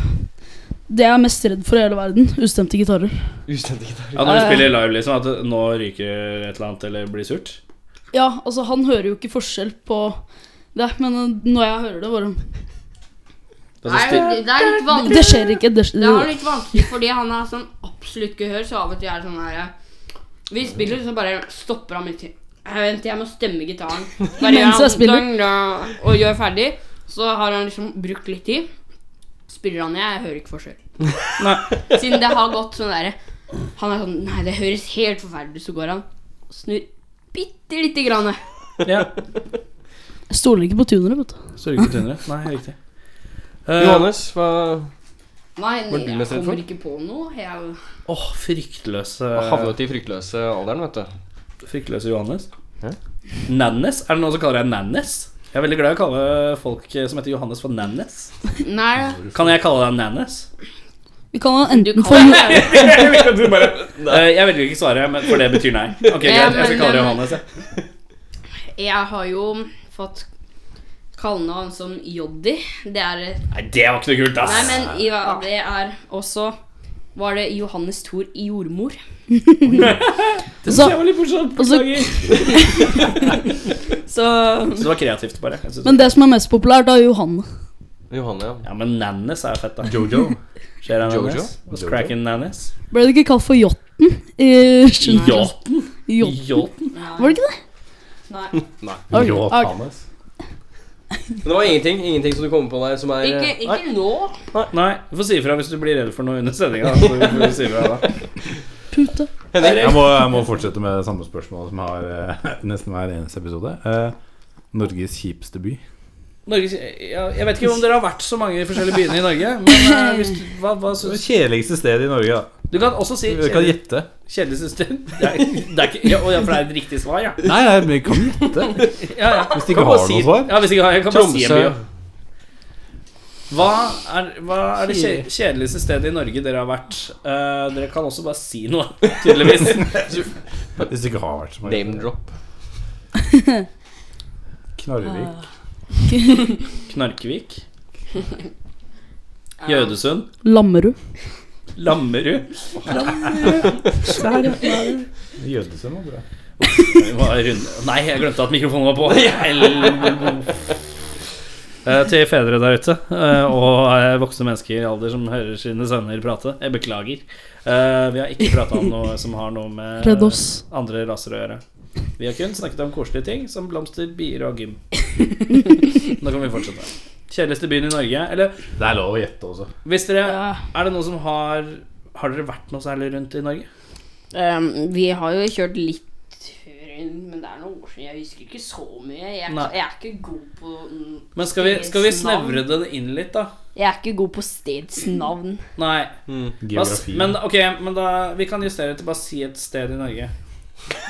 Speaker 6: det jeg er mest redd for i hele verden, ustemte gitarer.
Speaker 4: Ustendig gitar.
Speaker 2: Ja, når du spiller live, liksom, at nå ryker et eller annet eller blir surt?
Speaker 6: Ja, altså, han hører jo ikke forskjell på det, men eh, når jeg hører det, bare
Speaker 2: Det er så
Speaker 7: Nei,
Speaker 2: stille.
Speaker 7: det er litt vanskelig.
Speaker 6: Det skjer ikke. Det
Speaker 7: Det er
Speaker 6: skjer.
Speaker 7: litt vanskelig fordi han har sånn absolutt gehør, så av og til er det sånn her Vi spiller, så bare stopper han midt i «Eh, Vent, jeg må stemme gitaren. Bare gjør
Speaker 6: Mens jeg
Speaker 7: han
Speaker 6: spiller.
Speaker 7: dang, da, og gjør ferdig. Så har han liksom brukt litt tid. Spiller han ned, jeg hører ikke forskjell.
Speaker 2: Nei.
Speaker 7: Siden det har gått sånn derre Han er sånn Nei, det høres helt forferdelig ut. Så går han og snur bitte lite grann.
Speaker 2: Ja.
Speaker 6: Jeg stoler ikke på tunere, vet du.
Speaker 2: Så ryker tunere. Nei, riktig. Eh,
Speaker 4: Johannes, hva
Speaker 7: Nei,
Speaker 4: Var du
Speaker 7: jeg
Speaker 4: mest redd for?
Speaker 7: kommer ikke på noe. Jeg
Speaker 2: Åh, fryktløse
Speaker 4: hva havnet i fryktløse alderen, vet du?
Speaker 2: Fryktløse Johannes.
Speaker 4: Hæ?
Speaker 2: Nannes? Er det noen som kaller deg Nannes? Jeg er veldig glad i å eh, kalle folk som heter Johannes for Nannes.
Speaker 7: Nei.
Speaker 2: Kan jeg kalle deg Nannes?
Speaker 6: Vi kan jo
Speaker 7: Du
Speaker 6: enten
Speaker 7: kan
Speaker 6: få Jo-
Speaker 2: Jeg vil ikke at du bare- Eh, jeg velger ikke svaret, men for det betyr nei. Ok,
Speaker 7: Ja,
Speaker 2: greit, jeg skal
Speaker 7: men-
Speaker 2: kalle deg Johannes. jeg.
Speaker 7: Jeg har jo fått kallenavn som Joddi. Det er et
Speaker 2: Nei, det var ikke noe kult, ass.
Speaker 7: Nei, men ja, det er også Var det Johannes Thor i jordmor?
Speaker 2: det
Speaker 6: så-
Speaker 2: synes jeg var litt morsomt.
Speaker 6: og så-
Speaker 2: beklager.
Speaker 7: Så
Speaker 2: Så det var kreativt, bare. Jeg synes
Speaker 6: Men det som er mest populært, er Johanne.
Speaker 4: Johanne, ja.
Speaker 2: Ja, men Nannes er jo fett, da.
Speaker 3: Jojo.
Speaker 2: Skjer det
Speaker 4: Jojo?
Speaker 2: Nannes? What's
Speaker 3: Jojo?
Speaker 2: cracking Nannes?
Speaker 6: Ble det ikke kalt for Jotten? I sjuende klasse?
Speaker 2: Yachten?
Speaker 6: Jot-
Speaker 2: Yachten?
Speaker 6: Var det ikke det?
Speaker 7: Nei.
Speaker 4: Nei.
Speaker 6: Ok,
Speaker 3: Rå
Speaker 6: ok.
Speaker 3: Thanes.
Speaker 4: Men det var ingenting ingenting som du kommer på der som er eh,
Speaker 7: Ikke,
Speaker 4: Nei.
Speaker 7: ikke nå.
Speaker 2: Nei, du får si ifra hvis du blir redd for noe under sendinga. Så får du si ifra da.
Speaker 6: Pute.
Speaker 3: Jeg må, jeg må fortsette med det samme spørsmål som har eh, nesten hver eneste episode. Eh, Norges kjipeste by.
Speaker 2: Norges, ja, jeg vet ikke om dere har vært så mange i forskjellige byene i Norge, men eh, hvis du, hva, hva
Speaker 3: Det
Speaker 2: synes
Speaker 3: kjedeligste stedet i Norge, da.
Speaker 2: Du kan også si
Speaker 3: Vi kan gjette.
Speaker 2: kjedelig søster. Det er, det er ikke, ja, å, ja, for det er et riktig svar, ja.
Speaker 3: Nei, nei, vi kan gjette.
Speaker 2: Ja, ja.
Speaker 3: Hvis de
Speaker 4: Kan
Speaker 3: ikke
Speaker 4: bare
Speaker 3: har
Speaker 4: si-
Speaker 3: noe svar.
Speaker 2: ja hvis ikke, jeg kan bare si en
Speaker 4: Tromsø.
Speaker 2: by. ja. Hva er, hva er det kje- kjedeligste stedet i Norge dere har vært? Eh, dere kan også bare si noe, tydeligvis.
Speaker 3: Hvis det ikke har vært så
Speaker 4: Name drop.
Speaker 3: Knarvik.
Speaker 2: Knarkevik. Gjødesund.
Speaker 6: Lammerud.
Speaker 2: Lammerud.
Speaker 3: Jødesund var bra.
Speaker 2: Vi var runde. Nei, jeg glemte at mikrofonen var på. Hel- Eh, Til fedre der ute eh, og eh, voksne mennesker i alder som hører sine sønner prate. Jeg beklager. Eh, Vi har ikke prata om noe som har noe med
Speaker 6: Redd oss.
Speaker 2: andre raser å gjøre. Vi har kun snakket om koselige ting som blomster, bier og gym. Nå kan vi fortsette. Kjedeligste byen i Norge. Eller
Speaker 3: Det er lov å gjette også.
Speaker 2: hvis dere Er det noen som har Har dere vært noe særlig rundt i Norge?
Speaker 7: Ehm, vi har jo kjørt litt rundt, men det er noen år siden. Jeg husker ikke så mye. Jeg,
Speaker 2: Nei.
Speaker 7: jeg er ikke god på mm,
Speaker 2: Men skal vi, skal vi
Speaker 7: stedsnavn.
Speaker 2: snevre det inn litt, da?
Speaker 7: Jeg er ikke god på stedsnavn.
Speaker 2: Nei. Hva s-
Speaker 3: Geografi.
Speaker 2: Men ok, men da Vi kan justere til bare si et sted i Norge.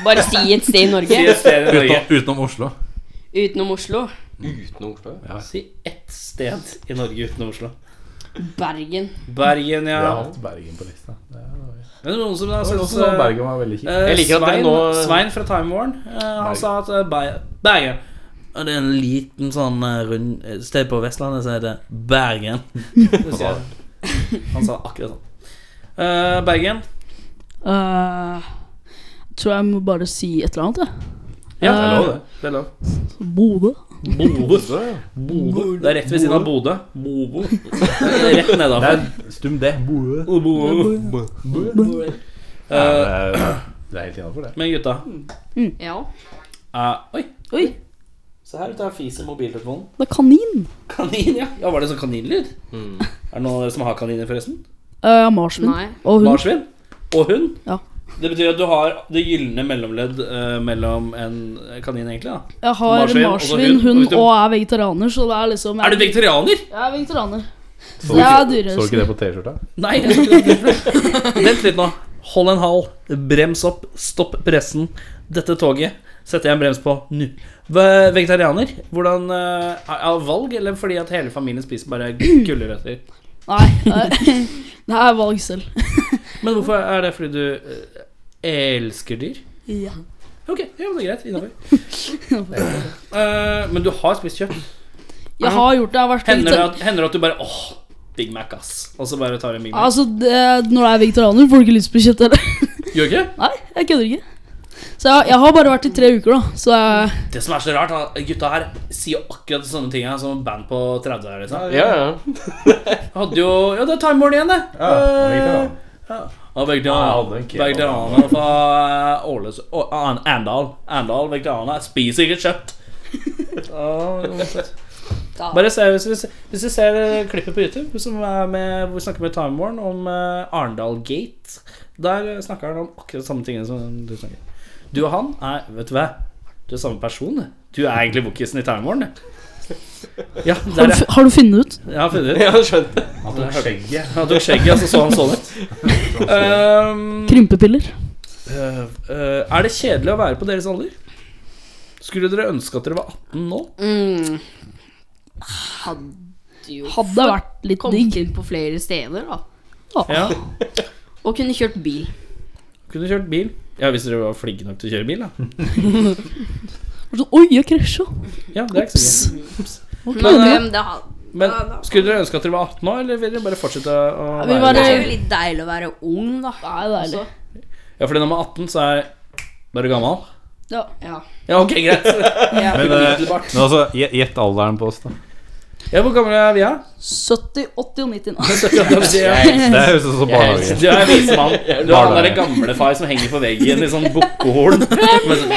Speaker 7: Bare si et sted
Speaker 2: Si
Speaker 7: i
Speaker 2: et
Speaker 7: Norge
Speaker 2: sted i Norge.
Speaker 3: Utenom, utenom Oslo.
Speaker 7: utenom Oslo.
Speaker 4: Utenom Oslo. ja.
Speaker 2: Si ett sted i Norge utenom Oslo.
Speaker 7: Bergen.
Speaker 2: Bergen,
Speaker 3: Jeg har
Speaker 2: ja.
Speaker 3: hatt Bergen på lista. Det er noe.
Speaker 2: Er det noen som da
Speaker 3: Jeg
Speaker 2: syns
Speaker 3: synes
Speaker 2: eh,
Speaker 3: Bergen var veldig kjipt.
Speaker 2: eh,
Speaker 4: Jeg liker at dere
Speaker 2: Svein,
Speaker 4: nå-
Speaker 2: Svein fra Time Warn, eh, han
Speaker 3: Bergen.
Speaker 2: sa at eh, Ber- Bergen Og det er en liten sånn eh, rund et sted på Vestlandet som heter Bergen. Det sier jeg. Han sa akkurat sånn. Eh, Bergen.
Speaker 6: Eh, tror jeg må bare si et eller annet, jeg.
Speaker 2: Ja, det
Speaker 3: er lov, det.
Speaker 2: Det er lov.
Speaker 6: Bodø.
Speaker 2: Bodø. Bodø. Det er rett ved siden av Bodø. Bobo. Rett
Speaker 3: Det
Speaker 2: nedafor.
Speaker 3: er stum, det. Boe.
Speaker 2: Bobo. Eh,
Speaker 3: Ja, det er- det er helt innafor, det.
Speaker 2: Men gutta
Speaker 7: Ja.
Speaker 2: eh, Oi.
Speaker 6: Oi,
Speaker 2: Se her, ute er fis i mobiltelefonen.
Speaker 6: det er kanin.
Speaker 2: Kanin, ja. ja. Var det sånn kaninlyd? Er det noen av dere som har kaniner, forresten?
Speaker 6: Uh, Marsvin.
Speaker 7: Nei.
Speaker 6: Og hun.
Speaker 2: Marsvin og hund?
Speaker 6: Ja.
Speaker 2: Det betyr at du har det gylne mellomledd eh, mellom en kanin, egentlig. da
Speaker 6: Jeg har
Speaker 2: Marsvin,
Speaker 6: marsvin,
Speaker 2: og så hund, og
Speaker 6: hund
Speaker 2: hvis du-
Speaker 6: og er vegetarianer, så det er liksom
Speaker 2: Er du vegetarianer?
Speaker 6: Jeg er vegetarianer.
Speaker 3: Så,
Speaker 6: Ja,
Speaker 3: du ikke-
Speaker 6: dyrehelse.
Speaker 3: så du ikke det på T-skjorta?
Speaker 2: Nei. jeg skulle ikke det. Vent litt nå. Hold en hal. Brems opp. Stopp pressen. Dette toget setter jeg en brems på nå. Ve- Vegetarianer? Hvordan eh, er- Av valg, eller fordi at hele familien spiser bare gulrøtter?
Speaker 6: Nei, nei. det er valg selv.
Speaker 2: Men hvorfor er det fordi du eh, elsker dyr?
Speaker 6: Ja.
Speaker 2: Ok, ja, men det er greit. Innafor. Eh, men du har spist kjøtt.
Speaker 6: Jeg har gjort det. Jeg har vært
Speaker 2: Hender det
Speaker 6: vegetar-
Speaker 2: at, hender det at du bare åh, Big Mac, ass. Og så bare tar du en Big Mac.
Speaker 6: Altså, det, Når du er vegetarianer, får du ikke lyst på kjøtt heller.
Speaker 2: Gjør du ikke?
Speaker 6: Nei, jeg kødder ikke. Så jeg, jeg har bare vært i tre uker, da. Så jeg,
Speaker 2: Det som er så rart, er at gutta her sier jo akkurat sånne ting her, som band på 30 her, liksom.
Speaker 4: Ja, ja.
Speaker 2: Hadde jo Ja, det er Time Warn igjen, det. Eh,
Speaker 3: Ja, han er vegetar, han.
Speaker 2: Ja,
Speaker 3: Ja,
Speaker 2: vegetarianer
Speaker 3: den kebab.
Speaker 2: vegetarianer fra eh, Åles... Å, An- Arendal. Arendal vegetarianer. Jeg Spiser ikke kjøtt. Ja, uansett. Bare se, hvis, hvis, hvis du ser eh, klippet på YouTube som er med, hvor vi snakker med Time Warn om eh, Arendal Gate, der eh, snakker han om akkurat samme tingene som du snakker. Du og han er Vet du hva? Du er samme person. du. Du er egentlig bukkisen i Time Warn. du. Ja,
Speaker 6: har,
Speaker 2: der,
Speaker 6: du,
Speaker 2: ja.
Speaker 6: fu- har du funnet ut?
Speaker 2: Jeg har funnet ut.
Speaker 4: Jeg har skjønt det.
Speaker 3: Han tok skjegget.
Speaker 2: Han tok skjegget, og så så han sånn ut.
Speaker 6: Mm.
Speaker 2: Ehm,
Speaker 6: Krympepiller?
Speaker 2: øh, øh, er det kjedelig å være på deres alder? Skulle dere ønske at dere var 18 nå?
Speaker 7: Mm. Hadde jo
Speaker 6: Hadde vært litt
Speaker 7: kommet
Speaker 6: digg.
Speaker 7: inn på flere steder, da.
Speaker 2: Ja.
Speaker 7: Og kunne kjørt bil.
Speaker 2: Kunne kjørt bil. Ja, hvis dere var flinke nok til å kjøre bil, da.
Speaker 6: Og så, sånn, Oi, jeg krasja!
Speaker 2: Ja, det er ikke så gøy.
Speaker 7: Men,
Speaker 2: Nei,
Speaker 7: øhm, det har-
Speaker 2: Men skulle dere ønske at dere var 18 år, eller ville dere bare fortsette å
Speaker 6: Ja, vi
Speaker 2: være
Speaker 6: var-
Speaker 7: det er jo litt deilig å være ung, da. Altså,
Speaker 6: Det er deilig.
Speaker 2: sånn? Ja, fordi når man er 18, så er bare gammel.
Speaker 6: Ja.
Speaker 7: Ja.
Speaker 2: Ja, ok, greit.
Speaker 3: Men eh, men altså, gje- gjett alderen på oss, da.
Speaker 2: Ja, Hvor gamle er vi, da?
Speaker 6: 70, 80 og 90 nå.
Speaker 2: Ja?
Speaker 3: Det høres ut som barnehage.
Speaker 2: Du er vismann. Du er han derre gamle far som henger på veggen i sånn bukkehorn. Med sånn-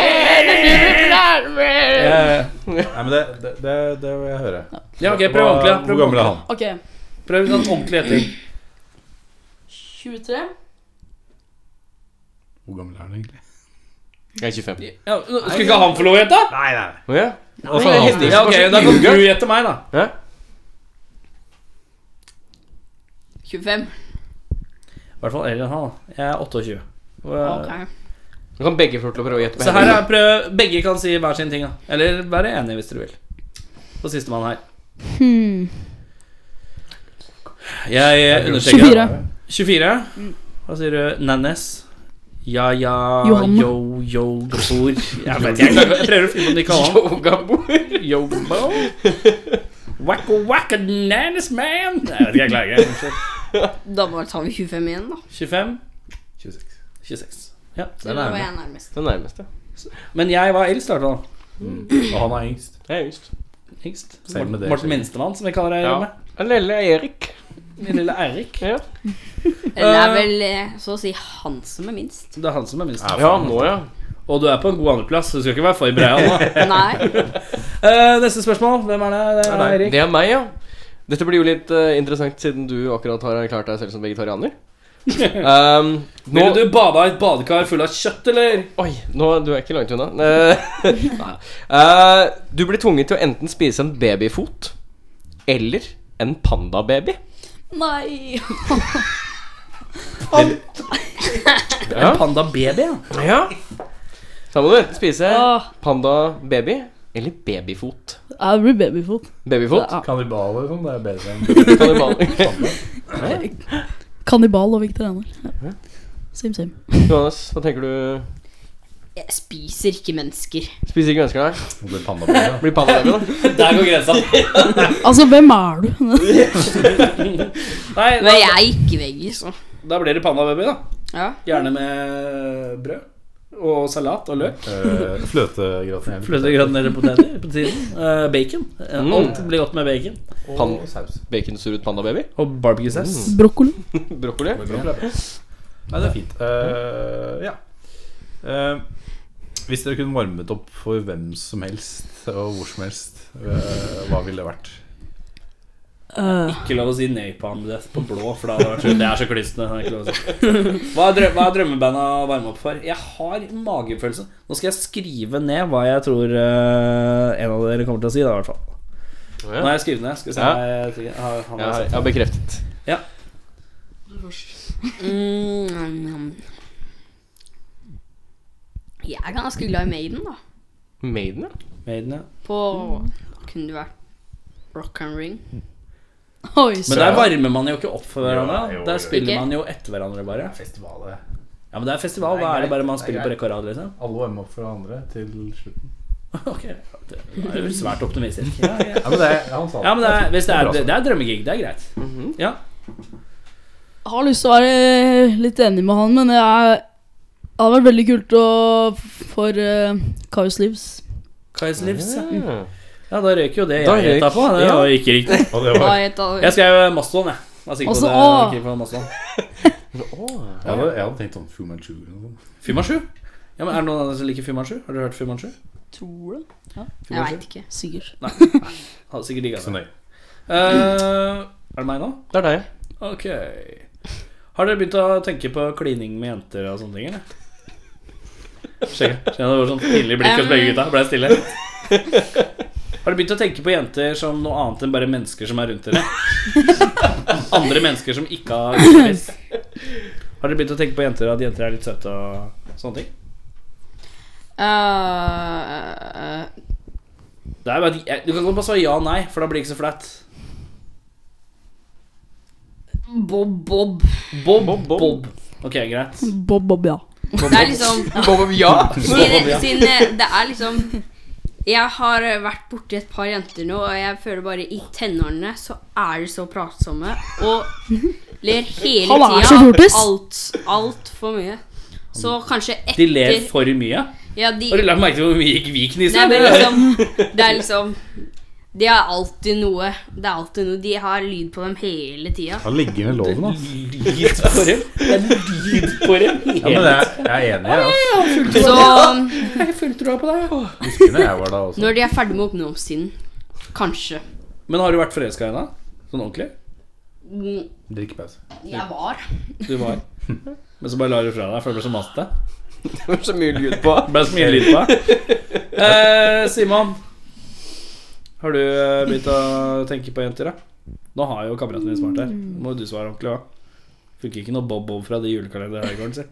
Speaker 2: Ja,
Speaker 3: Nei, men det, det, det, det vil jeg høre.
Speaker 2: Ja, ok, prøv ordentlig. da.
Speaker 3: Hvor
Speaker 2: Prøv
Speaker 3: gammel er
Speaker 2: ordentlig.
Speaker 3: han?
Speaker 6: Ok.
Speaker 2: Prøv sånn ordentlig etter.
Speaker 6: 23?
Speaker 3: Hvor gammel er han egentlig?
Speaker 4: Jeg er 25.
Speaker 2: Ja, skal ikke han få lov å gjette?
Speaker 3: Nei, nei.
Speaker 4: Å ja?
Speaker 3: Hva faen er det?
Speaker 2: Ja, ok, Da kan du gjette meg, da.
Speaker 4: Hæ?
Speaker 7: 25.
Speaker 2: I hvert fall eldre enn han. da. Jeg er 28. Og- eh,
Speaker 7: Ok.
Speaker 4: Nå kan begge få lov til å prøve å gjette. på
Speaker 2: Så her
Speaker 4: henne.
Speaker 2: er prøv Begge kan si hver sin ting, da. Eller være enige hvis dere vil. Og sistemann her.
Speaker 6: Hmm.
Speaker 2: Jeg understreker
Speaker 6: 24.
Speaker 2: 24. Hva sier du? Nannes? Ja, ja,
Speaker 6: Johan.
Speaker 2: yo, yo, Gabor Jeg vet ikke, jeg klarer- jeg prøver å finne ut de kaller han. Yo, Gabor Wacko, wacko, nannes, man Nei, Jeg vet ikke, jeg klarer ikke
Speaker 7: Da bare tar vi 25 igjen, da.
Speaker 2: 25,
Speaker 3: 26.
Speaker 2: 26 ja.
Speaker 7: Så da var jeg nærmest.
Speaker 4: Den nærmeste.
Speaker 2: Men jeg var eldst i hvert fall
Speaker 3: Og han er yngst.
Speaker 4: Jeg er yngst.
Speaker 2: Yngst
Speaker 3: Selv med det,
Speaker 2: Morten
Speaker 3: selv.
Speaker 2: Minstemann, som vi kaller deg
Speaker 4: Ja.
Speaker 2: hjemme
Speaker 4: Lille Erik.
Speaker 2: Min lille Erik
Speaker 4: Ja,
Speaker 7: Eller det er vel eh, så å si han som er minst.
Speaker 2: Det er han som er minst
Speaker 4: ja nå, ja.
Speaker 2: Og du er på en god andreplass, så du skal ikke være for bra nå
Speaker 7: Nei.
Speaker 2: Eh, Neste spørsmål, hvem er det? Det er Erik
Speaker 4: Det er meg, ja. Dette blir jo litt eh, interessant, siden du akkurat har erklært deg selv som vegetarianer. Um, nå,
Speaker 2: Ville du bada i et badekar full av kjøtt, eller?
Speaker 4: Oi, nå, du er ikke langt unna. Eh, nei. Eh, du blir tvunget til å enten spise en babyfot eller en pandababy.
Speaker 6: Nei!
Speaker 4: Ja.
Speaker 2: Panda baby, ja.
Speaker 4: ja. Så da må du enten spise
Speaker 6: Åh.
Speaker 4: pandababy eller babyfot.
Speaker 6: Jeg blir babyfot.
Speaker 4: Babyfot?
Speaker 6: Ja.
Speaker 3: Kannibaler og sånn, det er bedre enn
Speaker 4: Kan du bare-
Speaker 6: Kannibal og vegetarianer. Ja. Sim, sim.
Speaker 4: Johannes, hva tenker du?
Speaker 7: Jeg spiser ikke mennesker.
Speaker 4: Spiser ikke mennesker, nei?
Speaker 3: Hun blir pandaballer.
Speaker 4: Blir pandababy, da?
Speaker 2: Der går grensa.
Speaker 6: Altså, hvem er du?
Speaker 2: Nei, da,
Speaker 7: Men jeg er ikke veggie, så.
Speaker 2: da blir det pandababy, da.
Speaker 7: Ja.
Speaker 2: Gjerne med brød og salat og løk.
Speaker 3: Uh, Fløtegratin.
Speaker 2: Fløtegrønner på tiden. Eh, bacon. Eh,
Speaker 4: Mm.
Speaker 2: Alt blir godt med bacon.
Speaker 4: Pan
Speaker 3: Og saus.
Speaker 4: Baconsurret pandababy?
Speaker 2: Og barbecue-saus.
Speaker 6: Brokkoli?
Speaker 4: Brokkoli?
Speaker 3: Nei, det er fint. Eh, ja. Eh, hvis dere kunne varmet opp for hvem som helst og hvor som helst, eh, hva ville det vært?
Speaker 6: Øh,
Speaker 2: Ikke lov å si napalm Death på blå, for da hadde det vært så, det er så klissende. det er ikke lov å si. Hva er, drø hva er drømmebandet å varme opp for? Jeg har magefølelse. Nå skal jeg skrive ned hva jeg tror eh, en av dere kommer til å si, da, i hvert fall. Nå har jeg skrevet ned. Skal vi se
Speaker 4: Ja.
Speaker 2: om jeg- jeg har- har
Speaker 4: Jeg har,
Speaker 2: jeg
Speaker 4: jeg har bekreftet.
Speaker 7: Mm, mm, mm. jeg er ganske glad i Maiden, da.
Speaker 4: Maiden, ja.
Speaker 2: Maiden, ja.
Speaker 7: På Kunne det vært Rock and Ring?
Speaker 6: Oi,
Speaker 2: Men
Speaker 6: så.
Speaker 2: der varmer man jo ikke opp for hverandre.
Speaker 3: Jo, jo,
Speaker 2: der
Speaker 3: jo.
Speaker 2: spiller
Speaker 7: Ikke?
Speaker 2: man jo etter hverandre, bare.
Speaker 3: Festivalet.
Speaker 2: Ja, Men det er festival,
Speaker 3: Det er
Speaker 2: da er det
Speaker 3: greit,
Speaker 2: bare man
Speaker 3: det er
Speaker 2: spiller på
Speaker 3: greit.
Speaker 2: rekke og rad, liksom.
Speaker 3: Alle varmer opp for hverandre til slutten.
Speaker 2: Ok, det er jo svært optimistisk. Ja, ja.
Speaker 3: Ja, men det, er- ja, han sa
Speaker 2: ja men det er, hvis det er,
Speaker 3: bra sagt.
Speaker 2: det er drømmegig, det er greit. Ja.
Speaker 6: Jeg har lyst til å være eh, litt enig med han, men jeg er det hadde vært veldig kult å, for uh, Kaius Livs.
Speaker 2: Kais Livs, ja.
Speaker 4: Ja.
Speaker 2: Ja, da røyker jo det
Speaker 4: Da
Speaker 2: jeg gjetta
Speaker 4: røyk-
Speaker 2: på. Det
Speaker 4: ja.
Speaker 2: var jo ikke riktig.
Speaker 3: Og det
Speaker 7: Hva
Speaker 3: var,
Speaker 7: heter
Speaker 2: Jeg skrev Mastodon, jeg. Jeg var sikker på
Speaker 6: Også-
Speaker 2: det.
Speaker 6: åh.
Speaker 2: ikke på Mastodon.
Speaker 4: Åh.
Speaker 3: jeg, hadde, jeg hadde tenkt sånn Fu Manchu eller noe sånt.
Speaker 2: Fumanchu? Ja, men Er det noen andre som liker Fumanchu? Har du hørt Fumanchu?
Speaker 6: Tror det.
Speaker 7: Jeg veit ikke.
Speaker 6: Sikkert.
Speaker 2: Hadde sikkert digga
Speaker 3: Så
Speaker 2: det.
Speaker 3: nøye.
Speaker 2: Eh, er det meg nå?
Speaker 4: Det er deg.
Speaker 2: Ok. Har dere begynt å tenke på klining med jenter og sånne ting, eller? Skjønner det var sånn pinlig blikk hos begge gutta. Ble jeg stille? Har du begynt å tenke på jenter som noe annet enn bare mennesker som er rundt dere? Andre mennesker som ikke har utenriks? Har dere begynt å tenke på jenter at jenter er litt søte og sånne ting?
Speaker 7: Eh, eh,
Speaker 2: Det er bare, at jeg- du kan godt bare svare ja og nei, for da blir det ikke så flaut.
Speaker 7: Bob Bob.
Speaker 2: Bob, Bob, Bob. Ok, greit.
Speaker 6: Bob, Bob, ja.
Speaker 7: Det er liksom
Speaker 4: Bob, ja!
Speaker 7: siden, siden det er liksom Jeg har vært borti et par jenter nå, og jeg føler bare i tenårene så er de så pratsomme og ler hele
Speaker 6: Han er så fjortis.
Speaker 7: tida. Alt, alt for mye. Så kanskje etter
Speaker 2: De ler for mye.
Speaker 7: ja, de,
Speaker 2: Har du lagt merke til hvor mye vi
Speaker 7: Nei,
Speaker 2: kniser?
Speaker 7: men liksom Det er liksom De har alltid noe. Det er alltid noe. De har lyd på dem hele tida.
Speaker 3: Han ligger med loven, altså.
Speaker 2: Lyd på dem. Det er lyd på dem.
Speaker 3: Ja, men jeg, jeg er enig, jeg. Altså.
Speaker 7: Så
Speaker 3: Husker når jeg var da også.
Speaker 7: når de er ferdig med ungdomstiden, kanskje
Speaker 2: Men har du vært forelska ennå? Sånn ordentlig?
Speaker 7: Mm,
Speaker 3: Drikkepause.
Speaker 7: Jeg var
Speaker 2: Du var Men så bare la du fra deg, for det ble så masete.
Speaker 4: Det var så mye lyd på.
Speaker 2: Det ble så mye lyd på deg. Eh, Simon, har du eh, begynt å tenke på jenter, da? Nå har jo kameraten din smart her. Nå må jo du svare ordentlig òg. Funker ikke noe Bob-Bob fra de julekalenderne her i gården, si.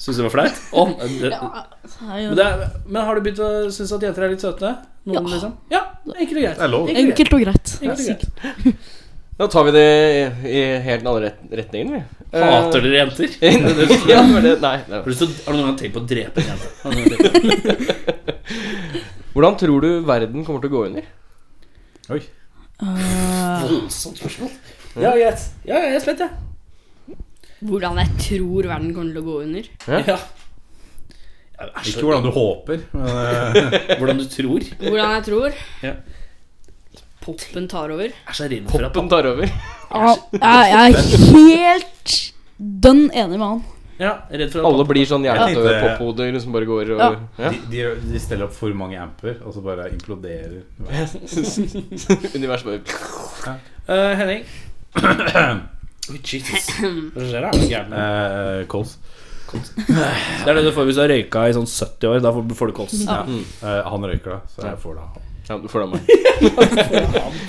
Speaker 2: Syns du det var flaut? Å, det, men, det er, men har du begynt å synes at jenter er litt søte? Noen,
Speaker 6: Ja.
Speaker 2: liksom? Ja, enkelt og greit.
Speaker 3: Det er lov.
Speaker 2: Enkelt og greit.
Speaker 6: Enkelt og greit.
Speaker 2: Enkelt og greit.
Speaker 4: Da tar vi det i- i helt den andre ret retningen, vi.
Speaker 2: Hater dere jenter?
Speaker 4: det? ja, for det nei, det
Speaker 2: Har du, så, har du noen gang tenkt på å drepe en jente? Har du noen gang tenkt på det?
Speaker 4: Hvordan tror du verden kommer til å gå under?
Speaker 3: Oi.
Speaker 6: Eh,
Speaker 2: Voldsomt spørsmål. Ja, greit. Ja, jeg er spent, jeg.
Speaker 7: hvordan jeg tror verden kommer til å gå under.
Speaker 2: Ja. Ja, æsj,
Speaker 3: Ikke hvordan du håper, men eh,
Speaker 2: hvordan du tror.
Speaker 7: Hvordan jeg tror
Speaker 2: Ja.
Speaker 7: poppen tar over.
Speaker 2: Jeg er så redd for at
Speaker 4: Poppen tar over.
Speaker 6: ja, jeg jeg er helt dønn enig med han.
Speaker 2: Ja, redd for at
Speaker 4: Alle blir sånn
Speaker 3: Jeg
Speaker 4: jernete
Speaker 3: tenkte-
Speaker 4: pophoder som bare går og
Speaker 6: Ja.
Speaker 4: ja.
Speaker 3: de, de, de steller opp for mange amper, og så bare imploderer.
Speaker 4: Universet bare
Speaker 2: Eh, Henning. Oi, Jesus. Hva skjer da? Eh. Er det gærent?
Speaker 3: Eh, kols.
Speaker 2: Det er det du får hvis du har røyka i sånn 70 år. Da får- får du kols.
Speaker 3: Ja. Eh, han røyker, da, så jeg får det av han.
Speaker 4: Ja, du får det av meg.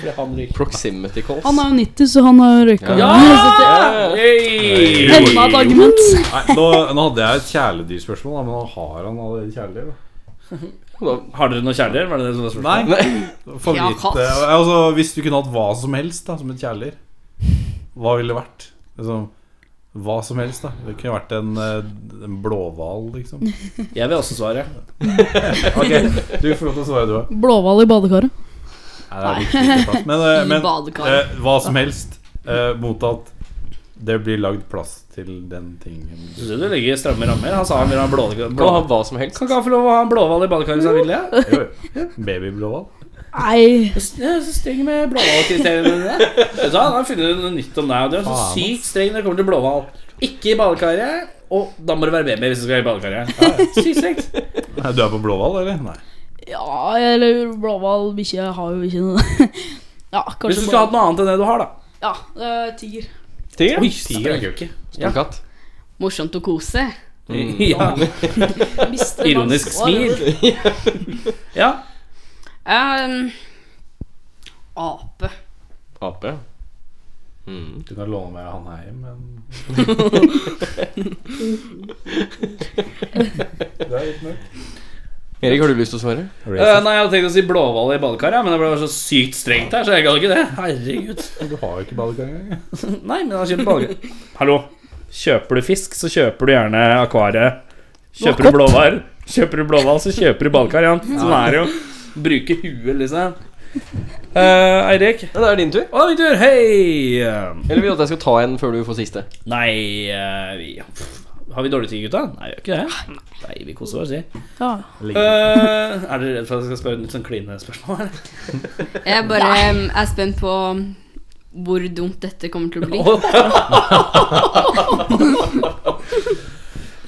Speaker 4: Proximity calls.
Speaker 6: Han er jo 90, så han har røyka.
Speaker 4: Ja.
Speaker 2: Ja! Hey!
Speaker 6: Enda et argument.
Speaker 3: Nei, nå, nå hadde jeg et kjæledyrspørsmål, da, men nå har han allerede kjæledyr. da.
Speaker 2: Har dere noen kjæledyr? Var det det som var spørsmålet?
Speaker 3: Nei. Favoritt
Speaker 7: Ja, katt.
Speaker 3: eh, altså, Hvis du kunne hatt hva som helst da, som et kjæledyr, hva ville det vært? Liksom, hva som helst, da. Det kunne vært en, eh, en blåhval, liksom.
Speaker 2: Jeg vil også svare.
Speaker 3: Ok, du får lov til å svare, du òg.
Speaker 6: Blåhval i badekaret.
Speaker 3: Men, eh,
Speaker 7: I
Speaker 3: men
Speaker 7: badekaret.
Speaker 3: eh, hva som helst, eh, mot at det blir lagd plass til den tingen.
Speaker 2: Syns du du legger stramme rammer? Han sa han ville ha en blå...
Speaker 4: Kan
Speaker 2: blå.
Speaker 4: ha hva som helst.
Speaker 2: Kan ikke han få lov å ha en blåhval i badekaret hvis han vil det?
Speaker 3: Jo, jo. Babyblåhval.
Speaker 6: Nei.
Speaker 2: Ja, så streng med blåhvalkriteriene dine. Vet du hva, Han har funnet noe nytt om deg. og Du er så
Speaker 3: Faen, ass.
Speaker 2: sykt streng når det kommer til blåhval. Ikke i badekaret, og da må du være baby hvis du skal i badekaret. Ja, sykt strengt.
Speaker 3: Nei, Du er på blåhval, eller? Nei.
Speaker 6: Ja, eller blåhval, bikkje har jo ikke noe Ja,
Speaker 2: Hvis du
Speaker 6: kanskje
Speaker 2: skulle hatt noe annet enn det du har, da.
Speaker 6: Ja, eh, tiger.
Speaker 4: Tiger?
Speaker 2: tiger er kult.
Speaker 4: Stor katt.
Speaker 7: Morsomt å kose.
Speaker 2: Mm. Ja.
Speaker 6: Mister
Speaker 2: Ironisk
Speaker 6: masse-
Speaker 2: smil. Ja.
Speaker 7: Um, ape.
Speaker 4: Ape. Mm.
Speaker 3: Du kan låne meg han her, men Det er litt mørkt.
Speaker 4: Erik, har du lyst til å svare?
Speaker 2: Eh, nei, jeg hadde tenkt å si blåhval i badekaret, ja, men det ble så sykt strengt her, så jeg gadd ikke det. Herregud.
Speaker 3: Du har jo ikke badekar engang.
Speaker 2: Nei, men han kjøper badekar. Hallo. Kjøper du fisk, så kjøper du gjerne akvariet. Kjøper du blåhval, kjøper du blåhval, så kjøper du badekar. Ja. Sånn er det jo. Bruke huet, liksom. Eh, Eirik.
Speaker 4: Ja, det er din tur.
Speaker 2: Å, min tur. Hei!
Speaker 4: Eller vil du at jeg skal ta en før du får siste?
Speaker 2: Nei eh, vi, pff, Har vi dårlig tid, gutta? Nei, vi gjør ikke det. Nei, vi koser oss, vi.
Speaker 6: Ja.
Speaker 2: Eh, er dere redd for at jeg skal spørre litt sånn klinespørsmål? eller?
Speaker 7: Jeg bare um, er spent på hvor dumt dette kommer til å bli.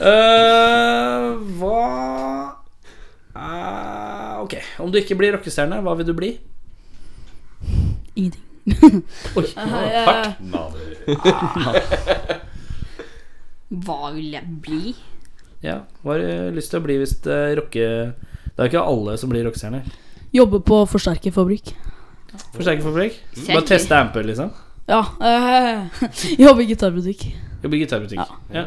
Speaker 2: Eh, hva eh, Ok, om du ikke blir rockestjerne, hva vil du bli?
Speaker 6: Ingenting.
Speaker 2: Oi.
Speaker 6: Hardt.
Speaker 7: Hva vil jeg bli?
Speaker 2: Ja, Hva har du lyst til å bli hvis det rocke... Det er jo ikke alle som blir rockestjerner.
Speaker 6: Jobbe på forsterkerfabrikk.
Speaker 2: Forsterkerfabrikk.
Speaker 7: Selger.
Speaker 2: Bare teste amper, liksom.
Speaker 6: Ja. Eh, jobbe i gitarbutikk.
Speaker 2: Jobbe i gitarbutikk. Ja.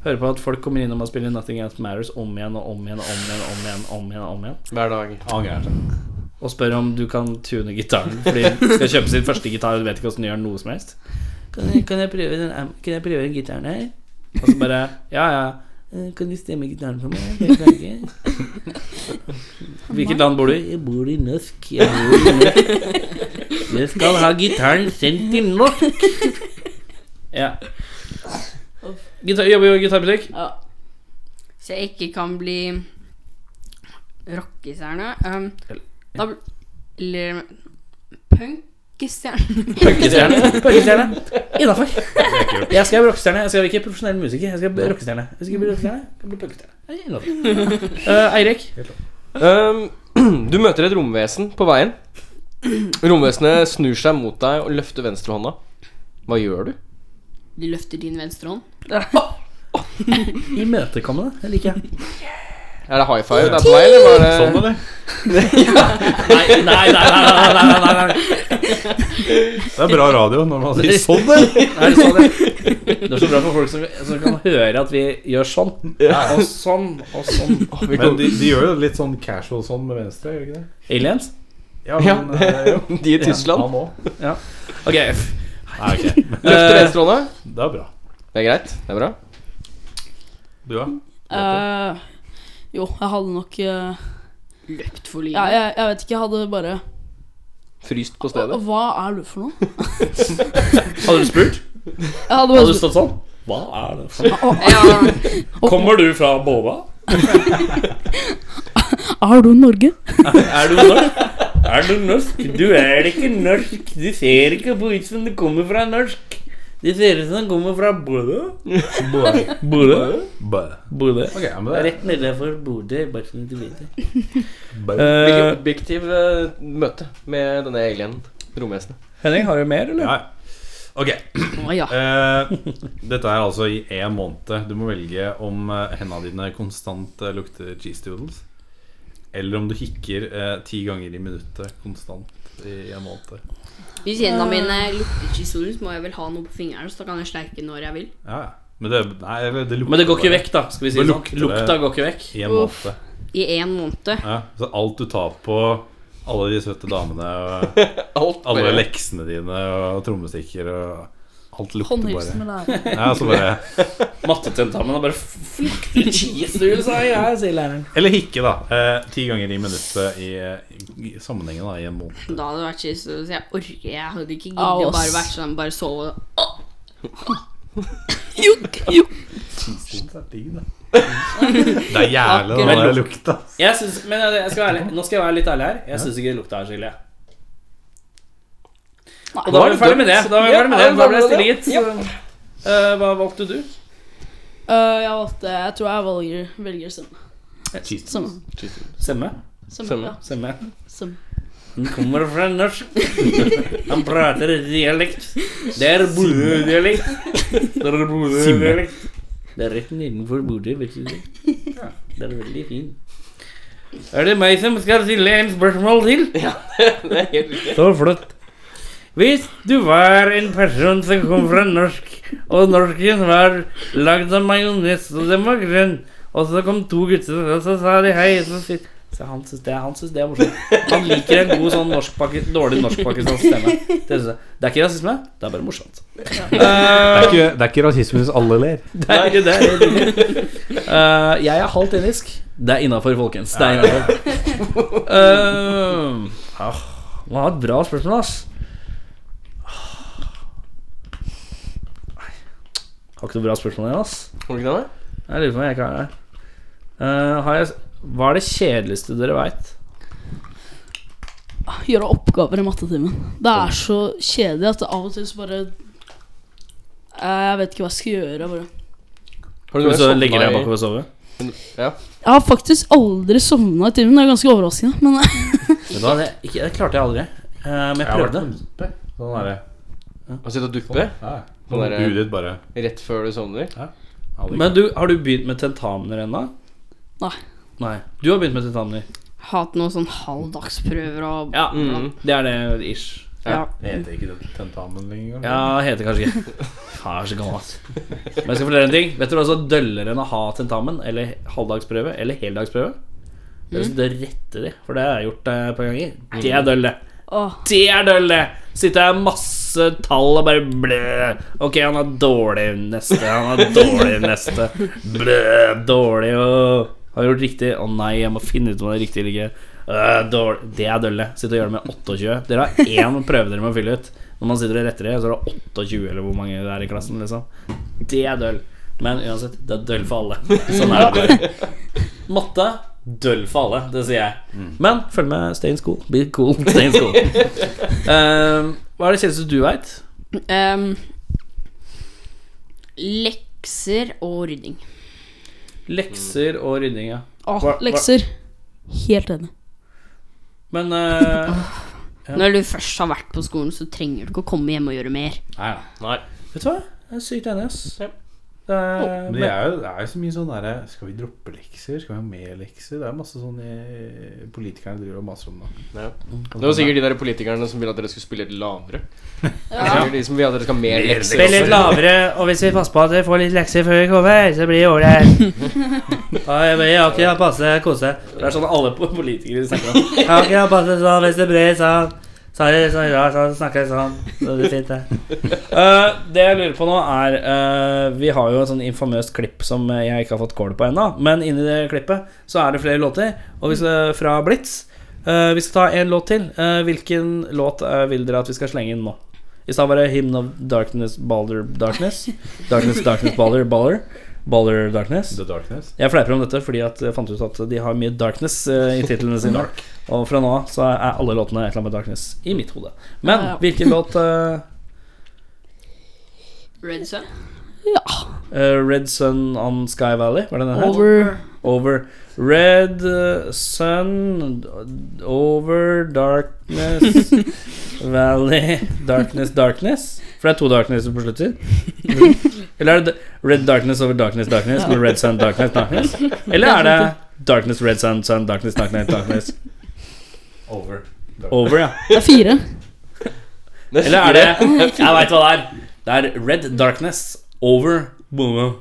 Speaker 2: Høre på at folk kommer innom og spiller 'Nothing Else Matters' om igjen og om igjen og om igjen. om igjen, om igjen, om igjen
Speaker 4: Hver dag.
Speaker 3: Angrer seg.
Speaker 2: og spør om du kan tune gitaren fordi hun skal kjøpe sin første gitar og du vet ikke hvordan du gjør noe som helst. Kan jeg, kan jeg, prøve, den, am- kan jeg prøve den gitaren her? Og så bare Ja, ja. eh, Kan du stemme gitaren for meg? Jeg klarer ikke. Hvilket land bor du i? Jeg bor i Norsk. Jeg bor i Norsk. Jeg skal ha gitaren sendt til Norsk. Ja. Gitar, jobber jo i gitarbutikk.
Speaker 7: Ja. Så jeg ikke kan bli rockestjerne. Um, da bl- Eller punkestjerne.
Speaker 2: Punkestjerne. Punkestjerne. Innafor. Jeg skal være rockestjerne. Jeg skal være ikke profesjonell musiker. Jeg skal bli rockestjerne. Jeg skal bli rockestjerne. Jeg skal bli punkestjerne. Det er innenfor. Eh, Eirik.
Speaker 4: Um, du møter et romvesen på veien. Romvesenet snur seg mot deg og løfter venstrehånda. Hva gjør du?
Speaker 7: Du løfter din venstre hånd.
Speaker 2: Imøtekommende. Det liker jeg.
Speaker 4: Er det high five der på vei, eller var det
Speaker 3: Sånn, eller?
Speaker 2: Nei, nei, nei, nei, nei, nei, nei, nei, nei.
Speaker 3: Det er bra radio når man sier sånn, eller?
Speaker 2: Er det, sånn, det? det er så bra for folk som, som kan høre at vi gjør sånn. Og sånn, og sånn.
Speaker 3: Men de, de gjør jo litt sånn casual sånn med venstre, gjør de ikke det?
Speaker 2: Aliens?
Speaker 3: Ja,
Speaker 4: Ja,
Speaker 3: men eh, jo.
Speaker 4: de i Tyskland?
Speaker 3: Han òg.
Speaker 2: Ok. f-
Speaker 3: Nei, ok.
Speaker 4: Løfter
Speaker 2: Eh,
Speaker 4: venstrehånda.
Speaker 3: Det er bra.
Speaker 4: Det er greit. Det er bra.
Speaker 3: Du, da?
Speaker 6: Eh, jo, jeg hadde nok eh,
Speaker 7: Løpt for livet.
Speaker 6: ja, jeg, jeg vet ikke, jeg hadde bare
Speaker 4: Fryst på
Speaker 6: Hva,
Speaker 4: stedet.
Speaker 6: hva er du for noe?
Speaker 2: Hadde du spurt?
Speaker 6: Jeg hadde bare
Speaker 2: Hadde du stått sånn? Hva er det for noe?
Speaker 7: Ja,
Speaker 2: Kommer du fra Bova?
Speaker 6: Er du Norge?
Speaker 2: Er du norsk? Er du norsk? Du er ikke norsk. Du ser ikke på ut som du kommer fra norsk. Du ser ut som du kommer fra Bodø. Bodø? Bodø.
Speaker 3: Ok, ja, men det er
Speaker 2: Rett nedenfor Bodø. bare så du vet det.
Speaker 3: bare-
Speaker 4: Hvilket objektiv eh, møte med denne alien romvesenet?
Speaker 2: Henning, har du mer, eller?
Speaker 3: ja. Ok.
Speaker 7: å ja.
Speaker 3: Eh, dette er altså i én måned. Du må velge om eh, hendene dine konstant eh, lukter cheese doodles, eller om du hikker eh, ti ganger i minuttet konstant i en måned.
Speaker 7: Hvis hendene mine lukter chisol, så må jeg vel ha noe på fingeren, så da kan jeg sleike når jeg vil.
Speaker 3: Ja, ja. Men det, nei, eller det lukter
Speaker 2: Men det går ikke
Speaker 3: bare
Speaker 2: vekk, da. skal vi si
Speaker 3: Det
Speaker 2: det
Speaker 3: lukter
Speaker 2: sånn.
Speaker 3: det.
Speaker 2: Lukta går ikke vekk.
Speaker 3: I en
Speaker 7: Uff.
Speaker 3: måned.
Speaker 7: I én måned.
Speaker 3: Ja, så alt du tar på alle de søte damene og
Speaker 4: Alt
Speaker 3: alle
Speaker 4: bare
Speaker 3: leksene dine og trommestikker og alt lukter
Speaker 6: Håndhilsen
Speaker 3: bare.
Speaker 6: med lærer.
Speaker 3: Ja, så bare
Speaker 2: Mattetentamen har bare fluktet cheese doodles, sa jeg, sier læreren.
Speaker 3: Eller hikke, da. Eh, ti ganger i minuttet i, i sammenhengen da, i en måned.
Speaker 7: Da hadde det vært chisol, så jeg orker Jeg hadde ikke
Speaker 6: Au,
Speaker 7: giddet å bare
Speaker 6: ass.
Speaker 7: vært sånn, bare sove.
Speaker 3: Cheese er digg, da. Det er jævlig den der lukta.
Speaker 2: Jeg synes, men eh, jeg jeg skal være ærlig, Nå skal jeg være litt ærlig her. Jeg syns ikke det lukta her så ille.
Speaker 6: Nei.
Speaker 2: Og da var vi ferdig med det. Da var vi
Speaker 4: Ja,
Speaker 2: ferdig med det.
Speaker 4: ja,
Speaker 2: Da ble jeg
Speaker 4: da ble
Speaker 2: stille, gitt. Eh, Hva valgte du?
Speaker 6: Eh, jeg valgte Jeg tror jeg velger, velger stemme.
Speaker 2: Eh,
Speaker 6: Stemme.
Speaker 2: Semme.
Speaker 6: Stemme.
Speaker 4: Stemme.
Speaker 6: Ja,
Speaker 2: Semme.
Speaker 6: stemme.
Speaker 2: Han kommer fra norsk. Han prater dialekt. Det er Bodø-dialekt. Det er Bodø-dialekt. Det er rett nedenfor Bodø, vet du det. Det er veldig fint. Er det meg som skal stille en spørsmål til?
Speaker 4: Det er helt riktig.
Speaker 2: Så flott. Hvis du var en person som kom fra norsk, og norsken var lagd av majones, og den var grønn, og så kom to gutter, og så sa de hei så sier- så han syns det, han synes det er morsomt. Han liker en god sånn norsk paki- dårlig norsk-pakistansk stemme. Det, synes jeg. det er ikke rasisme, det er bare morsomt. Eh,
Speaker 3: Det er ikke, det er ikke rasisme hvis alle ler.
Speaker 2: Det er ikke det. Eh, jeg er halvt indisk. Det er innafor, folkens. Det er innafor. Uh, ah, det var et bra spørsmål, ass. Nei. Har ikke noe bra spørsmål igjen, ass.
Speaker 4: Har du ikke det? da?
Speaker 2: Jeg lurer på om jeg ikke har det. Eh, har jeg, hva er det kjedeligste dere veit?
Speaker 6: Gjøre oppgaver i mattetimen. Det er så kjedelig at det av og til så bare Eh, Jeg vet ikke hva jeg skal gjøre. jeg Bare.
Speaker 4: Har
Speaker 2: Hvis du
Speaker 4: sovna
Speaker 2: legger deg
Speaker 4: i-
Speaker 2: bakover og sover?
Speaker 4: Ja.
Speaker 6: Jeg har faktisk aldri sovna i timen. Det er ganske overraskende. Men
Speaker 2: Vet du hva, det, ikke, det klarte jeg aldri. Eh, men jeg prøvde.
Speaker 3: limpe. Sånn er det.
Speaker 4: Og sitter og dupper
Speaker 3: Ja.
Speaker 4: Sånn er det.
Speaker 3: Hudet ditt bare
Speaker 4: rett før du sovner.
Speaker 2: Men du, har du begynt med tentamener ennå?
Speaker 6: Nei.
Speaker 2: Nei. Du har begynt med tentamener?
Speaker 7: Hatt noen sånn halvdagsprøver og
Speaker 2: Ja.
Speaker 4: Mm.
Speaker 2: Det er det ish.
Speaker 4: Ja.
Speaker 3: Det heter ikke det tentamen lenger.
Speaker 2: Ja, heter kanskje ikke Faen, jeg er så gammel, ass. Men jeg skal fortelle deg en ting. Vet du hva som er døllere enn å ha tentamen eller halvdagsprøve eller heldagsprøve? Jeg har lyst til å rette de, for det har jeg gjort eh, et par ganger. Det er døll, det.
Speaker 6: Åh,
Speaker 2: Det er døll, det! Sitter jeg med masse tall og bare blø. Ok, han er dårlig neste, han er dårlig neste. Blø, dårlig og Har jeg gjort riktig. Å nei, jeg må finne ut om det er riktig eller ikke. Øh, dårlig. Det er dølle. Sitter og gjør det med 28. Dere har én prøve dere må fylle ut. Når man sitter og retter det, så er det 28 eller hvor mange det er i klassen, liksom. Det er døll. Men uansett, det er døll for alle. Sånn er det bare. Matte døll for alle, det sier jeg. Men følg med Stay in School. Be cool, stay in school. Ehm, hva er det kjedeligste du veit?
Speaker 7: Ehm, lekser og rydding.
Speaker 2: Lekser og rydding, ja.
Speaker 6: åh,
Speaker 2: Hva- hva-
Speaker 6: lekser. Helt enig.
Speaker 2: Men eh,
Speaker 7: Når du først har vært på skolen, så trenger du ikke å komme hjem og gjøre mer.
Speaker 3: Nei, ja.
Speaker 4: Nei.
Speaker 2: vet du hva? Jeg er sykt enig, ass.
Speaker 4: Ja.
Speaker 2: Det er,
Speaker 3: Men det er, jo, det er jo så mye sånn derre Skal vi droppe lekser? Skal vi ha mer lekser? Det er masse sånn eh, politikerne driver og maser om nå.
Speaker 4: Ja. Det var sikkert de der politikerne som ville at dere skulle spille litt lavere. Det er sikkert De som vil at dere skal ha mer lekser.
Speaker 2: Spill litt lavere, og hvis vi passer på at vi får litt lekser før vi kommer, så blir det ålreit. Ja, jeg vil ikke passe kose. Det er sånn alle po- politikere snakker om. Jeg vil ikke passe sånn hvis det blir sånn. Så er det sånn rart, sånn snakker jeg sånn. Så det blir fint, det. Eh, det jeg lurer på nå, er eh, Vi har jo et sånn infamøst klipp som jeg ikke har fått kål på ennå, men inni det klippet så er det flere låter, og vi skal, fra Blitz. Eh, vi skal ta en låt til. Eh, hvilken låt eh, vil dere at vi skal slenge inn nå? I stedet var det Hymn of Darkness, Balder Darkness. Darkness, Darkness, Balder, Balder. Balder Darkness.
Speaker 3: The Darkness.
Speaker 2: Jeg fleiper om dette fordi at jeg fant ut at de har mye darkness eh, i titlene sine. Og fra nå av så er alle låtene et eller annet med darkness i mitt hode. Men
Speaker 6: Ja, ja.
Speaker 2: hvilken låt eh,
Speaker 7: Red Sun.
Speaker 2: eh, Red Sun on Sky Valley, var det den het?
Speaker 6: Over.
Speaker 2: Over Red eh, Sun Over Darkness Valley Darkness, darkness For det er to darknesser på slutten Eller er det Red Darkness over Darkness, darkness Med Red Sun, darkness, darkness Eller er det Darkness, Red Sun, Sun, darkness, darkness, darkness
Speaker 3: Over.
Speaker 2: Over, ja
Speaker 6: Det er fire.
Speaker 2: Eller er det Jeg vet hva det er Det er Red Darkness over Boom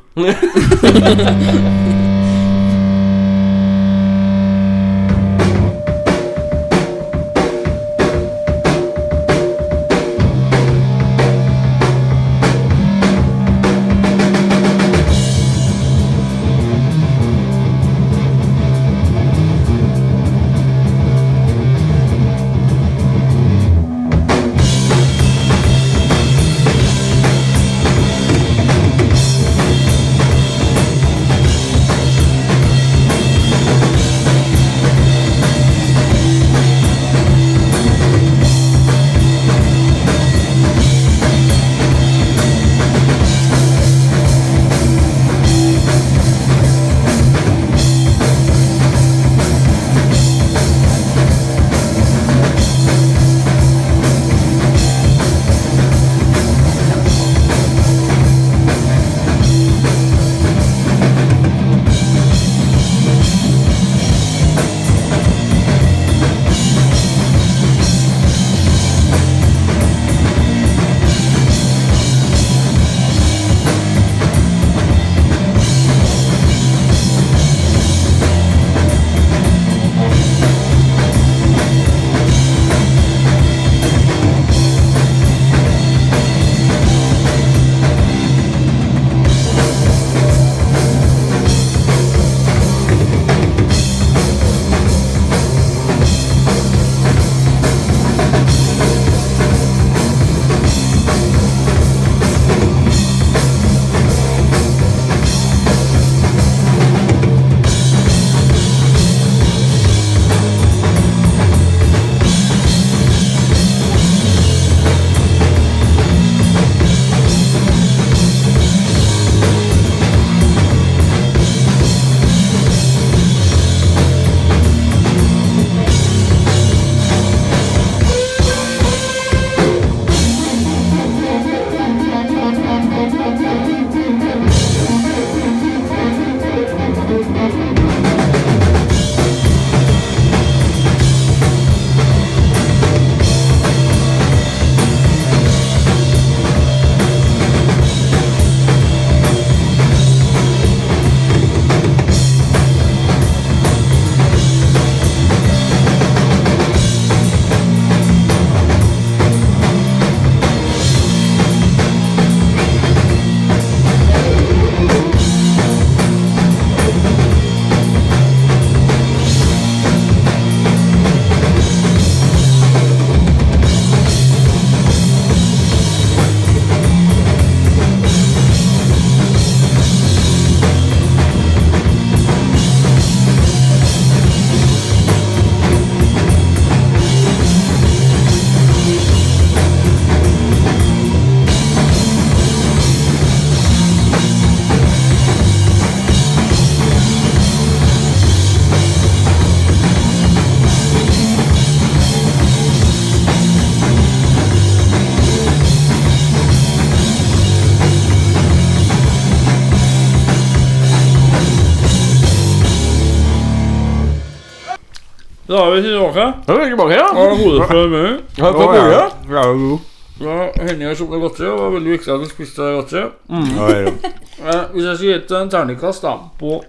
Speaker 2: Da er vi tilbake.
Speaker 4: Jeg er tilbake, ja.
Speaker 2: Har hodet for mye.
Speaker 4: Jeg er tilbake, ja.
Speaker 2: Ja, Henning har sukka godteri. Det var veldig viktig at hun spiste godteri.
Speaker 3: Oi,
Speaker 2: Eh, Hvis jeg skulle gitt en terningkast da på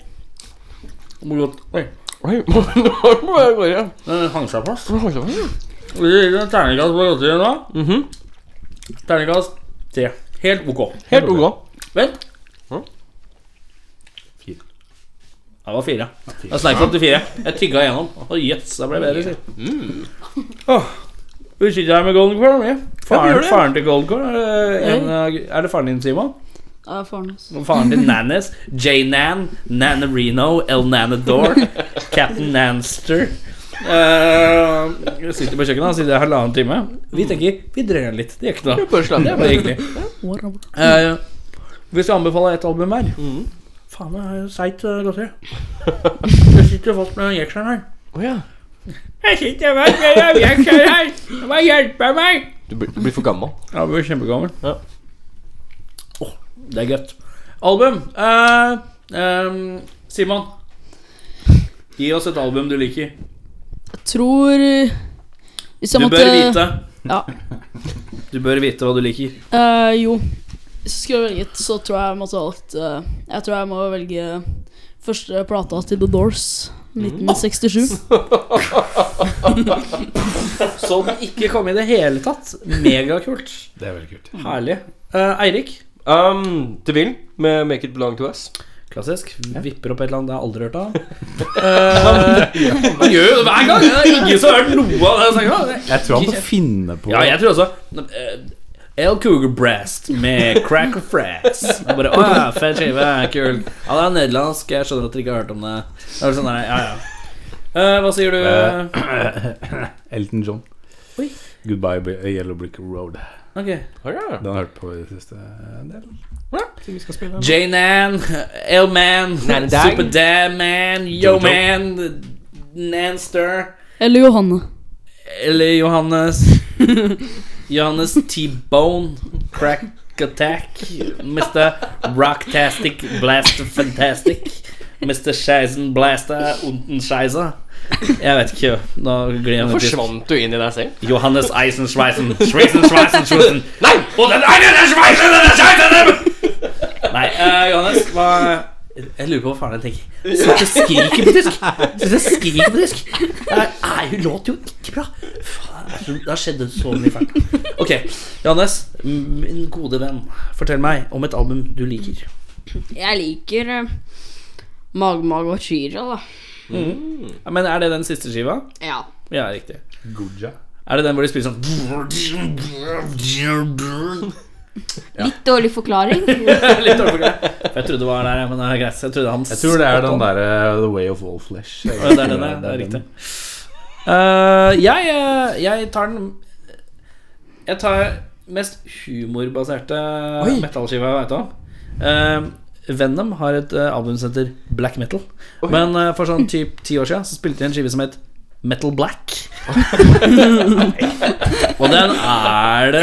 Speaker 2: Morot Oi,
Speaker 4: Oi, nå er jeg tilbake, ja.
Speaker 2: den hang seg fast.
Speaker 4: Nå er jeg tilbake.
Speaker 2: Hvis jeg gir en terningkast på godteriet nå
Speaker 4: Mhm.
Speaker 2: Terningkast tre. Helt ok.
Speaker 4: Helt ok.
Speaker 2: Vent.
Speaker 4: Ja.
Speaker 3: Fire.
Speaker 2: Det var fire. Jeg sneik opp til fire. Jeg tygga igjennom. Å, yes, det ble bedre. sier. Åh, Vi sitter her med Golden Core. Vi.
Speaker 4: Mm. vi gjør
Speaker 2: Faren,
Speaker 4: det.
Speaker 2: faren til Golden Core. Er, det en av- er det faren din, Simon?
Speaker 6: Ja, faren hans.
Speaker 2: Og Faren til Nannes. J-Nan, Nan Reno, El Nanador, Captain Nanster. Uh, sitter på kjøkkenet, han sitter der halvannen time. Vi tenker vi drøyer litt. Det gjør ikke noe.
Speaker 4: Bare slapp
Speaker 2: Det er bare hyggelig.
Speaker 6: What about-
Speaker 2: Eh, hvis jeg anbefaler ett album her
Speaker 4: Mm.
Speaker 2: Faen, det er seigt eh, godteri. Jeg sitter fast med den jekselen her.
Speaker 4: Å ja.
Speaker 2: Jeg sitter fast med den jekselen her! Du må hjelpe meg!
Speaker 4: Du blir, du blir for gammel.
Speaker 2: Ja, du blir kjempegammel.
Speaker 4: Ja.
Speaker 2: Åh, det er godt. Album. eh, ehm, Simon, gi oss et album du liker.
Speaker 6: Jeg tror eh, Hvis jeg
Speaker 2: Du
Speaker 6: måtte
Speaker 2: bør vite.
Speaker 6: Ja.
Speaker 2: Du bør vite hva du liker.
Speaker 6: Eh, jo. Hvis jeg skulle velget, så tror jeg jeg måtte ha valgt eh, Jeg tror jeg må velge første plata til The Doors. 1967.
Speaker 2: Så den Sånn ikke kom i det hele tatt. Megakult.
Speaker 3: det er veldig kult.
Speaker 2: Herlig. Eh, Eirik?
Speaker 4: Um, The Will med Make It Belong To Us.
Speaker 2: Klassisk. Vipper opp et eller annet jeg aldri har hørt av. Eh, Han gjør jo det hver gang! Det er ingen som har hørt noe av det. jeg snakker om.
Speaker 3: Jeg tror han må finne på
Speaker 2: Ja, jeg tror også eh, El Cougar Breast med Crack and Frass. Og Bare, Å ja, fet skive, kul. Ja, det er nederlandsk, jeg skjønner at dere ikke har hørt om det. det er sånn, der, ja, ja. Eh, hva sier du?
Speaker 3: Elton John.
Speaker 2: Oi.
Speaker 3: Goodbye Bri- Yellow Brick Road.
Speaker 2: Ok.
Speaker 3: Den har jeg hørt på i det siste eh, del.
Speaker 2: J-Nan, L-Man,
Speaker 4: Nan Dang.
Speaker 2: Superdam-Man, Yo-Man, Nanster
Speaker 6: Eller Johanne.
Speaker 2: Eller Johannes Johannes T-Bone Crack Attack Mr. Rocktastic Blaster Fantastic Mr. Scheisen Blaster Unten Scheiser Jeg vet ikke, nå glir jeg litt.
Speaker 4: Forsvant du inn i deg selv?
Speaker 2: Johannes Eisenschweisen Schweisen, Schweisen, Schweisen
Speaker 4: Nei!
Speaker 2: Og den ene er Schweisen, den er Scheisen Nei, eh, Johannes hva, Jeg lurer på hva faen jeg tenker Slutt å skrike på tysk Slutt å skrike på tysk Nei, nei, hun låter jo ikke bra Faen, det er så- det har skjedd så mye feil Ok, Johannes Min gode venn Fortell meg om et album du liker
Speaker 7: Jeg liker eh, Mag Mag og Chira, da.
Speaker 2: Ja, Men er det den siste skiva?
Speaker 7: Ja.
Speaker 2: Ja, riktig
Speaker 3: Guja.
Speaker 2: Er det den hvor de spiller sånn
Speaker 7: Litt dårlig forklaring.
Speaker 2: Litt dårlig forklart. For jeg trodde det var der, men det er greit. Jeg trodde han
Speaker 3: Jeg tror det er den derre The Way of All Flesh.
Speaker 2: Ja, det er den, ja. Det er riktig. Eh, jeg, eh, jeg tar den Jeg tar mest humorbaserte
Speaker 4: Oi.
Speaker 2: metallskiva jeg veit om. Eh, Venom har et eh, album som heter Black Metal. Men eh, for sånn typ ti år siden så spilte de en skive som het Metal Black. Og den er det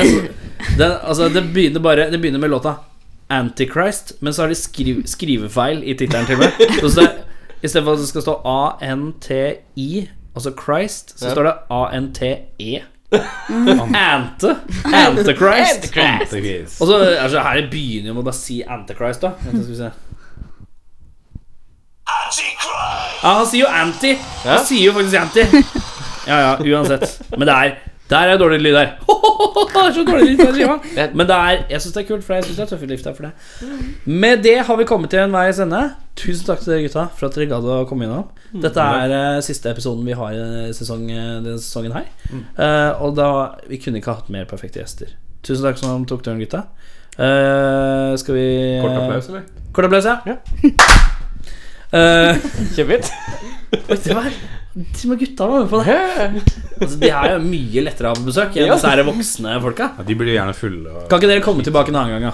Speaker 2: den, Altså, det begynner bare Det begynner med låta Antichrist, men så har de skriv, skrivefeil i tittelen til og med. Så det, I stedet for at det skal stå A-N-T-I, altså Christ, så står det A-N-T-E. E. Ante. Antichrist.
Speaker 3: Antichrist.
Speaker 2: Og så altså, her begynner jo med å bare si Antichrist, da. Vent, skal vi se. Ja, han sier jo anti. Han sier jo faktisk anti. Ja, ja, uansett. Men det er der er dårlig lyd her. Det er så dårlig lyd på den skiva. Men det er, jeg syns det er kult, for jeg syns det er tøffe liv der for det. Med det har vi kommet til en veis ende. Tusen takk til dere gutta for at dere gadd å komme innom. Dette er eh, siste episoden vi har i denne sesong, eh, denne sesongen her. Eh, og da Vi kunne ikke hatt mer perfekte gjester. Tusen takk som tok turen, gutta. Eh, skal vi
Speaker 3: Kort applaus, eller?
Speaker 2: Kort applaus, ja. Eh,
Speaker 4: Kjempefint.
Speaker 2: Oi, det var Til og med gutta var med på det. Altså, de er jo mye lettere å ha på besøk enn
Speaker 4: Ja.
Speaker 2: disse her voksne folka.
Speaker 3: Ja, de blir jo gjerne fulle og
Speaker 2: Kan ikke dere komme tilbake en annen gang, da?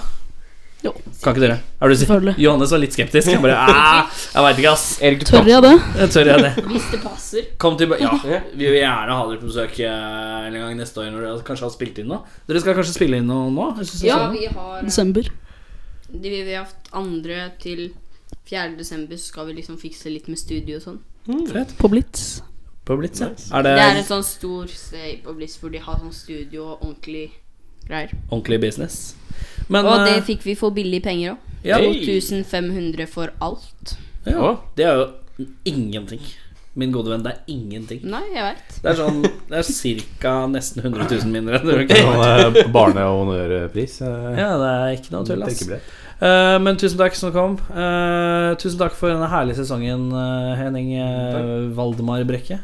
Speaker 6: Jo.
Speaker 2: Kan ikke dere? Er du si-
Speaker 6: Selvfølgelig.
Speaker 2: Johannes var litt skeptisk. Jeg bare "Ah, Jeg veit ikke, ass.
Speaker 4: Erik, du
Speaker 6: Tør jeg det?
Speaker 2: Jeg tør jeg det?
Speaker 7: Hvis det passer.
Speaker 2: Kom tilbake. Ja, vi vil gjerne ha dere på besøk eh, en gang neste år når dere kanskje har spilt inn noe. Dere skal kanskje spille inn noe nå? Jeg synes jeg
Speaker 7: Ja,
Speaker 2: så noe.
Speaker 7: vi har eh,
Speaker 6: Desember.
Speaker 7: de vi har hatt andre til 4. desember, så skal vi liksom fikse litt med studio og sånn.
Speaker 2: Fett.
Speaker 6: På Blitz.
Speaker 2: på Blitz, ja. Er det
Speaker 7: Det er en sånn stor sted på Bliss hvor de har sånn studio og ordentlig greier.
Speaker 2: ordentlig business? Men
Speaker 7: Og det
Speaker 2: eh,
Speaker 7: fikk vi for billige penger òg.
Speaker 2: ja,
Speaker 4: Hey.
Speaker 7: 2500 for alt.
Speaker 2: ja,
Speaker 4: Å.
Speaker 2: det er jo ingenting. Min gode venn, det er ingenting.
Speaker 7: Nei, jeg veit.
Speaker 2: Det er sånn Det er cirka nesten 100 000 mindre. enn det
Speaker 3: Sånn
Speaker 2: var.
Speaker 3: eh, barne- og honnørpris. eh,
Speaker 2: Ja, det er ikke noe tull, ass.
Speaker 3: tenkebrett.
Speaker 2: Eh, men tusen takk som kom. Eh, tusen takk for denne herlige sesongen, eh, Henning eh, Valdemar Brekke.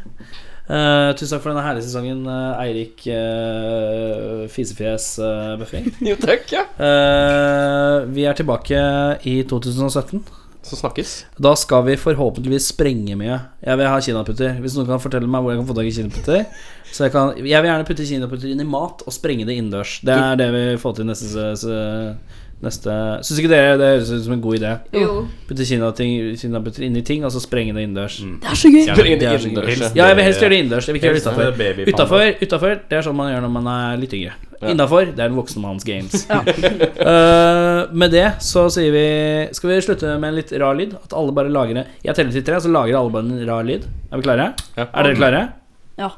Speaker 2: Eh, tusen takk for denne herlige sesongen, eh, Eirik eh, Fisefjes eh, Bøffing.
Speaker 4: Jo, takk, ja.
Speaker 2: Eh, vi er tilbake i 2017.
Speaker 4: Så snakkes.
Speaker 2: Da skal vi forhåpentligvis sprenge mye. Jeg vil ha kinaputter. Hvis noen kan fortelle meg hvor jeg kan få tak i kinaputter Så jeg, kan, jeg vil gjerne putte kinaputter inn i mat og sprenge det innendørs. Det er det vi får til neste, se- se- neste Syns ikke dere det høres ut som en god idé?
Speaker 7: Jo.
Speaker 2: Putte kinating- kinaputter inn i ting, og så sprenge det innendørs.
Speaker 6: Det er så gøy.
Speaker 4: Inn-
Speaker 2: det er så
Speaker 4: innendørs,
Speaker 3: gøy.
Speaker 4: ja.
Speaker 2: Ja, jeg vil helst gjøre det innendørs. Jeg vil ikke gjøre det
Speaker 3: Mm. Helst
Speaker 2: utafor.
Speaker 3: med babypanna.
Speaker 2: Utafor, utafor, det er sånn man gjør når man er litt yngre.
Speaker 4: Ja.
Speaker 2: Innafor, det er en voksen manns games. Eh, med det så sier vi Skal vi slutte med en litt rar lyd? At alle bare lager en Jeg teller til tre, så lager alle bare en rar lyd. Er vi klare?
Speaker 4: Ja.
Speaker 2: Er dere klare?
Speaker 6: Ja.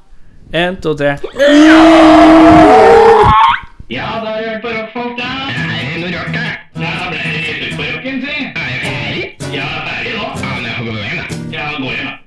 Speaker 2: En, to, tre.
Speaker 8: Ja, ferdig nå. Ja, men jeg får gå hjem, da. Ja, gå hjem, da.